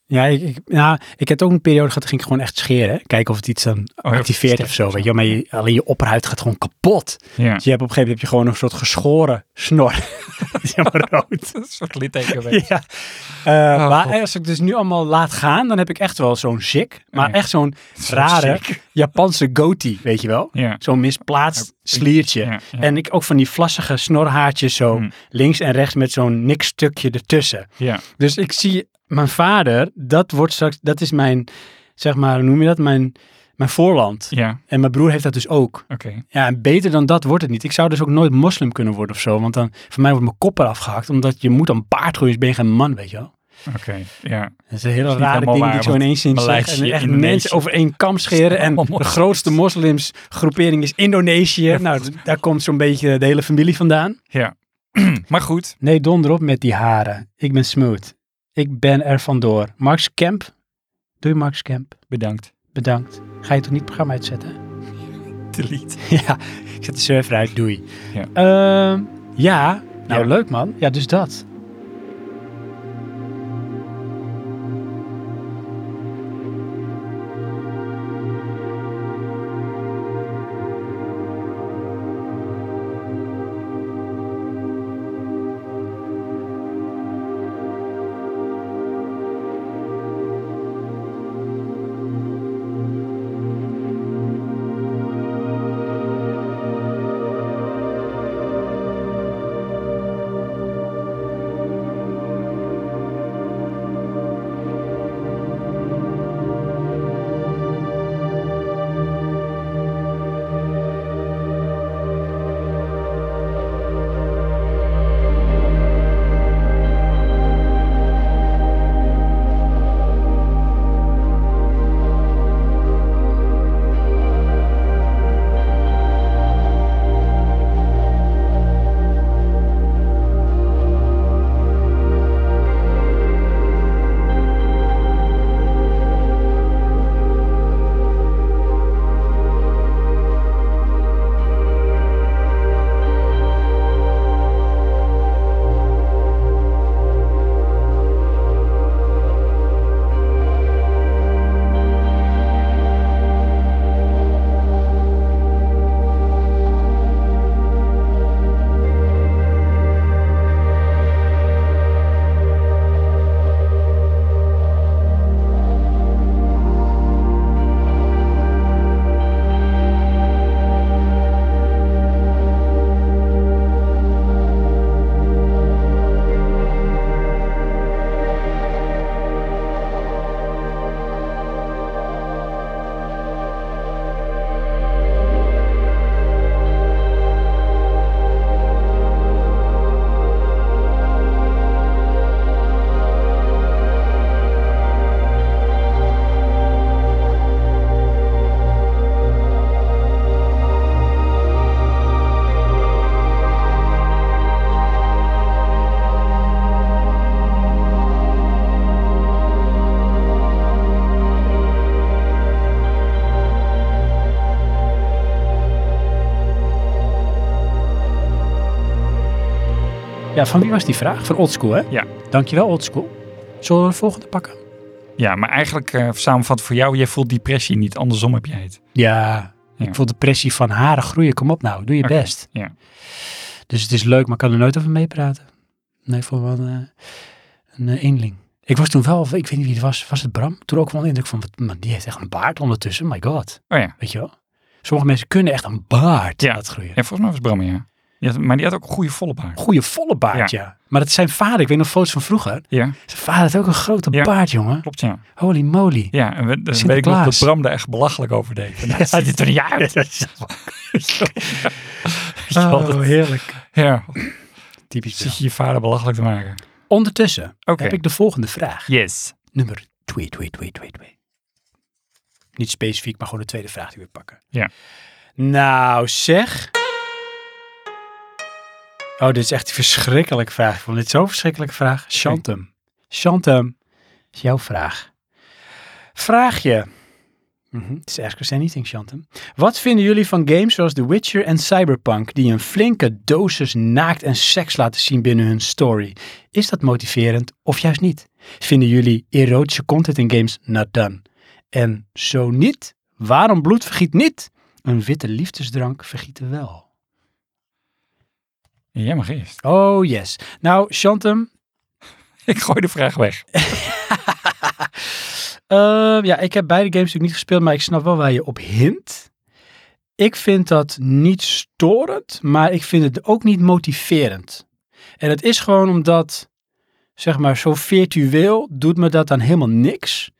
S1: Ja, ik, ik, nou, ik heb ook een periode gehad, toen ging ik gewoon echt scheren. Kijken of het iets dan
S2: Oh, heel
S1: activeert of
S2: sterk
S1: zo. Weet je, wel. maar je, alleen je opperhuid gaat gewoon kapot.
S2: Ja.
S1: Dus je hebt op een gegeven moment heb je gewoon een soort geschoren snor. Die is helemaal rood.
S2: Een soort litteken. weet je.
S1: Ja. Eh,
S2: Oh,
S1: maar
S2: God.
S1: als ik dus nu allemaal laat gaan, dan heb ik echt wel zo'n chic. Maar
S2: Ja.
S1: echt zo'n
S2: Zo'n
S1: rare
S2: chic.
S1: Japanse goatee, weet je wel?
S2: Ja.
S1: Zo'n misplaatst sliertje.
S2: Ja, ja.
S1: En ik ook van die vlassige snorhaartjes zo
S2: Hmm.
S1: links en rechts met zo'n niks stukje ertussen.
S2: Ja.
S1: Dus ik zie mijn vader, dat wordt straks, dat is mijn, zeg maar, hoe noem je dat? Mijn, mijn voorland.
S2: Ja,
S1: En mijn broer heeft dat dus ook.
S2: oké.
S1: Ja, en beter dan dat wordt het niet. Ik zou dus ook nooit moslim kunnen worden of zo. Want dan, voor mij wordt mijn kop eraf gehakt. Omdat je moet een paard groeien, dus ben je geen man, weet je wel.
S2: Oké, ja.
S1: Dat is een hele
S2: Dat is niet
S1: rare
S2: helemaal
S1: ding die
S2: waar,
S1: ik zo
S2: want
S1: ineens in zeg.
S2: Maleisië,
S1: En echt
S2: Indonesië.
S1: mensen over één kam scheren. En
S2: Allemaal
S1: de grootste moslimsgroepering is Indonesië. Nou, d- daar komt zo'n beetje de hele familie vandaan.
S2: ja. maar goed,
S1: Nee, donder op met die haren. Ik ben smooth. Ik ben er vandoor. Max Kemp. Doei Max Kemp.
S2: bedankt.
S1: Bedankt. Ga je toch niet het programma uitzetten?
S2: Delete.
S1: ja, ik zet de server uit. Doei.
S2: Ja.
S1: Ehm, ja. Nou,
S2: Ja.
S1: leuk man. Ja, dus dat. Ja, van wie was die vraag? Van Oldschool, hè?
S2: Ja.
S1: Dankjewel, Oldschool. Zullen we de volgende pakken?
S2: Ja, maar eigenlijk eh samenvat voor jou, jij voelt depressie niet. Andersom heb jij het.
S1: Ja,
S2: Ja.
S1: ik voel depressie van haren groeien. Kom op nou, doe je
S2: Oké,
S1: best.
S2: ja.
S1: Dus het is leuk, maar ik kan er nooit over meepraten. Nee, voor wel een, eh, een eh, eenling. Ik was toen wel, ik weet niet wie het was, was het Bram? Toen ook wel de indruk van, wat- man, die heeft echt een baard ondertussen. My god,
S2: Oh ja.
S1: weet je wel? Sommige mensen kunnen echt een baard
S2: Ja.
S1: laten groeien.
S2: Ja, volgens mij was Bram, ja. Die had- maar die had ook een goede volle baard.
S1: Goeie volle baard, ja. Maar dat is zijn vader. Ik weet nog foto's van vroeger.
S2: Ja,
S1: Zijn vader had ook een grote
S2: Ja.
S1: baard, jongen.
S2: klopt ja.
S1: Holy moly.
S2: Ja, en we, dan weet ik nog
S1: Sinterklaas.
S2: dat Bram daar echt belachelijk over deed. Van, dat ziet er niet uit.
S1: Oh.
S2: Ja, dat-
S1: heerlijk.
S2: ja,
S1: Typisch
S2: zit
S1: Bram.
S2: je je vader belachelijk te maken.
S1: Ondertussen
S2: Oké.
S1: heb ik de volgende vraag.
S2: Yes.
S1: Nummer 2, 2, 2, 2, 2. Niet specifiek, maar gewoon de tweede vraag die we pakken.
S2: Ja.
S1: Nou, zeg. Oh, dit is echt een verschrikkelijke vraag. Ik vond dit zo'n verschrikkelijke vraag. Chantem. Chantem, is jouw vraag. Vraag je. Mhm, Het is eigenlijk us anything, Chantem. Wat vinden jullie van games zoals The Witcher en Cyberpunk, die een flinke dosis naakt en seks laten zien binnen hun story? Is dat motiverend of juist niet? Vinden jullie erotische content in games not done? En zo niet, waarom bloed vergiet niet? Een witte liefdesdrank vergieten wel.
S2: Jij mag eerst.
S1: Oh yes. Nou, Chantem,
S2: Ik gooi de vraag weg.
S1: Ehm, ja, ik heb beide games natuurlijk niet gespeeld, maar ik snap wel waar je op hint. Ik vind dat niet storend, maar ik vind het ook niet motiverend. En het is gewoon omdat, zeg maar, zo virtueel doet me dat dan helemaal niks.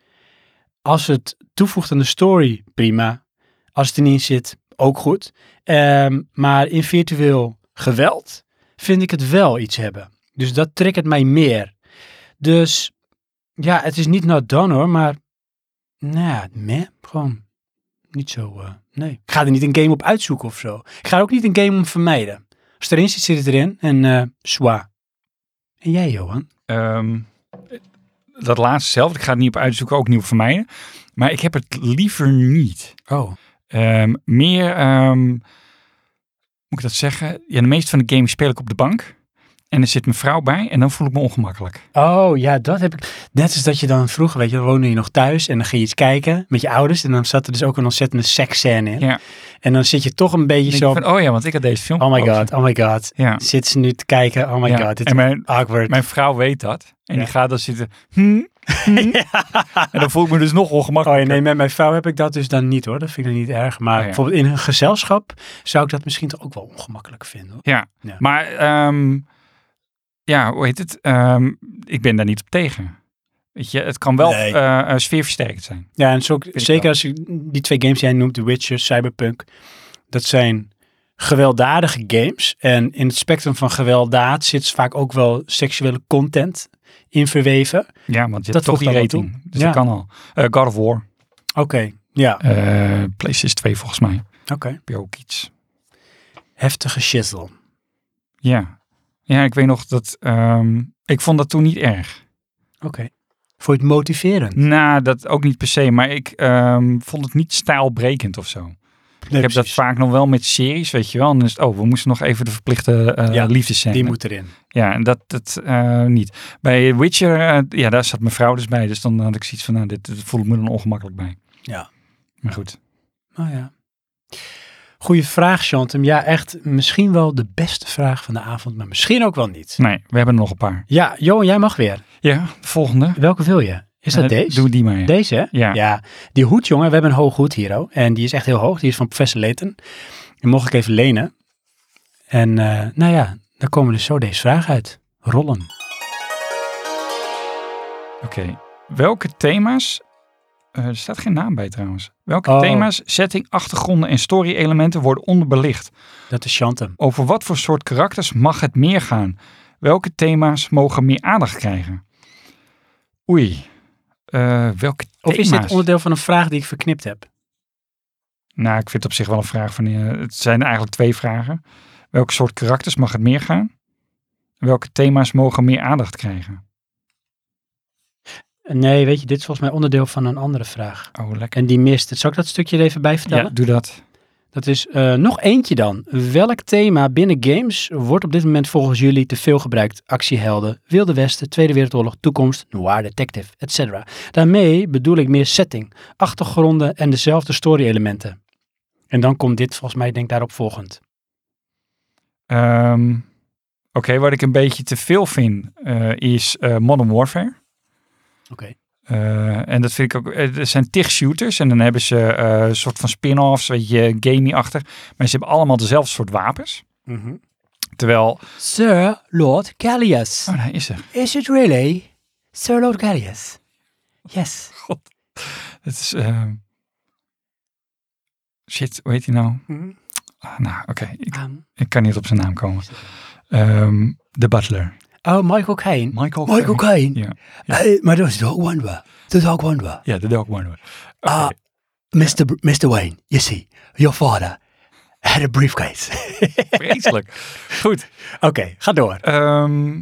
S1: Als het toevoegt aan de story, prima. Als het er niet in zit, ook goed. Ehm, maar in virtueel geweld vind ik het wel iets hebben. Dus dat triggert mij meer. Dus ja, het is niet not done hoor, maar nou ja, meh, gewoon niet zo, eh, nee. Ik ga er niet een game op uitzoeken of zo. Ik ga er ook niet een game om vermijden. Als het erin zit, zit het erin en eh zwa. En jij, Johan?
S2: Ehm, dat laatste zelf, ik ga het niet op uitzoeken, ook niet op vermijden. Maar ik heb het liever niet.
S1: Oh.
S2: Ehm, meer, ehm, moet ik dat zeggen? Ja, de meeste van de games speel ik op de bank. En er zit mijn vrouw bij en dan voel ik me ongemakkelijk.
S1: Oh, ja, dat heb ik. Net als dat je dan vroeger, weet je, dan woonde je nog thuis en dan ging je iets kijken met je ouders. En dan zat er dus ook een ontzettende seksscène in.
S2: Ja.
S1: En dan zit je toch een beetje
S2: Ik
S1: zo,
S2: denk van, oh ja, want ik had deze film
S1: oh my
S2: gekozen.
S1: god, oh my god.
S2: Ja.
S1: Zit ze nu te kijken, oh my
S2: ja.
S1: god, dit is
S2: en mijn,
S1: awkward.
S2: mijn vrouw weet dat. En
S1: Ja.
S2: die gaat dan zitten, hmm, En dan voel ik me dus nog
S1: Oh ja,
S2: ongemakkelijk.
S1: nee, met mijn vrouw heb ik dat dus dan niet hoor. Dat vind ik dan niet erg. Maar
S2: Oh ja.
S1: bijvoorbeeld in een gezelschap zou ik dat misschien toch ook wel ongemakkelijk vinden. Hoor.
S2: Ja,
S1: Ja.
S2: maar ehm, ja, hoe heet het? Ehm, ik ben daar niet op tegen. Weet je, het kan wel
S1: Nee.
S2: eh, eh, sfeerversterkend zijn.
S1: Ja, en zo,
S2: ik
S1: zeker
S2: wel.
S1: als je die twee games die jij noemt, The Witcher, Cyberpunk, dat zijn gewelddadige games. En in het spectrum van gewelddaad zit vaak ook wel seksuele content in verweven.
S2: Ja, want je
S1: Dat
S2: hebt toch
S1: voegt
S2: die
S1: daar wel
S2: rating. Dus
S1: Ja.
S2: dat kan al. Eh, God of War.
S1: Oké, ja,
S2: Eh PlayStation 2 volgens mij.
S1: oké.
S2: Heb je ook iets.
S1: Heftige shizzle.
S2: Ja. Ja, ik weet nog dat... ehm, ik vond dat toen niet erg.
S1: Oké. Vond je het motiverend?
S2: Nou, dat ook niet per se. Maar ik ehm, vond het niet stijlbrekend of zo.
S1: Nee,
S2: ik heb dat
S1: precies.
S2: vaak nog wel met series, weet je wel. En dan is het, oh, we moesten nog even de verplichte eh
S1: Ja,
S2: liefdescène.
S1: Die moet erin.
S2: Ja, en dat, dat eh, niet. Bij Witcher, eh, ja, daar zat mijn vrouw dus bij. Dus dan had ik zoiets van, nou, dit, dit voel ik me dan ongemakkelijk bij.
S1: Ja.
S2: Maar goed.
S1: Oh ja. Goeie vraag, Chantem. Ja, echt misschien wel de beste vraag van de avond, maar misschien ook wel niet.
S2: Nee, we hebben er nog een paar.
S1: Ja, Johan, jij mag weer.
S2: Ja, de volgende.
S1: Welke wil je? Is dat
S2: Eh,
S1: deze?
S2: Doe die maar. ja.
S1: Deze, hè?
S2: Ja.
S1: Die hoed, jongen. We hebben een hoog hoed hier, oh. En die is echt heel hoog. Die is van professor Leten. Die mocht ik even lenen. En eh, nou ja, dan komen dus zo deze vraag uit. Rollen.
S2: Oké. Welke thema's... eh, er staat geen naam bij trouwens. Welke
S1: Oh.
S2: thema's, setting, achtergronden en story-elementen worden onderbelicht?
S1: Dat is Chantem.
S2: Over wat voor soort karakters mag het meer gaan? Welke thema's mogen meer aandacht krijgen? Oei. Eh, welke
S1: Of is
S2: thema's?
S1: dit onderdeel van een vraag die ik verknipt heb?
S2: Nou, ik vind het op zich wel een vraag van... eh, het zijn eigenlijk twee vragen. Welke soort karakters mag het meer gaan? Welke thema's mogen meer aandacht krijgen?
S1: Nee, weet je, dit is volgens mij onderdeel van een andere vraag.
S2: Oh, lekker.
S1: En die mist het. Zal ik dat stukje er even bij vertellen?
S2: Ja, doe dat.
S1: Dat is eh, nog eentje dan. Welk thema binnen games wordt op dit moment volgens jullie te veel gebruikt? Actiehelden, Wilde Westen, Tweede Wereldoorlog, Toekomst, Noir Detective, etc. Daarmee bedoel ik meer setting, achtergronden en dezelfde story-elementen. En dan komt dit volgens mij, denk ik, daarop volgend.
S2: Ehm, Oké, wat ik een beetje te veel vind eh, is eh, Modern Warfare.
S1: Oké.
S2: Eh, en dat vind ik ook. eh, Er zijn tig shooters en dan hebben ze eh,
S1: Mhm.
S2: een soort van spin-offs, weet je, gaming-achtig. Maar ze hebben allemaal dezelfde soort wapens. Terwijl,
S5: Sir Lord Callias.
S1: Ah.
S2: oh, hij is er.
S5: Is it really Sir Lord Callias? Yes.
S2: Het is, ehm, shit, hoe heet hij nou?
S1: Mhm.
S5: Hmm.
S2: Ah, nou, oké, ik,
S5: Um,
S2: ik kan niet op zijn naam komen. Ehm, de butler.
S5: oh, Michael Caine.
S2: Michael
S5: Michael
S2: Caine.
S5: Caine?
S2: Ja.
S5: Hey, maar dat is de wonder. Dat is ook wonder.
S2: Ja, de dog one.
S5: Ah, Mr. Br- Mr. Wayne, you see, your father had a briefcase. Oké,
S2: Vreselijk. Goed.
S5: ga door.
S2: Ehm,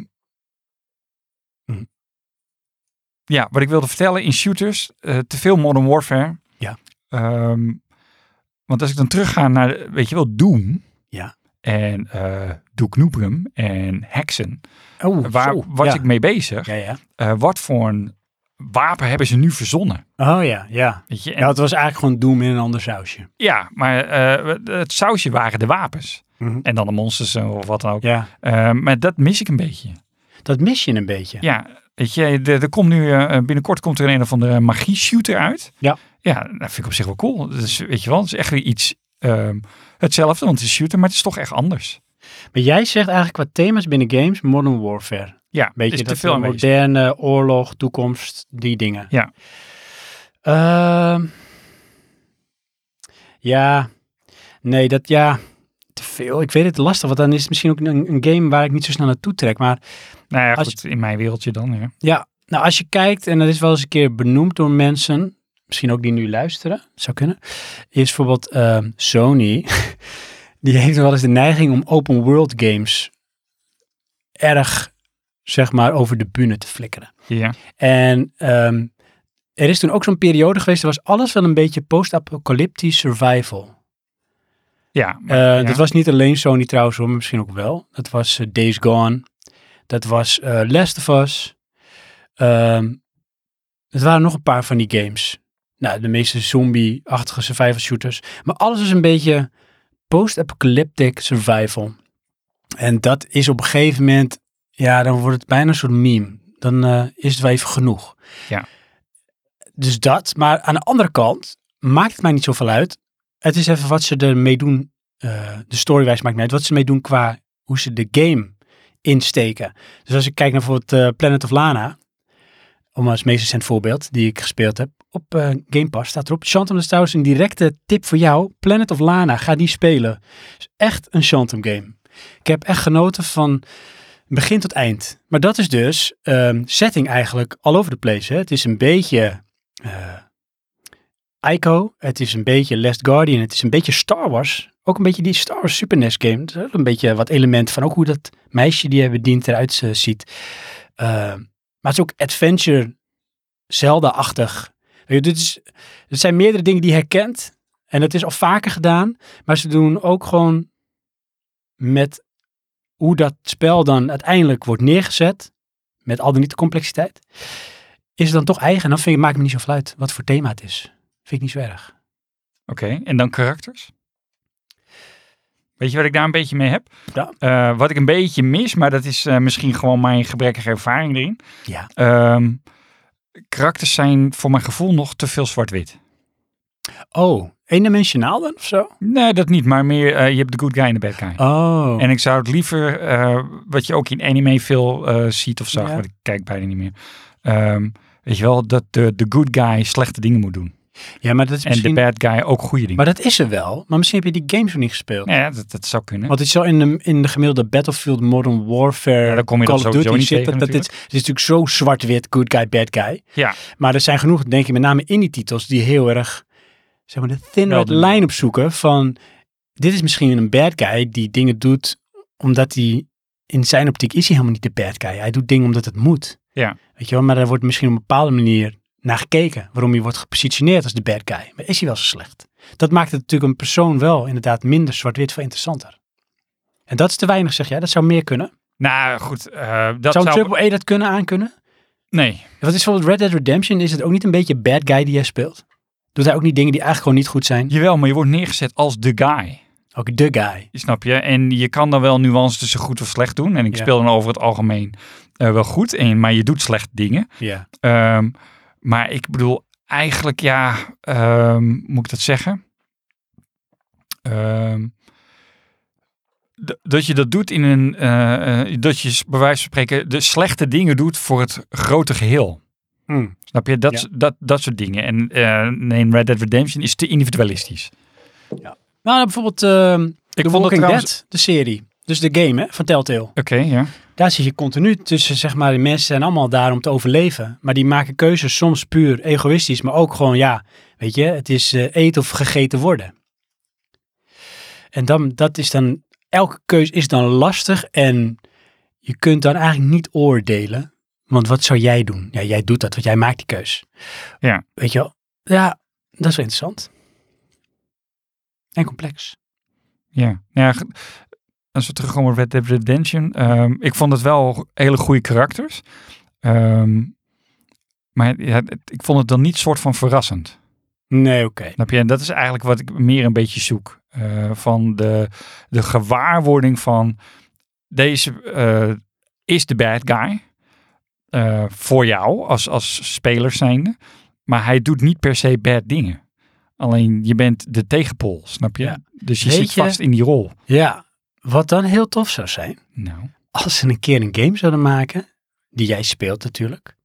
S5: Hm.
S2: ja, wat ik wilde vertellen in shooters, eh, te veel Modern Warfare.
S5: Ja.
S2: Ehm, want als ik dan terugga naar, weet je wel, Doom.
S5: Ja.
S2: En eh Duke Nukem en Hexen.
S5: Oh,
S2: Waar
S5: zo,
S2: was
S5: ja.
S2: ik mee bezig?
S5: Ja, ja.
S2: Eh, wat voor een wapen hebben ze nu verzonnen?
S1: Oh ja, ja.
S2: Weet je? En-
S1: Ja, het was eigenlijk gewoon Doom in een ander sausje.
S2: ja, maar eh, het sausje waren de wapens.
S1: Mhm.
S2: En dan de monsters eh, of wat dan ook.
S1: Ja,
S2: Eh, maar dat mis ik een beetje.
S1: dat mis je een beetje.
S2: Ja, weet je, er, er komt nu, eh, binnenkort komt er een of andere magie-shooter uit.
S1: Ja.
S2: Ja, dat vind ik op zich wel cool. Dus, weet je wel, het is echt weer iets ehm, hetzelfde, want het is shooter, maar het is toch echt anders.
S1: Maar jij zegt eigenlijk qua thema's binnen games, Modern Warfare.
S2: Ja,
S1: Beetje
S2: is te
S1: dat
S2: veel aanwezig.
S1: moderne, oorlog, toekomst, die dingen.
S2: Ja.
S1: Ehm, ja, nee, dat ja, te veel. Ik weet het lastig, want dan is het misschien ook een, een game waar ik niet zo snel naartoe trek. Maar
S2: Nou ja,
S1: als
S2: goed, in mijn wereldje dan, ja.
S1: Ja, nou als je kijkt, en dat is wel eens een keer benoemd door mensen, misschien ook die nu luisteren, zou kunnen, is bijvoorbeeld ehm, Sony, die heeft wel eens de neiging om open world games erg, zeg maar, over de bühne te flikkeren.
S2: Ja,
S1: En ehm, er is toen ook zo'n periode geweest, er was alles wel een beetje post-apocalyptisch survival.
S2: ja, maar-
S1: Eh,
S2: ja.
S1: Dat was niet alleen Sony trouwens hoor, maar misschien ook wel. Dat was eh, Days Gone. Dat was eh Last of Us. Ehm, het waren nog een paar van die games. Nou, de meeste zombie-achtige survival shooters. Maar alles is een beetje post-apocalyptic survival. En dat is op een gegeven moment, ja, dan wordt het bijna een soort meme. Dan eh, is het wel even genoeg.
S2: Ja.
S1: Dus dat, maar aan de andere kant maakt het mij niet zoveel uit. Het is even wat ze ermee doen eh, de storywijs maakt niet uit. Wat ze mee doen qua hoe ze de game insteken. Dus als ik kijk naar bijvoorbeeld eh, Planet of Lana. Om als meest recent voorbeeld die ik gespeeld heb. Op eh, Game Pass staat erop. Shantum dat is trouwens een directe tip voor jou. Planet of Lana, ga die spelen. is echt een Shantum game. Ik heb echt genoten van begin tot eind. Maar dat is dus ehm, setting eigenlijk all over the place. Hè? Het is een beetje... eh, Ico, het is een beetje Last Guardian, het is een beetje Star Wars. Ook een beetje die Star Wars Super NES game. Er is ook een beetje wat element van ook hoe dat meisje die hij bedient eruit eh, ziet. Eh, maar het is ook adventure Zelda-achtig. Weet je, Dit, is, dit zijn meerdere dingen die je herkent. En dat is al vaker gedaan. Maar ze doen ook gewoon met hoe dat spel dan uiteindelijk wordt neergezet. Met al dan niet de complexiteit. Is het dan toch eigen? En dan vind ik, maakt het me niet zoveel uit wat voor thema het is. Vind ik niet zo erg.
S2: Oké, en dan karakters? Weet je wat ik daar een beetje mee heb?
S1: Ja.
S2: Eh, wat ik een beetje mis, maar dat is eh, misschien gewoon mijn gebrekkige ervaring erin.
S1: Ja.
S2: Ehm, karakters zijn voor mijn gevoel nog te veel zwart-wit.
S1: Oh, eendimensionaal dan of zo?
S2: Nee, dat niet, maar meer eh, je hebt de good guy en de bad guy.
S1: Oh.
S2: En ik zou het liever, eh, wat je ook in anime veel eh, ziet of zag,
S1: Ja.
S2: want ik kijk bijna niet meer. Ehm, weet je wel, dat de, de good guy slechte dingen moet doen.
S1: ja, maar dat is misschien...
S2: En de bad guy ook goede dingen.
S1: Maar dat is er wel. Maar misschien heb je die games nog niet gespeeld.
S2: ja, dat, dat zou kunnen.
S1: Want het is zo in de, in de gemiddelde Battlefield, Modern Warfare,
S2: Ja, daar kom je
S1: Call
S2: dan
S1: of
S2: sowieso
S1: Duty
S2: niet
S1: shit.
S2: tegen
S1: dat, dat dit, het is natuurlijk zo zwart-wit, good guy, bad guy.
S2: Ja.
S1: Maar er zijn genoeg, denk ik, met name in die titels, die heel erg, zeg maar, de thin
S2: Wel
S1: red
S2: doen.
S1: line opzoeken van, dit is misschien een bad guy die dingen doet omdat hij, in zijn optiek is hij helemaal niet de bad guy. Hij doet dingen omdat het moet.
S2: Ja.
S1: Weet je wel, maar daar wordt misschien op een bepaalde manier naar gekeken, waarom hij wordt gepositioneerd als de bad guy. Maar is hij wel zo slecht? Dat maakt het natuurlijk een persoon wel inderdaad minder zwart-wit voor interessanter. En dat is te weinig, zeg jij. Dat zou meer kunnen.
S2: Nou goed, eh, dat
S1: zou
S2: zou...
S1: een triple E dat kunnen aankunnen?
S2: Nee,
S1: Wat is bijvoorbeeld Red Dead Redemption? Is het ook niet een beetje bad guy die jij speelt? Doet hij ook niet dingen die eigenlijk gewoon niet goed zijn?
S2: jawel, maar je wordt neergezet als de guy.
S1: Ook de guy.
S2: Snap je? En je kan dan wel nuance tussen goed of slecht doen. En ik
S1: Ja.
S2: speel dan over het algemeen eh, wel goed, en, maar je doet slecht dingen.
S1: Ja.
S2: Ehm, maar ik bedoel, eigenlijk ja, ehm, moet ik dat zeggen? Ehm, d- dat je dat doet in een, eh, eh, dat je s- bij wijze van spreken de slechte dingen doet voor het grote geheel.
S1: Hmm.
S2: Snap je? Dat,
S1: Ja.
S2: s- dat, dat soort dingen. En eh, nee, Red Dead Redemption is te individualistisch.
S1: Nou, bijvoorbeeld ehm
S2: Ik
S1: The
S2: vond het
S1: Walking
S2: trouwens...
S1: Dead, de serie. Dus de game hè, van Telltale.
S2: Oké, ja.
S1: Daar zit je continu tussen, zeg maar, de mensen zijn allemaal daar om te overleven. Maar die maken keuzes soms puur egoïstisch, maar ook gewoon, ja, weet je, het is eh, eten of gegeten worden. En dan, dat is dan, elke keuze is dan lastig en je kunt dan eigenlijk niet oordelen. Want wat zou jij doen? Ja, jij doet dat, want jij maakt die keus.
S2: Ja.
S1: Weet je wel? Ja, dat is wel interessant. En complex.
S2: Ja, Nou ja, ge- als we terugkomen op Red Dead Redemption. ehm, ik vond het wel hele goede karakters. Ehm, maar ja, het- ik vond het dan niet soort van verrassend.
S1: Nee, oké.
S2: Snap je? En dat is eigenlijk wat ik meer een beetje zoek. eh, van de, de gewaarwording van deze eh, is de bad guy. eh, voor jou als, als speler zijnde. Maar hij doet niet per se bad dingen. Alleen je bent de tegenpool, snap je?
S1: Ja.
S2: Dus je
S1: Weet
S2: zit
S1: je-
S2: vast in die rol.
S1: Ja, wat dan heel tof zou zijn.
S2: Nou.
S1: als ze een keer een game zouden maken, die jij speelt natuurlijk.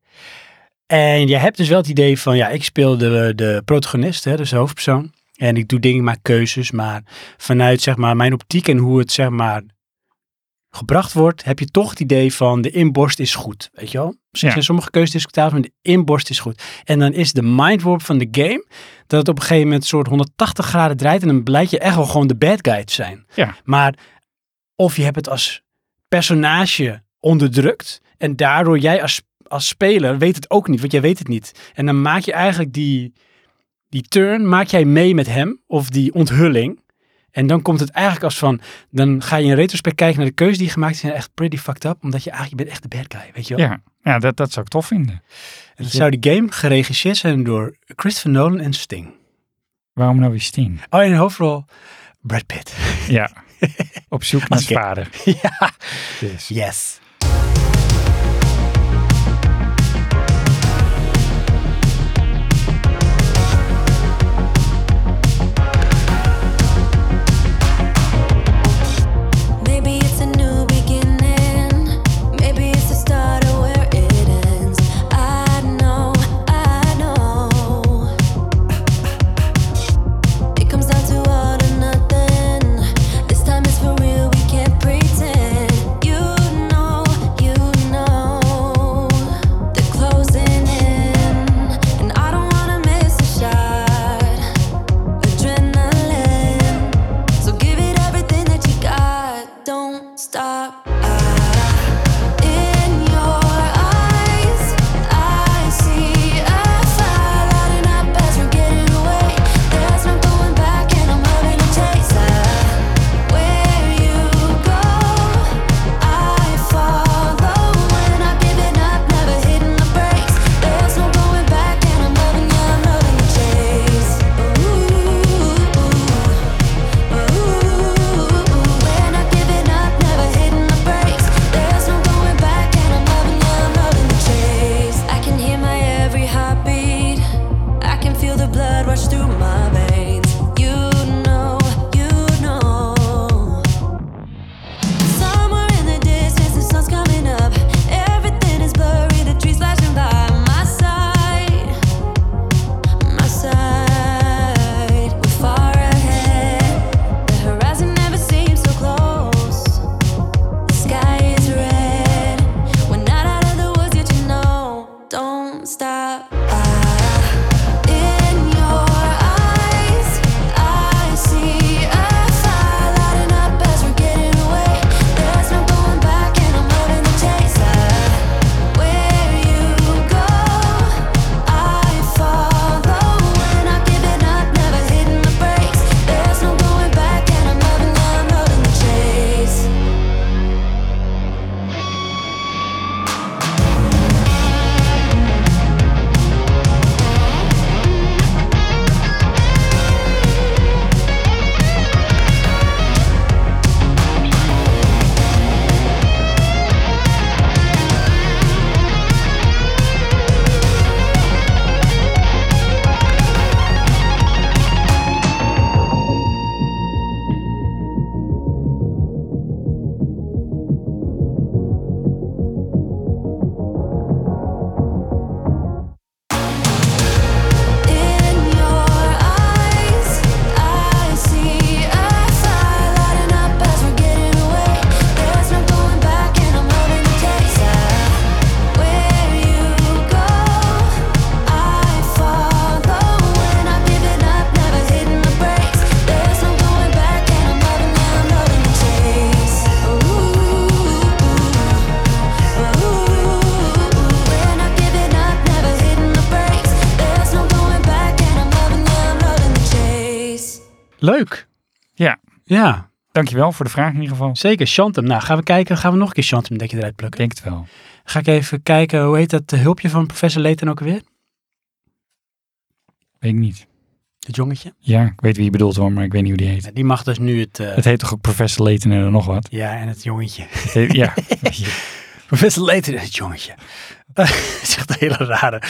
S1: En je hebt dus wel het idee van, ja, ik speel de, de protagonist, hè, dus de hoofdpersoon. En ik doe dingen, ik maak keuzes, maar vanuit zeg maar, mijn optiek en hoe het zeg maar, gebracht wordt, heb je toch het idee van de inborst is goed. Weet je wel? Misschien
S2: Ja.
S1: zijn sommige keuzes discutabel, maar de inborst is goed. En dan is de mindwarp van de game dat het op een gegeven moment een soort 180 graden draait en dan blijkt je echt wel gewoon de bad guy te zijn.
S2: Ja.
S1: Maar of je hebt het als personage onderdrukt. En daardoor jij als, als speler weet het ook niet, want jij weet het niet. En dan maak je eigenlijk die, die turn, maak jij mee met hem of die onthulling. En dan komt het eigenlijk als van, dan ga je in retrospect kijken naar de keuze die je gemaakt is. En echt pretty fucked up, omdat je eigenlijk, je bent echt de bad guy, weet je wel.
S2: Ja, ja dat, dat zou ik tof vinden.
S1: en dan zou die game geregisseerd zijn door Christopher Nolan en Sting.
S2: Waarom nou weer Steen?
S1: Oh, en in de hoofdrol Brad Pitt.
S2: Ja, op zoek naar
S1: Als
S2: zijn
S1: ik-
S2: vader.
S1: ja,
S2: Dus.
S1: yes.
S6: Maybe it's a new beginning. Maybe it's the start of where it ends. I know, I know. It comes down to all or nothing. This time it's for real, we can't pretend. You know,
S1: Leuk.
S2: Ja.
S1: Ja,
S2: Dankjewel voor de vraag in ieder geval.
S1: zeker. Chantem. Nou, gaan we kijken. Gaan we nog een keer Chantem dat je eruit
S2: Ik
S1: plukken?
S2: denk het wel.
S1: Ga ik even kijken. Hoe heet dat eh, hulpje van professor Leighton ook alweer?
S2: Weet ik niet.
S1: Dat jongetje.
S2: Ja, ik weet wie je bedoelt hoor, maar ik weet niet hoe die heet.
S1: Nou, die mag dus nu het... eh,
S2: Het heet toch ook Professor Layton en dan nog wat?
S1: Ja, en het jongetje.
S2: Het heet- ja.
S1: Professor Leighton en het jongetje. Eh, dat is echt een hele rare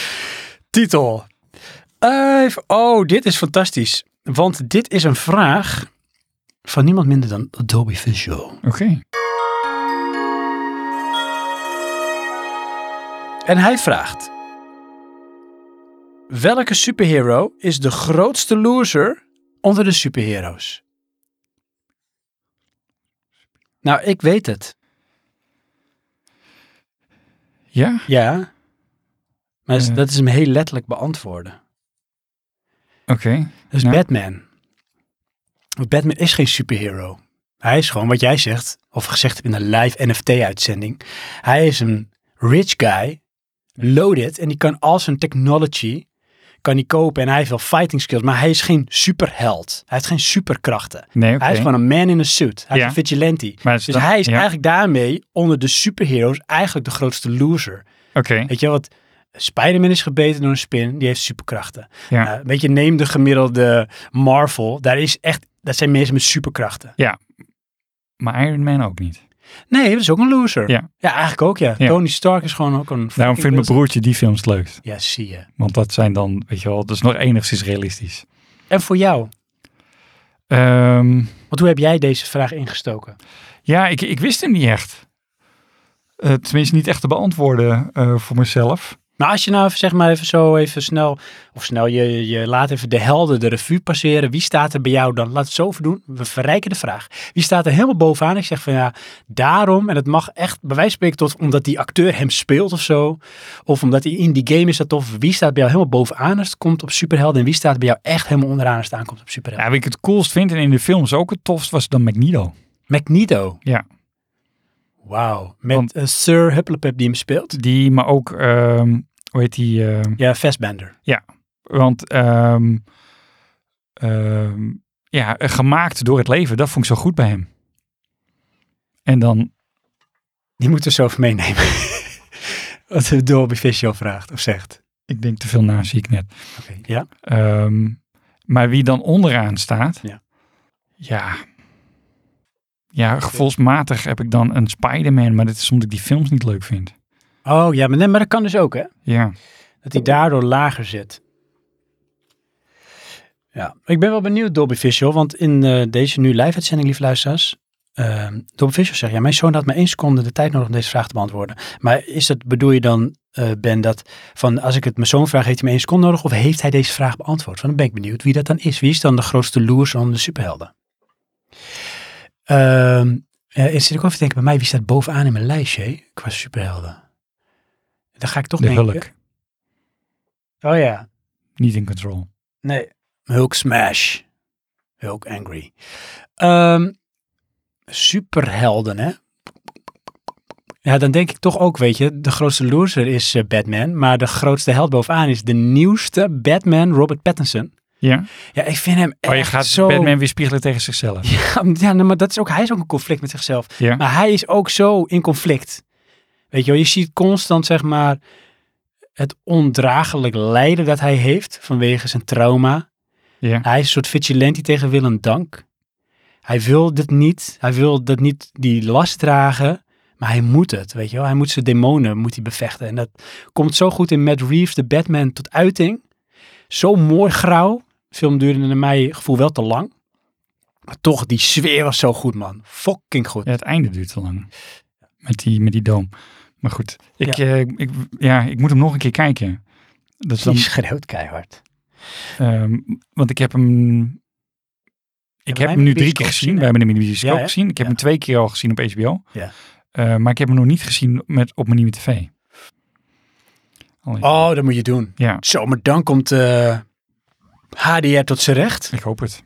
S1: titel. Eh, even- oh, dit is fantastisch. Want dit is een vraag van niemand minder dan Adobe Visual.
S2: Oké.
S1: En hij vraagt... Welke superhero is de grootste loser onder de superhero's? Nou, ik weet het.
S2: Ja?
S1: Ja. Maar is-
S2: Eh.
S1: dat is hem heel letterlijk beantwoorden.
S2: Oké.
S1: Dat is
S2: Nou.
S1: Dus Batman. Want Batman is geen superhero. Hij is gewoon wat jij zegt, of gezegd hebt in een live NFT-uitzending. Hij is een rich guy, loaded, en die kan al zijn technology kan die kopen. En hij heeft wel fighting skills, maar hij is geen superheld. Hij heeft geen superkrachten.
S2: Nee, oké.
S1: Hij is gewoon een man in a suit. Hij
S2: Ja.
S1: is een vigilante.
S2: Maar is
S1: dus
S2: dat-
S1: hij is
S2: ja.
S1: eigenlijk daarmee onder de superheroes eigenlijk de grootste loser.
S2: Oké.
S1: Weet je wat? Spider-Man is gebeten door een spin, die heeft superkrachten.
S2: Ja.
S1: Nou, weet je, neem de gemiddelde Marvel, daar is echt, dat zijn mensen met superkrachten.
S2: Maar Iron Man ook niet.
S1: Nee, dat is ook een loser.
S2: Ja.
S1: eigenlijk ook ja.
S2: Ja.
S1: Tony Stark is gewoon ook een...
S2: Daarom vindt mijn broertje die films leuk.
S1: Ja, zie je.
S2: Want dat zijn dan, weet je wel, dat is nog enigszins realistisch.
S1: En voor jou,
S2: Ehm,
S1: want hoe heb jij deze vraag ingestoken?
S2: ja, ik, ik wist hem niet echt. Eh, tenminste, niet echt te beantwoorden eh, voor mezelf.
S1: Maar als je nou even, zeg maar even zo even snel, of snel, je, je laat even de helden de revue passeren. Wie staat er bij jou dan? Laat het zo even doen. We verrijken de vraag. Wie staat er helemaal bovenaan? Ik zeg van ja, daarom, en dat mag echt bij wijze van spreken tot omdat die acteur hem speelt of zo. Of omdat hij in die game is dat tof. Wie staat bij jou helemaal bovenaan als het komt op superhelden? En wie staat bij jou echt helemaal onderaan als het aankomt op
S2: Ja,
S1: superhelden?
S2: wie ik het coolst vind en in de films ook het tofst was dan Magneto.
S1: Magneto.
S2: Ja.
S1: Wauw. Met
S2: Want-
S1: eh, Sir Hupplepup die hem speelt.
S2: Die, maar ook, ehm, hoe heet die? ehm,
S1: Ja, Fassbender.
S2: Want ehm, ehm, ja, eh, gemaakt door het leven, dat vond ik zo goed bij hem. En dan,
S1: Die moeten we zo even meenemen. Wat de Dolby Visual vraagt of zegt.
S2: ik denk te veel na, zie ik net.
S1: Oké. Ja.
S2: Ehm, maar wie dan onderaan staat,
S1: Ja.
S2: ja, ja, gevoelsmatig heb ik dan een Spider-Man, maar dit is omdat ik die films niet leuk vind.
S1: Oh ja, maar, nee, maar dat kan dus ook hè.
S2: Ja,
S1: Dat hij daardoor lager zit. Ja, ik ben wel benieuwd Dolby Visual. Want in eh, deze nu live uitzending, lieve luisteraars. ehm Dolby Visual zegt, ja mijn zoon had maar één seconde de tijd nodig om deze vraag te beantwoorden. Maar is dat, bedoel je dan eh, Ben dat van als ik het mijn zoon vraag, heeft hij maar één seconde nodig? Of heeft hij deze vraag beantwoord? Van dan ben ik benieuwd wie dat dan is. Wie is dan de grootste loser onder de superhelden? Ehm eh, ik zit ook even te denken bij mij, wie staat bovenaan in mijn lijstje hè, qua superhelden? Dan ga ik toch
S2: de
S1: denken.
S2: Hulk,
S1: Oh ja.
S2: niet in control.
S1: Nee. Hulk Smash. Hulk Angry. Ehm, superhelden, hè? Ja, dan denk ik toch ook, weet je, de grootste loser is eh, Batman. Maar de grootste held bovenaan is de nieuwste Batman, Robert Pattinson.
S2: Ja,
S1: Ja, ik vind hem echt
S2: oh, je gaat
S1: zo...
S2: Batman weer spiegelen tegen zichzelf.
S1: Ja, nou, maar dat is ook, hij is ook een conflict met zichzelf.
S2: Ja.
S1: Maar hij is ook zo in conflict. Weet je wel, je ziet constant zeg maar het ondraaglijk lijden dat hij heeft vanwege zijn trauma.
S2: Ja.
S1: Hij is een soort vigilante tegen wil en dank. Hij wil dit niet. Hij wil dat niet die last dragen. Maar hij moet het, weet je wel. Hij moet zijn demonen moet hij bevechten. En dat komt zo goed in Matt Reeves, de Batman, tot uiting. Zo mooi grauw. De film duurde naar mijn gevoel wel te lang. Maar toch, die sfeer was zo goed, man. Fucking goed.
S2: Ja, het einde duurt te lang. Met die, met die doom. Maar goed, ik, eh, ik, ja, ik moet hem nog een keer kijken. Dat is dan,
S1: Die schreeuwt keihard.
S2: ehm, want ik heb hem. Ik
S1: wij
S2: heb
S1: hem
S2: hem
S1: in
S2: nu
S1: de
S2: drie
S1: bioscoop
S2: keer gezien.
S1: gezien, hè?
S2: We hebben hem in de bioscoop
S1: Ja, hè?
S2: gezien. Ik
S1: Ja.
S2: heb hem twee keer al gezien op HBO.
S1: Ja.
S2: Eh, maar ik heb hem nog niet gezien met, op mijn nieuwe tv. Alleen-
S1: Oh, dat moet je doen.
S2: Ja,
S1: Zo, maar dan komt eh HDR tot zijn recht.
S2: ik hoop het.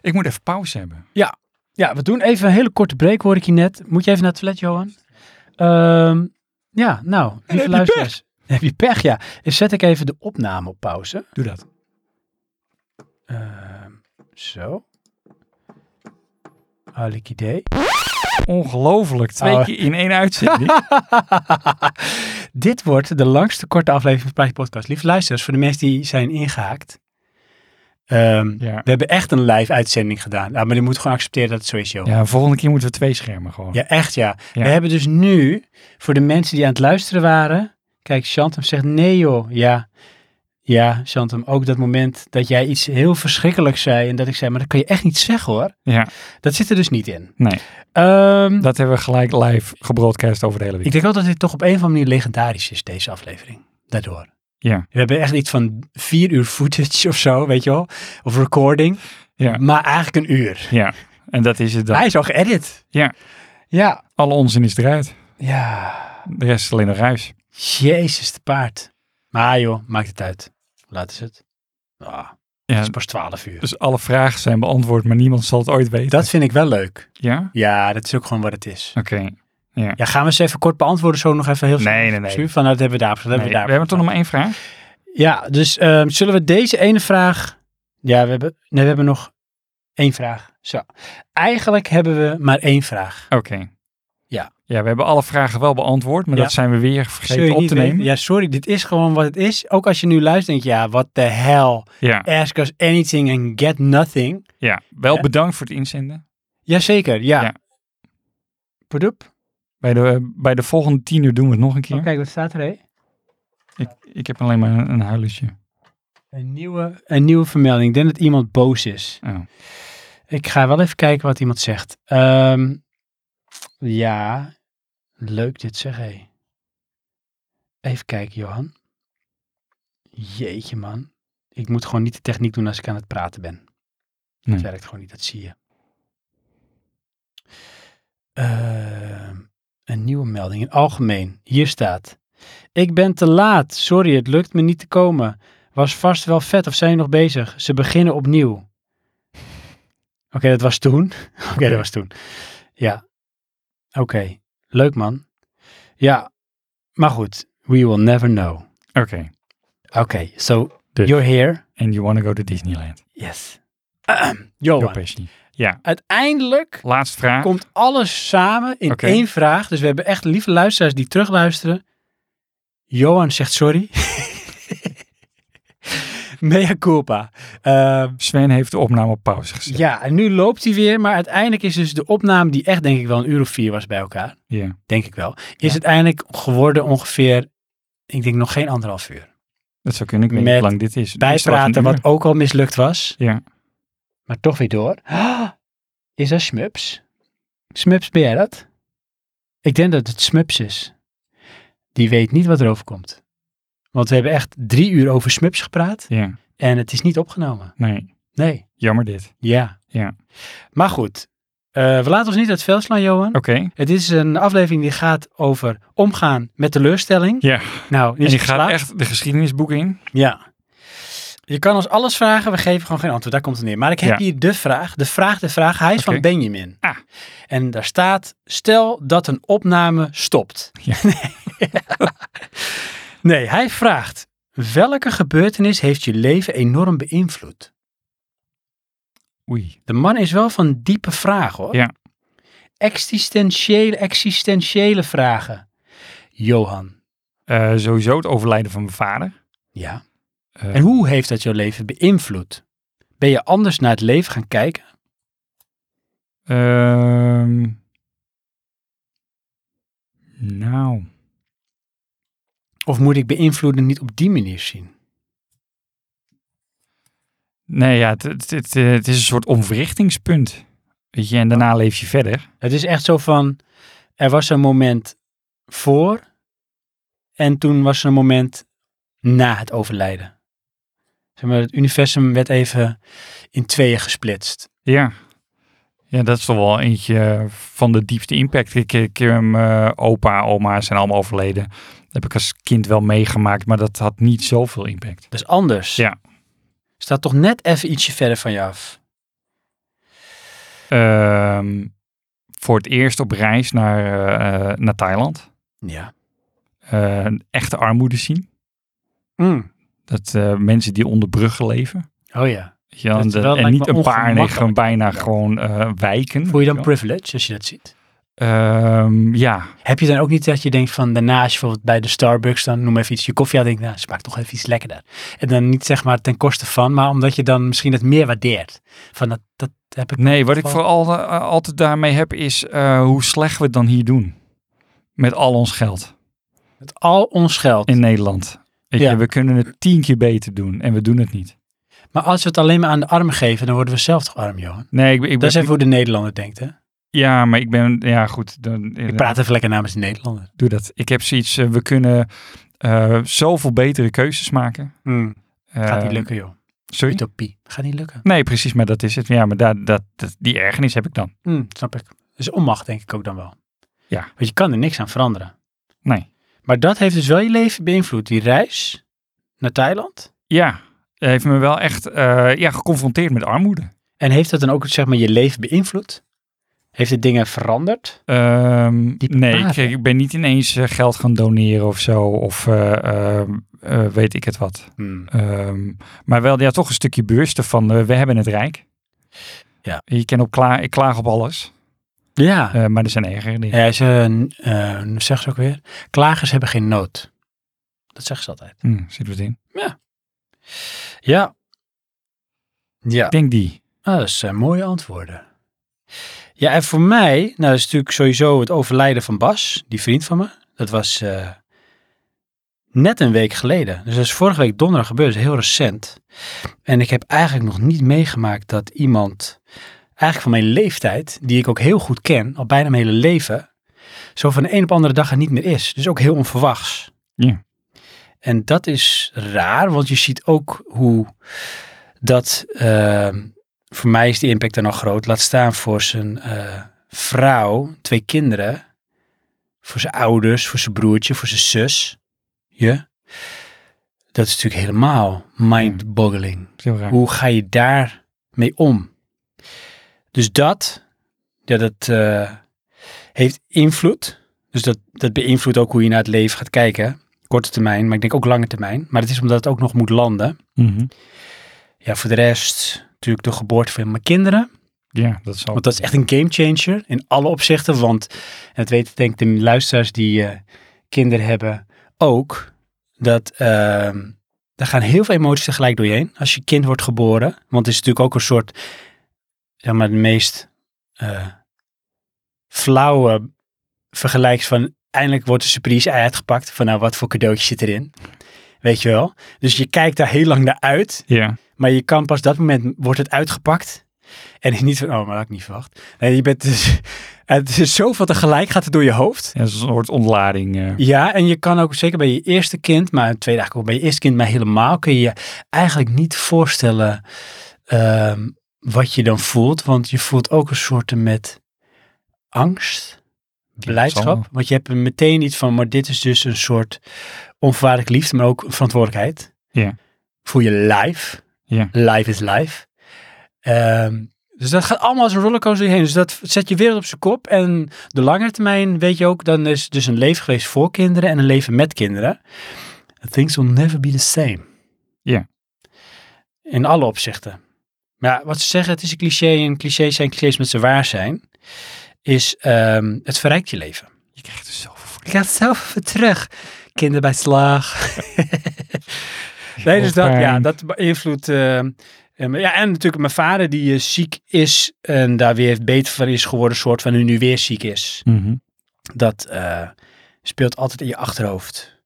S2: Ik moet even pauze hebben.
S1: Ja, we doen even een hele korte break, hoor ik je net. Moet je even naar het toilet, Johan? Ehm, ja, nou,
S2: heb
S1: lieve
S2: je
S1: luisteraars. Heb je pech, ja. Dan zet ik even de opname op pauze.
S2: Doe dat.
S1: Ehm, Zo. Alikidee.
S2: Ongelooflijk. Twee
S1: Oh.
S2: keer in één uitzending.
S1: Dit wordt de langste korte aflevering van Plaatje Podcast. Lieve luisteraars, voor de mensen die zijn ingehaakt. Ehm,
S2: ja.
S1: We hebben echt een live uitzending gedaan. Nou, maar je moet gewoon accepteren dat het zo is, joh.
S2: ja, volgende keer moeten we twee schermen gewoon.
S1: Ja, echt ja.
S2: Ja.
S1: We hebben dus nu, voor de mensen die aan het luisteren waren. Kijk, Chantem zegt nee joh. Ja, ja Chantem, ook dat moment dat jij iets heel verschrikkelijks zei. En dat ik zei, maar dat kan je echt niet zeggen hoor.
S2: Ja,
S1: Dat zit er dus niet in.
S2: Nee.
S1: Ehm,
S2: dat hebben we gelijk live gebroadcast over de hele
S1: ik
S2: wereld.
S1: denk wel dat dit toch op een of andere manier legendarisch is, deze aflevering. Daardoor.
S2: Ja.
S1: We hebben echt iets van vier uur footage of zo, weet je wel. Of recording.
S2: Ja.
S1: Maar eigenlijk een uur.
S2: Ja, en dat is het dan.
S1: Hij is al geëdit.
S2: Ja.
S1: Ja.
S2: Alle onzin is eruit.
S1: Ja.
S2: De rest is alleen nog ruis.
S1: Jezus, de paard. Maar joh, maakt het uit. Hoe Laat is het. Ah,
S2: Ja,
S1: het is pas 12 uur.
S2: dus alle vragen zijn beantwoord, maar niemand zal het ooit weten.
S1: Dat vind ik wel leuk.
S2: Ja?
S1: Ja, dat is ook gewoon wat het is.
S2: Oké.
S1: Ja, gaan we eens even kort beantwoorden, zo nog even heel snel.
S2: Nee, nee, nee.
S1: Van, nou, dat hebben we daar. Dat
S2: Nee,
S1: hebben we daar.
S2: we hebben toch nog maar één vraag?
S1: Ja, dus ehm, zullen we deze ene vraag... Ja, we hebben, nee, we hebben nog één vraag. Zo. Eigenlijk hebben we maar één vraag.
S2: Oké.
S1: Ja.
S2: Ja, we hebben alle vragen wel beantwoord, maar
S1: Ja.
S2: dat zijn we weer
S1: Zul je
S2: vergeten op
S1: niet
S2: te
S1: weten-
S2: nemen.
S1: Ja, sorry, dit is gewoon wat het is. Ook als je nu luistert, denk je, ja, what the hell.
S2: ja.
S1: Ask us anything and get nothing.
S2: Ja, wel
S1: Hè?
S2: bedankt voor het inzenden.
S1: Jazeker, ja.
S2: Ja.
S1: Poedoep.
S2: Bij de, bij de volgende tien uur doen we het nog een keer.
S1: Oh, kijk, wat staat er, hé?
S2: Ik, ik heb alleen maar een, een huilertje.
S1: Een nieuwe, een nieuwe vermelding. Ik denk dat iemand boos is.
S2: Oh.
S1: Ik ga wel even kijken wat iemand zegt. Ehm, ja, leuk dit zeg, hé. Even kijken, Johan. Jeetje, man. Ik moet gewoon niet de techniek doen als ik aan het praten ben.
S2: Nee.
S1: Dat werkt gewoon niet, dat zie je. Ehm, een nieuwe melding in algemeen. Hier staat. Ik ben te laat. Sorry, het lukt me niet te komen. Was vast wel vet of zijn je nog bezig? Ze beginnen opnieuw. Oké, dat was toen. Oké, dat was toen. Ja. Oké, leuk man. Ja, maar goed. We will never know.
S2: Oké.
S1: Oké, so
S2: Dus.
S1: you're here.
S2: And you wanna go to Disneyland.
S1: Yes. Johan,
S2: Europees niet. Ja,
S1: uiteindelijk
S2: laatste vraag.
S1: komt alles samen in
S2: Oké.
S1: één vraag. Dus we hebben echt lieve luisteraars die terugluisteren. Johan zegt sorry. Mea culpa. Ehm,
S2: Sven heeft de opname op pauze gezet.
S1: ja, en nu loopt hij weer. Maar uiteindelijk is dus de opname, die echt denk ik wel een uur of vier was bij elkaar.
S2: Ja.
S1: Denk ik wel. Is uiteindelijk geworden ongeveer, ik denk nog geen anderhalf uur.
S2: Dat zou kunnen. Ik weet niet
S1: Met
S2: hoe lang dit is. Is dat
S1: Bijpraten,
S2: een uur?
S1: wat ook al mislukt was.
S2: Ja.
S1: Maar toch weer door. Ah, Is dat Smups? Smups, ben jij dat? Ik denk dat het Smups is. Die weet niet wat er overkomt. Want we hebben echt drie uur over Smups gepraat.
S2: Ja.
S1: En het is niet opgenomen.
S2: Nee.
S1: Nee.
S2: Jammer dit.
S1: Ja.
S2: Ja.
S1: Maar goed. eh, we laten ons niet uit het veld slaan, Johan.
S2: Oké.
S1: Het is een aflevering die gaat over omgaan met teleurstelling.
S2: Ja.
S1: Nou,
S2: En
S1: is
S2: je
S1: het
S2: gaat
S1: geslaagd?
S2: echt de geschiedenisboek in.
S1: Ja. Je kan ons alles vragen, we geven gewoon geen antwoord. Daar komt het neer. Maar ik heb
S2: Ja.
S1: hier de vraag, de vraag, de vraag. Hij is
S2: Oké.
S1: van Benjamin.
S2: Ah.
S1: En daar staat, stel dat een opname stopt.
S2: Ja.
S1: Nee. nee, hij vraagt, welke gebeurtenis heeft je leven enorm beïnvloed?
S2: Oei.
S1: De man is wel van diepe vragen hoor.
S2: Ja.
S1: Existentiële, existentiële vragen. Johan.
S2: Eh, sowieso het overlijden van mijn vader.
S1: Ja.
S2: Eh,
S1: En hoe heeft dat jouw leven beïnvloed? Ben je anders naar het leven gaan kijken?
S2: Ehm. nou.
S1: Of moet ik beïnvloeden niet op die manier zien?
S2: Nee, ja, het, het, het, eh, het is een soort omverrichtingspunt. Weet je, en daarna
S1: Oh.
S2: leef je verder.
S1: Het is echt zo van, er was een moment voor en toen was er een moment na het overlijden. Zeg maar, het universum werd even in tweeën gesplitst.
S2: Ja. Ja, dat is toch wel eentje van de diepste impact. Ik, ik, eh, mijn opa, oma zijn allemaal overleden. Dat heb ik als kind wel meegemaakt, maar dat had niet zoveel impact.
S1: Dat is Dus anders.
S2: Ja.
S1: Staat toch net even ietsje verder van je af.
S2: Ehm, voor het eerst op reis naar, eh, eh, naar Thailand.
S1: Ja.
S2: Eh, een echte armoede zien.
S1: Mm.
S2: Dat eh, mensen die onder bruggen leven.
S1: Oh ja.
S2: Weet je wel,
S7: Dat is
S2: en de-
S7: wel-
S2: en
S7: lijkt
S2: niet
S7: me
S2: een paar, nee, gewoon
S7: ongemakkelijk.
S2: bijna gewoon eh, wijken.
S1: Voel je dan
S2: weet je wel.
S1: privilege als je dat ziet?
S2: Ehm, ja,
S1: Heb je dan ook niet dat je denkt van daarna, als je bijvoorbeeld bij de Starbucks, dan noem even iets je koffie aan, denk je, nou, smaakt toch even iets lekkerder. En dan niet zeg maar ten koste van, maar omdat je dan misschien het meer waardeert. Van dat, dat heb ik.
S2: Nee, wat ik
S1: Val-
S2: vooral eh, altijd daarmee heb is eh, hoe slecht we het dan hier doen. Met al ons geld
S1: Met al ons geld.
S2: in Nederland. Weet
S1: Ja.
S2: je, we kunnen het tien keer beter doen en we doen het niet.
S1: Maar als we het alleen maar aan de armen geven, dan worden we zelf toch arm, Johan?
S2: Nee, ik, ben-
S1: Dat
S2: ik ben,
S1: is even hoe de Nederlander denkt, hè?
S2: ja, maar ik ben, ja goed, dan, eh,
S1: Ik praat even lekker namens de Nederlander.
S2: doe dat. Ik heb zoiets, eh, we kunnen eh, zoveel betere keuzes maken.
S1: Gaat niet
S2: Eh,
S1: lukken, joh.
S2: Sorry?
S1: Utopie. Gaat niet lukken.
S2: Nee, precies, maar dat is het. Ja, maar dat, dat, dat- die ergernis heb ik dan.
S1: Hmm, snap ik. Dus onmacht denk ik ook dan wel.
S2: Ja.
S1: Want je kan er niks aan veranderen.
S2: Nee.
S1: Maar dat heeft dus wel je leven beïnvloed. Die reis naar Thailand.
S2: Ja, heeft me wel echt eh, ja, geconfronteerd met armoede.
S1: En heeft dat dan ook zeg maar, je leven beïnvloed? Heeft het dingen veranderd?
S2: Ehm,
S1: Die
S2: nee, ik,
S1: paarden.
S2: ik ben niet ineens eh, geld gaan doneren of zo. Of eh, ehm, eh, weet ik het wat.
S1: Hmm.
S2: Ehm, maar wel ja, toch een stukje bewuster van eh, we hebben het rijk.
S1: Ja.
S2: Je kan op kla ik klaag op alles.
S1: Ja.
S2: eh, maar er zijn ergere dingen.
S1: ja ze, eh, hoe zeggen ze ook weer, klagers hebben geen nood. Dat zeggen ze altijd.
S2: Hm, zit wat in.
S1: Ja. Ja.
S2: Ik denk die.
S1: Ah, dat zijn mooie antwoorden. Ja, en voor mij, nou, dat is natuurlijk sowieso het overlijden van Bas, die vriend van me. Dat was eh, net een week geleden. Dus dat is vorige week donderdag gebeurd, dus heel recent. En ik heb eigenlijk nog niet meegemaakt dat iemand, eigenlijk van mijn leeftijd, die ik ook heel goed ken, al bijna mijn hele leven, zo van de een op de andere dag er niet meer is. Dus ook heel onverwachts.
S2: Ja.
S1: En dat is raar, want je ziet ook hoe dat. ehm, voor mij is die impact dan al groot. Laat staan voor zijn eh, vrouw, twee kinderen, voor zijn ouders, voor zijn broertje, voor zijn zus. Ja? Dat is natuurlijk helemaal mind-boggling.
S2: Dat is heel raar.
S1: Hoe ga je daar mee om? Dus dat, ja, dat eh, heeft invloed. Dus dat, dat beïnvloedt ook hoe je naar het leven gaat kijken. Korte termijn, maar ik denk ook lange termijn. Maar het is omdat het ook nog moet landen.
S2: Mhm.
S1: Ja, voor de rest natuurlijk de geboorte van mijn kinderen.
S2: Ja, dat zal.
S1: Want dat is echt een gamechanger in alle opzichten. Want, en dat weten denk ik de luisteraars die eh, kinderen hebben ook, dat ehm er gaan heel veel emoties tegelijk door je heen als je kind wordt geboren. Want het is natuurlijk ook een soort, zeg maar, de meest eh, flauwe vergelijks van eindelijk wordt de surprise ei uitgepakt. Van nou, wat voor cadeautje zit erin? Weet je wel? Dus je kijkt daar heel lang naar uit.
S2: Ja,
S1: Maar je kan pas dat moment wordt het uitgepakt. En niet van, oh, maar dat had ik niet verwacht. Nee, je bent dus, het is zoveel tegelijk gaat het door je hoofd.
S2: Ja, dat is een soort ontlading. eh.
S1: Ja, en je kan ook zeker bij je eerste kind, maar het tweede eigenlijk ook bij je eerste kind, maar helemaal kun je je eigenlijk niet voorstellen ehm, wat je dan voelt. Want je voelt ook een soort met angst,
S2: zal
S1: blijdschap.
S2: wel.
S1: Want je hebt er meteen iets van, maar dit is dus een soort onvoorwaardelijk liefde, maar ook verantwoordelijkheid.
S2: Ja.
S1: Voor je lijf.
S2: Ja.
S1: Life is life. Ehm, dus dat gaat allemaal als een rollercoaster heen. Dus dat zet je wereld op zijn kop. En de langere termijn weet je ook, dan is het dus een leven geweest voor kinderen en een leven met kinderen. Things will never be the same.
S2: Ja.
S1: In alle opzichten. Maar ja, wat ze zeggen, het is een cliché en clichés zijn clichés met ze waar zijn, is ehm, het verrijkt je dus leven.
S2: Je krijgt er zoveel voor.
S1: Ik ga het zelf even terug. Kinderbijslag. nee, dus dat, ja,
S2: Hoofdpijn.
S1: dat beïnvloedt. eh, eh, maar ja, en natuurlijk mijn vader die eh, ziek is en daar weer beter van is geworden, soort van en nu weer ziek is.
S2: Mhm.
S1: Dat eh, speelt altijd in je achterhoofd.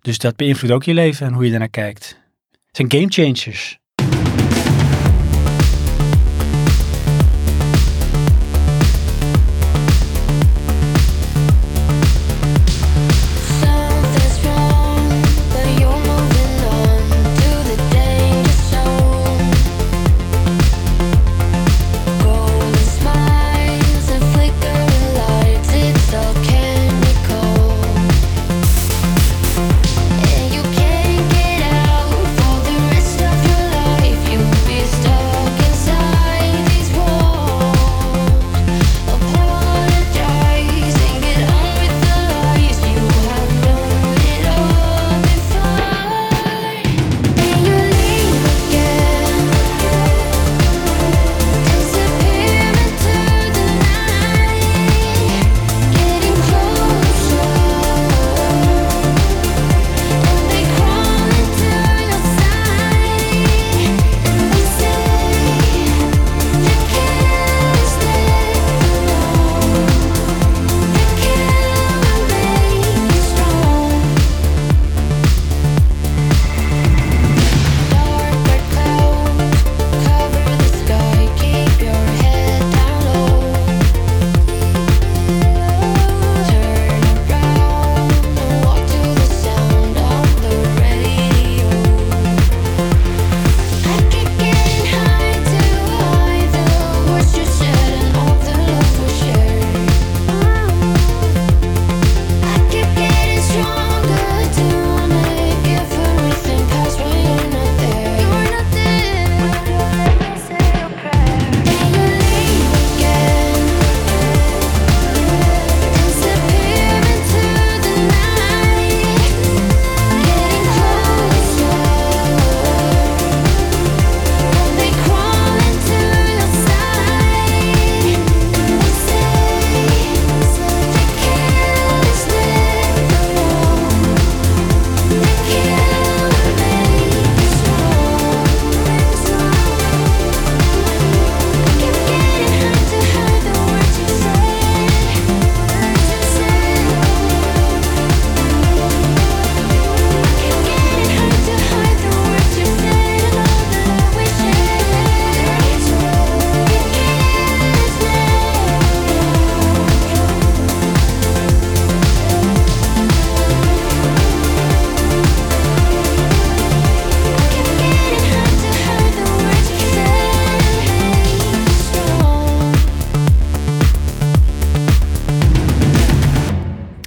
S1: Dus dat beïnvloedt ook je leven en hoe je daarnaar kijkt. Het zijn game changers.
S6: Something's wrong, but you're moving on to the danger zone. Golden smiles and flickering lights, it's all chemical, and you can't get out for the rest of your life.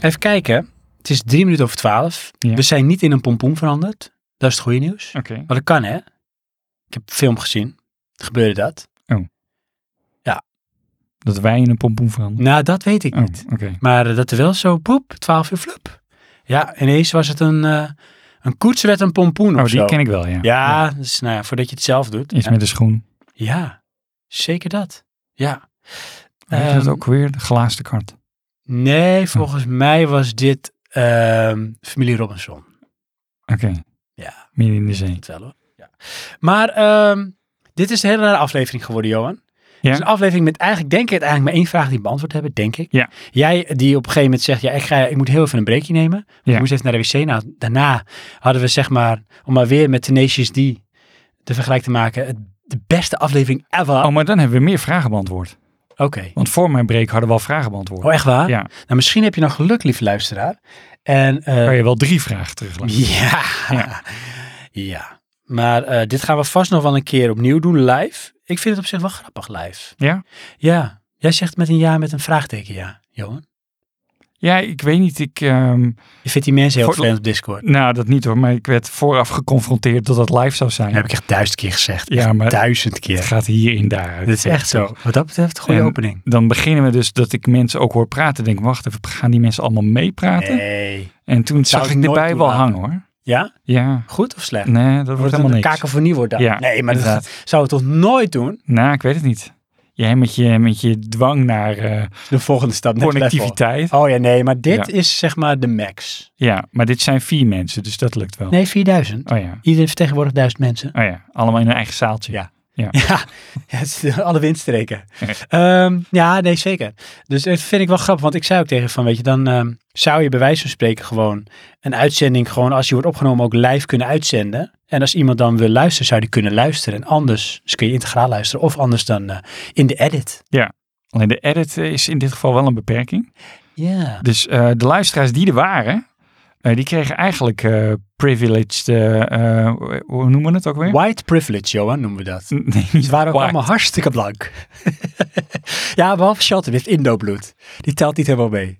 S1: Even kijken. Het is drie minuten over twaalf.
S2: Ja.
S1: We zijn niet in een pompoen veranderd. Dat is het goede nieuws.
S2: Oké.
S1: Maar dat kan, hè? Ik heb een film gezien. Gebeurde dat?
S2: Dat wij in een pompoen veranderen.
S1: Nou, dat weet ik
S2: Oh,
S1: niet.
S2: oké.
S1: Maar eh, dat er wel zo, poep, 12 uur flup. Ja, ineens was het een, eh, een koets werd een pompoen
S2: Oh,
S1: of
S2: die
S1: zo.
S2: ken ik wel, ja.
S1: Ja, dus, nou ja, voordat je het zelf doet.
S2: Iets
S1: ja.
S2: met de schoen.
S1: Ja, zeker dat. Ja.
S2: Hoe heet dat
S1: Ehm,
S2: ook weer? De glazen kart.
S1: Nee,
S2: Oh.
S1: volgens mij was dit ehm, Familie Robinson.
S2: Oké.
S1: Ja.
S2: Meer in de zee.
S1: Dat wel hoor. Ja. Maar ehm, dit is een hele rare aflevering geworden, Johan. Het
S2: Ja.
S1: is een aflevering met eigenlijk, denk ik, het eigenlijk maar één vraag die we beantwoord hebben, denk ik.
S2: Ja.
S1: Jij die op een gegeven moment zegt, ja, ik, ga, ik moet heel even een breakje nemen.
S2: Ja.
S1: Ik moest even naar de wc. Nou, daarna hadden we zeg maar, om maar weer met Tenacious D te vergelijk te maken, het, de beste aflevering ever.
S2: Oh, maar dan hebben we meer vragen beantwoord.
S1: Oké.
S2: Want voor mijn break hadden we al vragen beantwoord.
S1: Oh, echt waar?
S2: Ja.
S1: Nou, misschien heb je nog geluk, lieve luisteraar. En eh,
S2: Kan je wel drie vragen teruglaten.
S1: Ja. ja.
S2: Ja.
S1: Maar eh, dit gaan we vast nog wel een keer opnieuw doen live. Ik vind het op zich wel grappig live.
S2: Ja?
S1: Ja. Jij zegt met een ja met een vraagteken ja, Johan.
S2: Ja, ik weet niet. Ik, ehm,
S1: Je vindt die mensen heel
S2: Voor-
S1: vervelend op Discord.
S2: nou, dat niet hoor. Maar ik werd vooraf geconfronteerd dat dat live zou zijn.
S1: Dat heb ik echt duizend keer gezegd.
S2: Ja,
S1: Echt
S2: maar-
S1: Duizend
S2: Het
S1: keer.
S2: gaat hierin daaruit.
S1: Dit is echt zo. Wat dat betreft, goede
S2: En-
S1: opening.
S2: Dan beginnen we dus dat ik mensen ook hoor praten. Denk, wacht even, gaan die mensen allemaal meepraten?
S1: Nee.
S2: En toen
S1: Zou
S2: zag
S1: ik
S2: ik
S1: nooit
S2: erbij wel
S1: toelaten.
S2: hangen hoor.
S1: Ja?
S2: Ja,
S1: Goed of slecht?
S2: nee, dat wordt
S1: het
S2: helemaal
S1: een
S2: niks.
S1: kakofonie wordt dat?
S2: Ja,
S1: nee, maar dat
S2: inderdaad.
S1: gaat- zou het toch nooit doen?
S2: Nou, ik weet het niet. Jij met je, met je dwang naar eh,
S1: De volgende stap. next level.
S2: connectiviteit.
S1: Oh ja, nee, maar dit
S2: Ja.
S1: is zeg maar de max.
S2: Ja, maar dit zijn vier mensen, dus dat lukt wel.
S1: Nee, 4000.
S2: Oh ja,
S1: Iedereen vertegenwoordigt duizend mensen.
S2: oh ja, allemaal in een eigen zaaltje.
S1: Ja. Ja, ja, het is de- alle windstreken. Ehm, ja, nee, zeker. Dus dat vind ik wel grappig, want ik zei ook tegen van, weet je, dan ehm, zou je bij wijze van spreken gewoon een uitzending gewoon, als je wordt opgenomen, ook live kunnen uitzenden. En als iemand dan wil luisteren, zou die kunnen luisteren. En anders dus kun je integraal luisteren of anders dan eh, in de edit.
S2: Alleen de edit eh, is in dit geval wel een beperking.
S1: Ja.
S2: Dus eh, de luisteraars die er waren, eh, die kregen eigenlijk eh, privileged, eh, eh, hoe noemen we het ook weer?
S1: White privilege, Johan, noemen we dat.
S2: Nee,
S1: Ze waren ook
S2: white.
S1: allemaal hartstikke blank. ja, behalve Shelton heeft Indo-bloed. Die telt niet helemaal mee.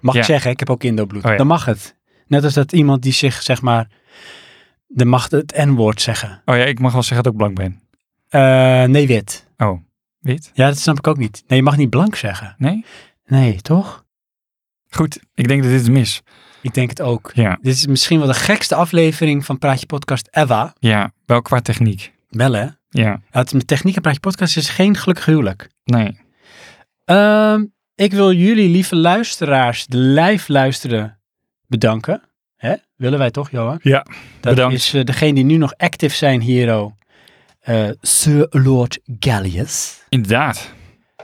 S1: Mag
S2: Ja.
S1: ik zeggen, ik heb ook Indo-bloed.
S2: Oh ja.
S1: Dan mag het. Net als dat iemand die zich, zeg maar, de mag het N-woord zeggen.
S2: Oh ja, ik mag wel zeggen dat ik blank ben.
S1: Eh, nee, wit.
S2: Oh, wit?
S1: Ja, dat snap ik ook niet. Nee, je mag niet blank zeggen.
S2: Nee?
S1: Nee, toch?
S2: Goed, ik denk dat dit het mis.
S1: Ik denk het ook.
S2: Ja,
S1: Dit is misschien wel de gekste aflevering van Praatje Podcast Eva.
S2: ja, wel qua techniek.
S1: Wel, hè?
S2: Ja,
S1: Ja, Het techniek en Praatje Podcast is geen gelukkig huwelijk.
S2: nee.
S1: Ehm, ik wil jullie, lieve luisteraars, de live luisteren, bedanken. Hè? Willen wij toch, Johan?
S2: Ja,
S1: Dat
S2: bedankt.
S1: is eh, degene die nu nog actief zijn, Hero. Eh, Sir Lord Gallius.
S2: Inderdaad.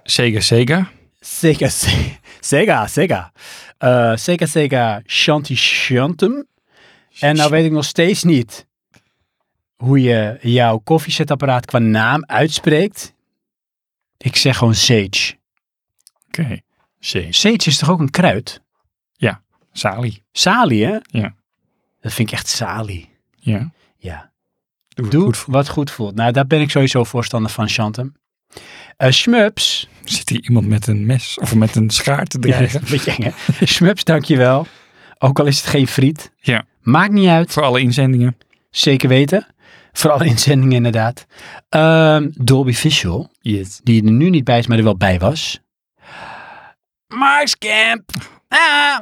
S2: Zeker, zeker.
S1: Sega, se- Sega, Sega. Eh, Sega, Sega, Shanti Shantum. En nou weet ik nog steeds niet hoe je jouw koffiezetapparaat qua naam uitspreekt. Ik zeg gewoon Sage.
S2: Oké. Zeker.
S1: Sage is toch ook een kruid?
S2: Sali.
S1: Salie, hè?
S2: Ja.
S1: Dat vind ik echt salie.
S2: Ja.
S1: Ja.
S2: Doe,
S1: Doe
S2: goed.
S1: wat goed voelt. Nou, daar ben ik sowieso voorstander van, Chantem. Eh Schmups.
S2: Zit hier iemand met een mes of met een schaar te
S1: Ja,
S2: dreigen?
S1: een beetje eng, hè? Schmups, dankjewel. Ook al is het geen friet.
S2: Ja.
S1: Maakt niet uit.
S2: Voor alle inzendingen.
S1: Zeker weten. Voor alle inzendingen inderdaad. Ehm, Dolby Visual,
S2: Yes.
S1: die er nu niet bij is, maar er wel bij was. Marscamp. Ah,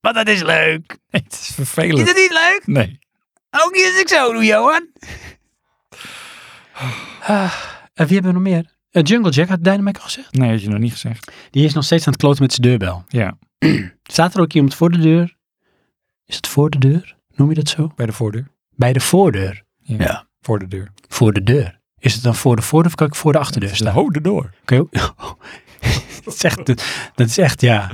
S1: want dat is leuk.
S2: het is vervelend.
S1: niet leuk?
S2: Nee.
S1: Ook niet als ik zo doe, Johan. Ah, en wie hebben we nog meer? Eh, Jungle Jack had Dynamic al gezegd.
S2: Nee, had je nog niet gezegd.
S1: Die is nog steeds aan het kloten met zijn deurbel.
S2: Ja.
S1: Staat er ook iemand voor de deur? Is het voor de deur? Noem je dat zo?
S2: Bij de voordeur.
S1: Bij de voordeur.
S2: Ja.
S1: Ja.
S2: Voor de deur.
S1: Voor de deur. Is het dan voor de voordeur of kan ik voor Oh, de achterdeur staan?
S2: Hode door.
S1: Kun je ook- dat, is echt, dat is echt, ja.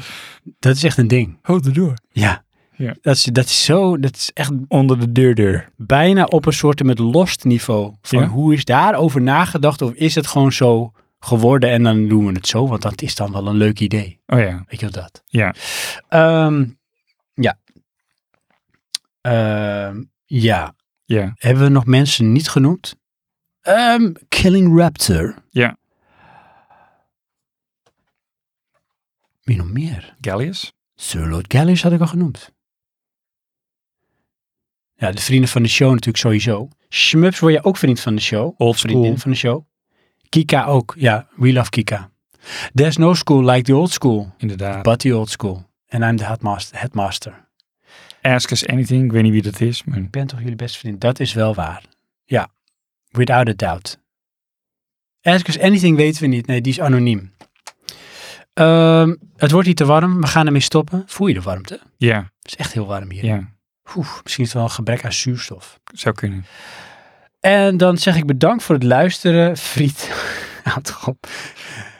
S1: Dat is echt een ding.
S2: Hode Oh, door.
S1: Ja.
S2: Ja.
S1: Dat, is, dat is zo, dat is echt
S2: Onder de deurdeur.
S1: bijna op een soort met lost niveau. Van
S2: Ja.
S1: hoe is daarover nagedacht of is het gewoon zo geworden en dan doen we het zo, want dat is dan wel een leuk idee.
S2: Oh ja.
S1: Weet je wel dat?
S2: Ja.
S1: Ehm, ja. Ehm, ja.
S2: Ja.
S1: Hebben we nog mensen niet genoemd? Ehm, Killing Raptor.
S2: Ja.
S1: Wie nog meer?
S2: Gallius.
S1: Sir Lord Gallish had ik al genoemd. Ja, de vrienden van de show natuurlijk sowieso. Schmups word je ook vriend van de show.
S2: Old
S1: Vriendin
S2: school.
S1: van de show. Kika ook. Ja, we love Kika. There's no school like the old school.
S2: Inderdaad.
S1: But the old school. And I'm the headmaster. headmaster.
S2: Ask us anything. Ik weet niet wie dat is. Maar...
S1: Ik ben toch jullie beste vriend? Dat is wel waar. Ja, without a doubt. Ask us anything weten we niet. Nee, die is anoniem. Ehm, het wordt hier te warm. We gaan ermee stoppen. Voel je de warmte?
S2: Ja,
S1: Het is echt heel warm hier.
S2: ja.
S1: Oeh, misschien is het wel een gebrek aan zuurstof.
S2: Zou kunnen.
S1: En dan zeg ik bedankt voor het luisteren. Friet, houd toch op.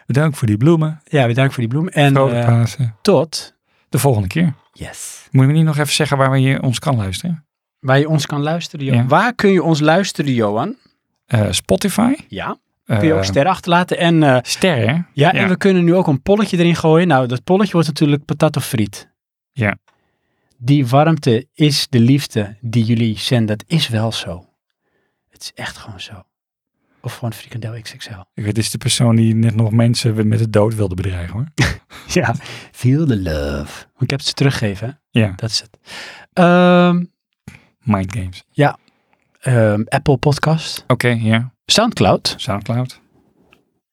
S2: Bedankt voor die bloemen.
S1: Ja, bedankt voor die bloem. En
S2: Vrolijk
S1: eh,
S2: Pasen.
S1: tot...
S2: De volgende keer.
S1: Yes.
S2: Moet je me niet nog even zeggen waar we je ons kan luisteren?
S1: Waar je ons kan luisteren, Johan.
S2: Ja.
S1: Waar kun je ons luisteren, Johan?
S2: Eh, Spotify.
S1: Ja. Kun je ook
S2: Eh,
S1: sterren achterlaten. En eh,
S2: sterren? hè?
S1: Ja,
S2: Ja.
S1: en we kunnen nu ook een polletje erin gooien. Nou, dat polletje wordt natuurlijk patat of friet.
S2: Ja.
S1: Die warmte is de liefde die jullie zenden. Dat is wel zo. Het is echt gewoon zo. Of gewoon frikandel XXL.
S2: Ik weet, dit is de persoon die net nog mensen met de dood wilde bedreigen hoor.
S1: Ja, feel the love. Want Ik heb het ze teruggegeven, hè?
S2: Ja,
S1: dat is het. Ehm,
S2: Mind Games.
S1: ehm, Apple Podcast,
S2: Oké, ja.
S1: Soundcloud,
S2: Soundcloud.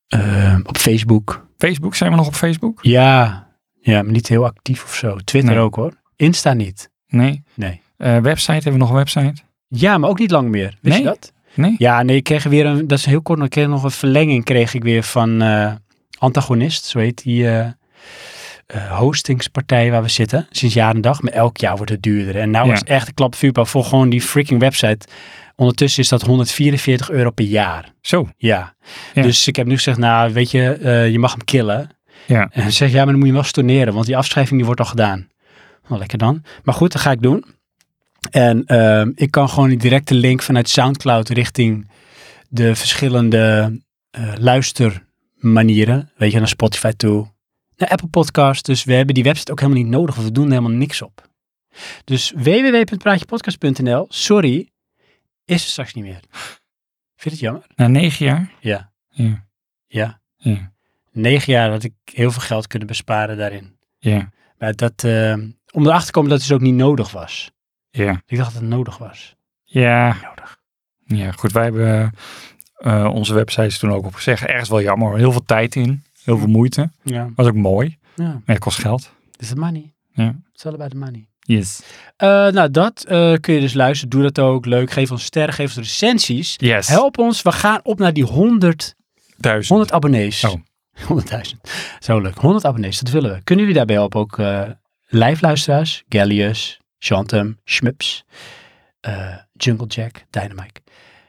S1: ehm, op Facebook.
S2: Facebook, zijn we nog op Facebook?
S1: Ja, ja, maar niet heel actief of zo. Twitter
S2: Nee.
S1: ook hoor. Insta niet.
S2: Nee.
S1: Nee.
S2: Eh, website, hebben we nog een website?
S1: Ja, maar ook niet lang meer. Wist je
S2: Nee?
S1: dat?
S2: Nee?
S1: Ja, nee, ik kreeg weer een, dat is heel kort, maar ik kreeg nog een verlenging kreeg ik weer van eh, Antagonist, zo heet die eh, eh, hostingspartij waar we zitten, sinds jaar en dag. Maar elk jaar wordt het duurder. En nou
S2: Ja.
S1: is het echt een klap vuurpaal voor gewoon die freaking website. Ondertussen is dat 144 euro per jaar.
S2: Zo.
S1: Ja.
S2: Ja.
S1: Dus ik heb nu gezegd, nou weet je, eh, je mag hem killen.
S2: Ja.
S1: En ze zegt, ja, maar dan moet je hem wel storneren, want die afschrijving die wordt al gedaan. Nou, lekker dan. Maar goed, dat ga ik doen. En ehm, ik kan gewoon die directe link vanuit Soundcloud richting de verschillende eh, luistermanieren. Weet je, naar Spotify toe, naar Apple Podcast. Dus we hebben die website ook helemaal niet nodig, want we doen er helemaal niks op. Dus www.praatjepodcast.nl, sorry, is er straks niet meer. Vind je het jammer?
S2: Na negen jaar?
S1: Ja.
S2: Ja.
S1: Ja.
S2: Ja.
S1: Negen jaar had ik heel veel geld kunnen besparen daarin.
S2: Ja.
S1: Maar dat, eh, om erachter te komen dat het dus ook niet nodig was.
S2: Ja.
S1: Ik dacht dat het nodig was.
S2: Ja.
S1: Nodig.
S2: Ja, goed. Wij hebben eh, onze websites toen ook op gezegd. Ergens wel jammer. hoor. Heel veel tijd in. Heel veel moeite.
S1: Ja.
S2: Was ook mooi.
S1: ja.
S2: Maar het kost geld.
S1: Is het money?
S2: Ja.
S1: It's all about the money.
S2: Yes.
S1: Eh, nou, dat eh, kun je dus luisteren. Doe dat ook. Leuk. Geef ons sterren. Geef ons recensies.
S2: Yes.
S1: Help ons. We gaan op naar die 100,
S2: Duizend.
S1: 100 abonnees.
S2: Oh.
S1: 100.000. Zo leuk. 100 abonnees. Dat willen we. Kunnen jullie daarbij helpen? Ook eh live luisteraars. Gallius, Chantem, Schmups, eh, Jungle Jack, Dynamite.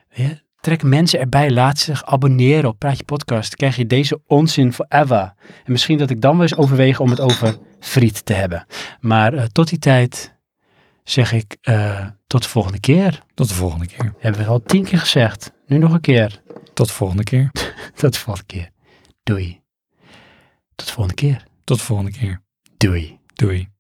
S1: Weet je, Trek mensen erbij, laat ze zich abonneren op Praatje Podcast. Dan krijg je deze onzin forever. En misschien dat ik dan wel eens overweeg om het over friet te hebben. Maar eh, tot die tijd zeg ik eh, tot de volgende keer.
S2: Tot de volgende keer.
S1: Hebben we al tien keer gezegd. Nu nog een keer.
S2: Tot de volgende keer.
S1: Tot de volgende keer. Doei. Tot de volgende keer.
S2: Tot de volgende keer.
S1: Doei.
S2: Doei.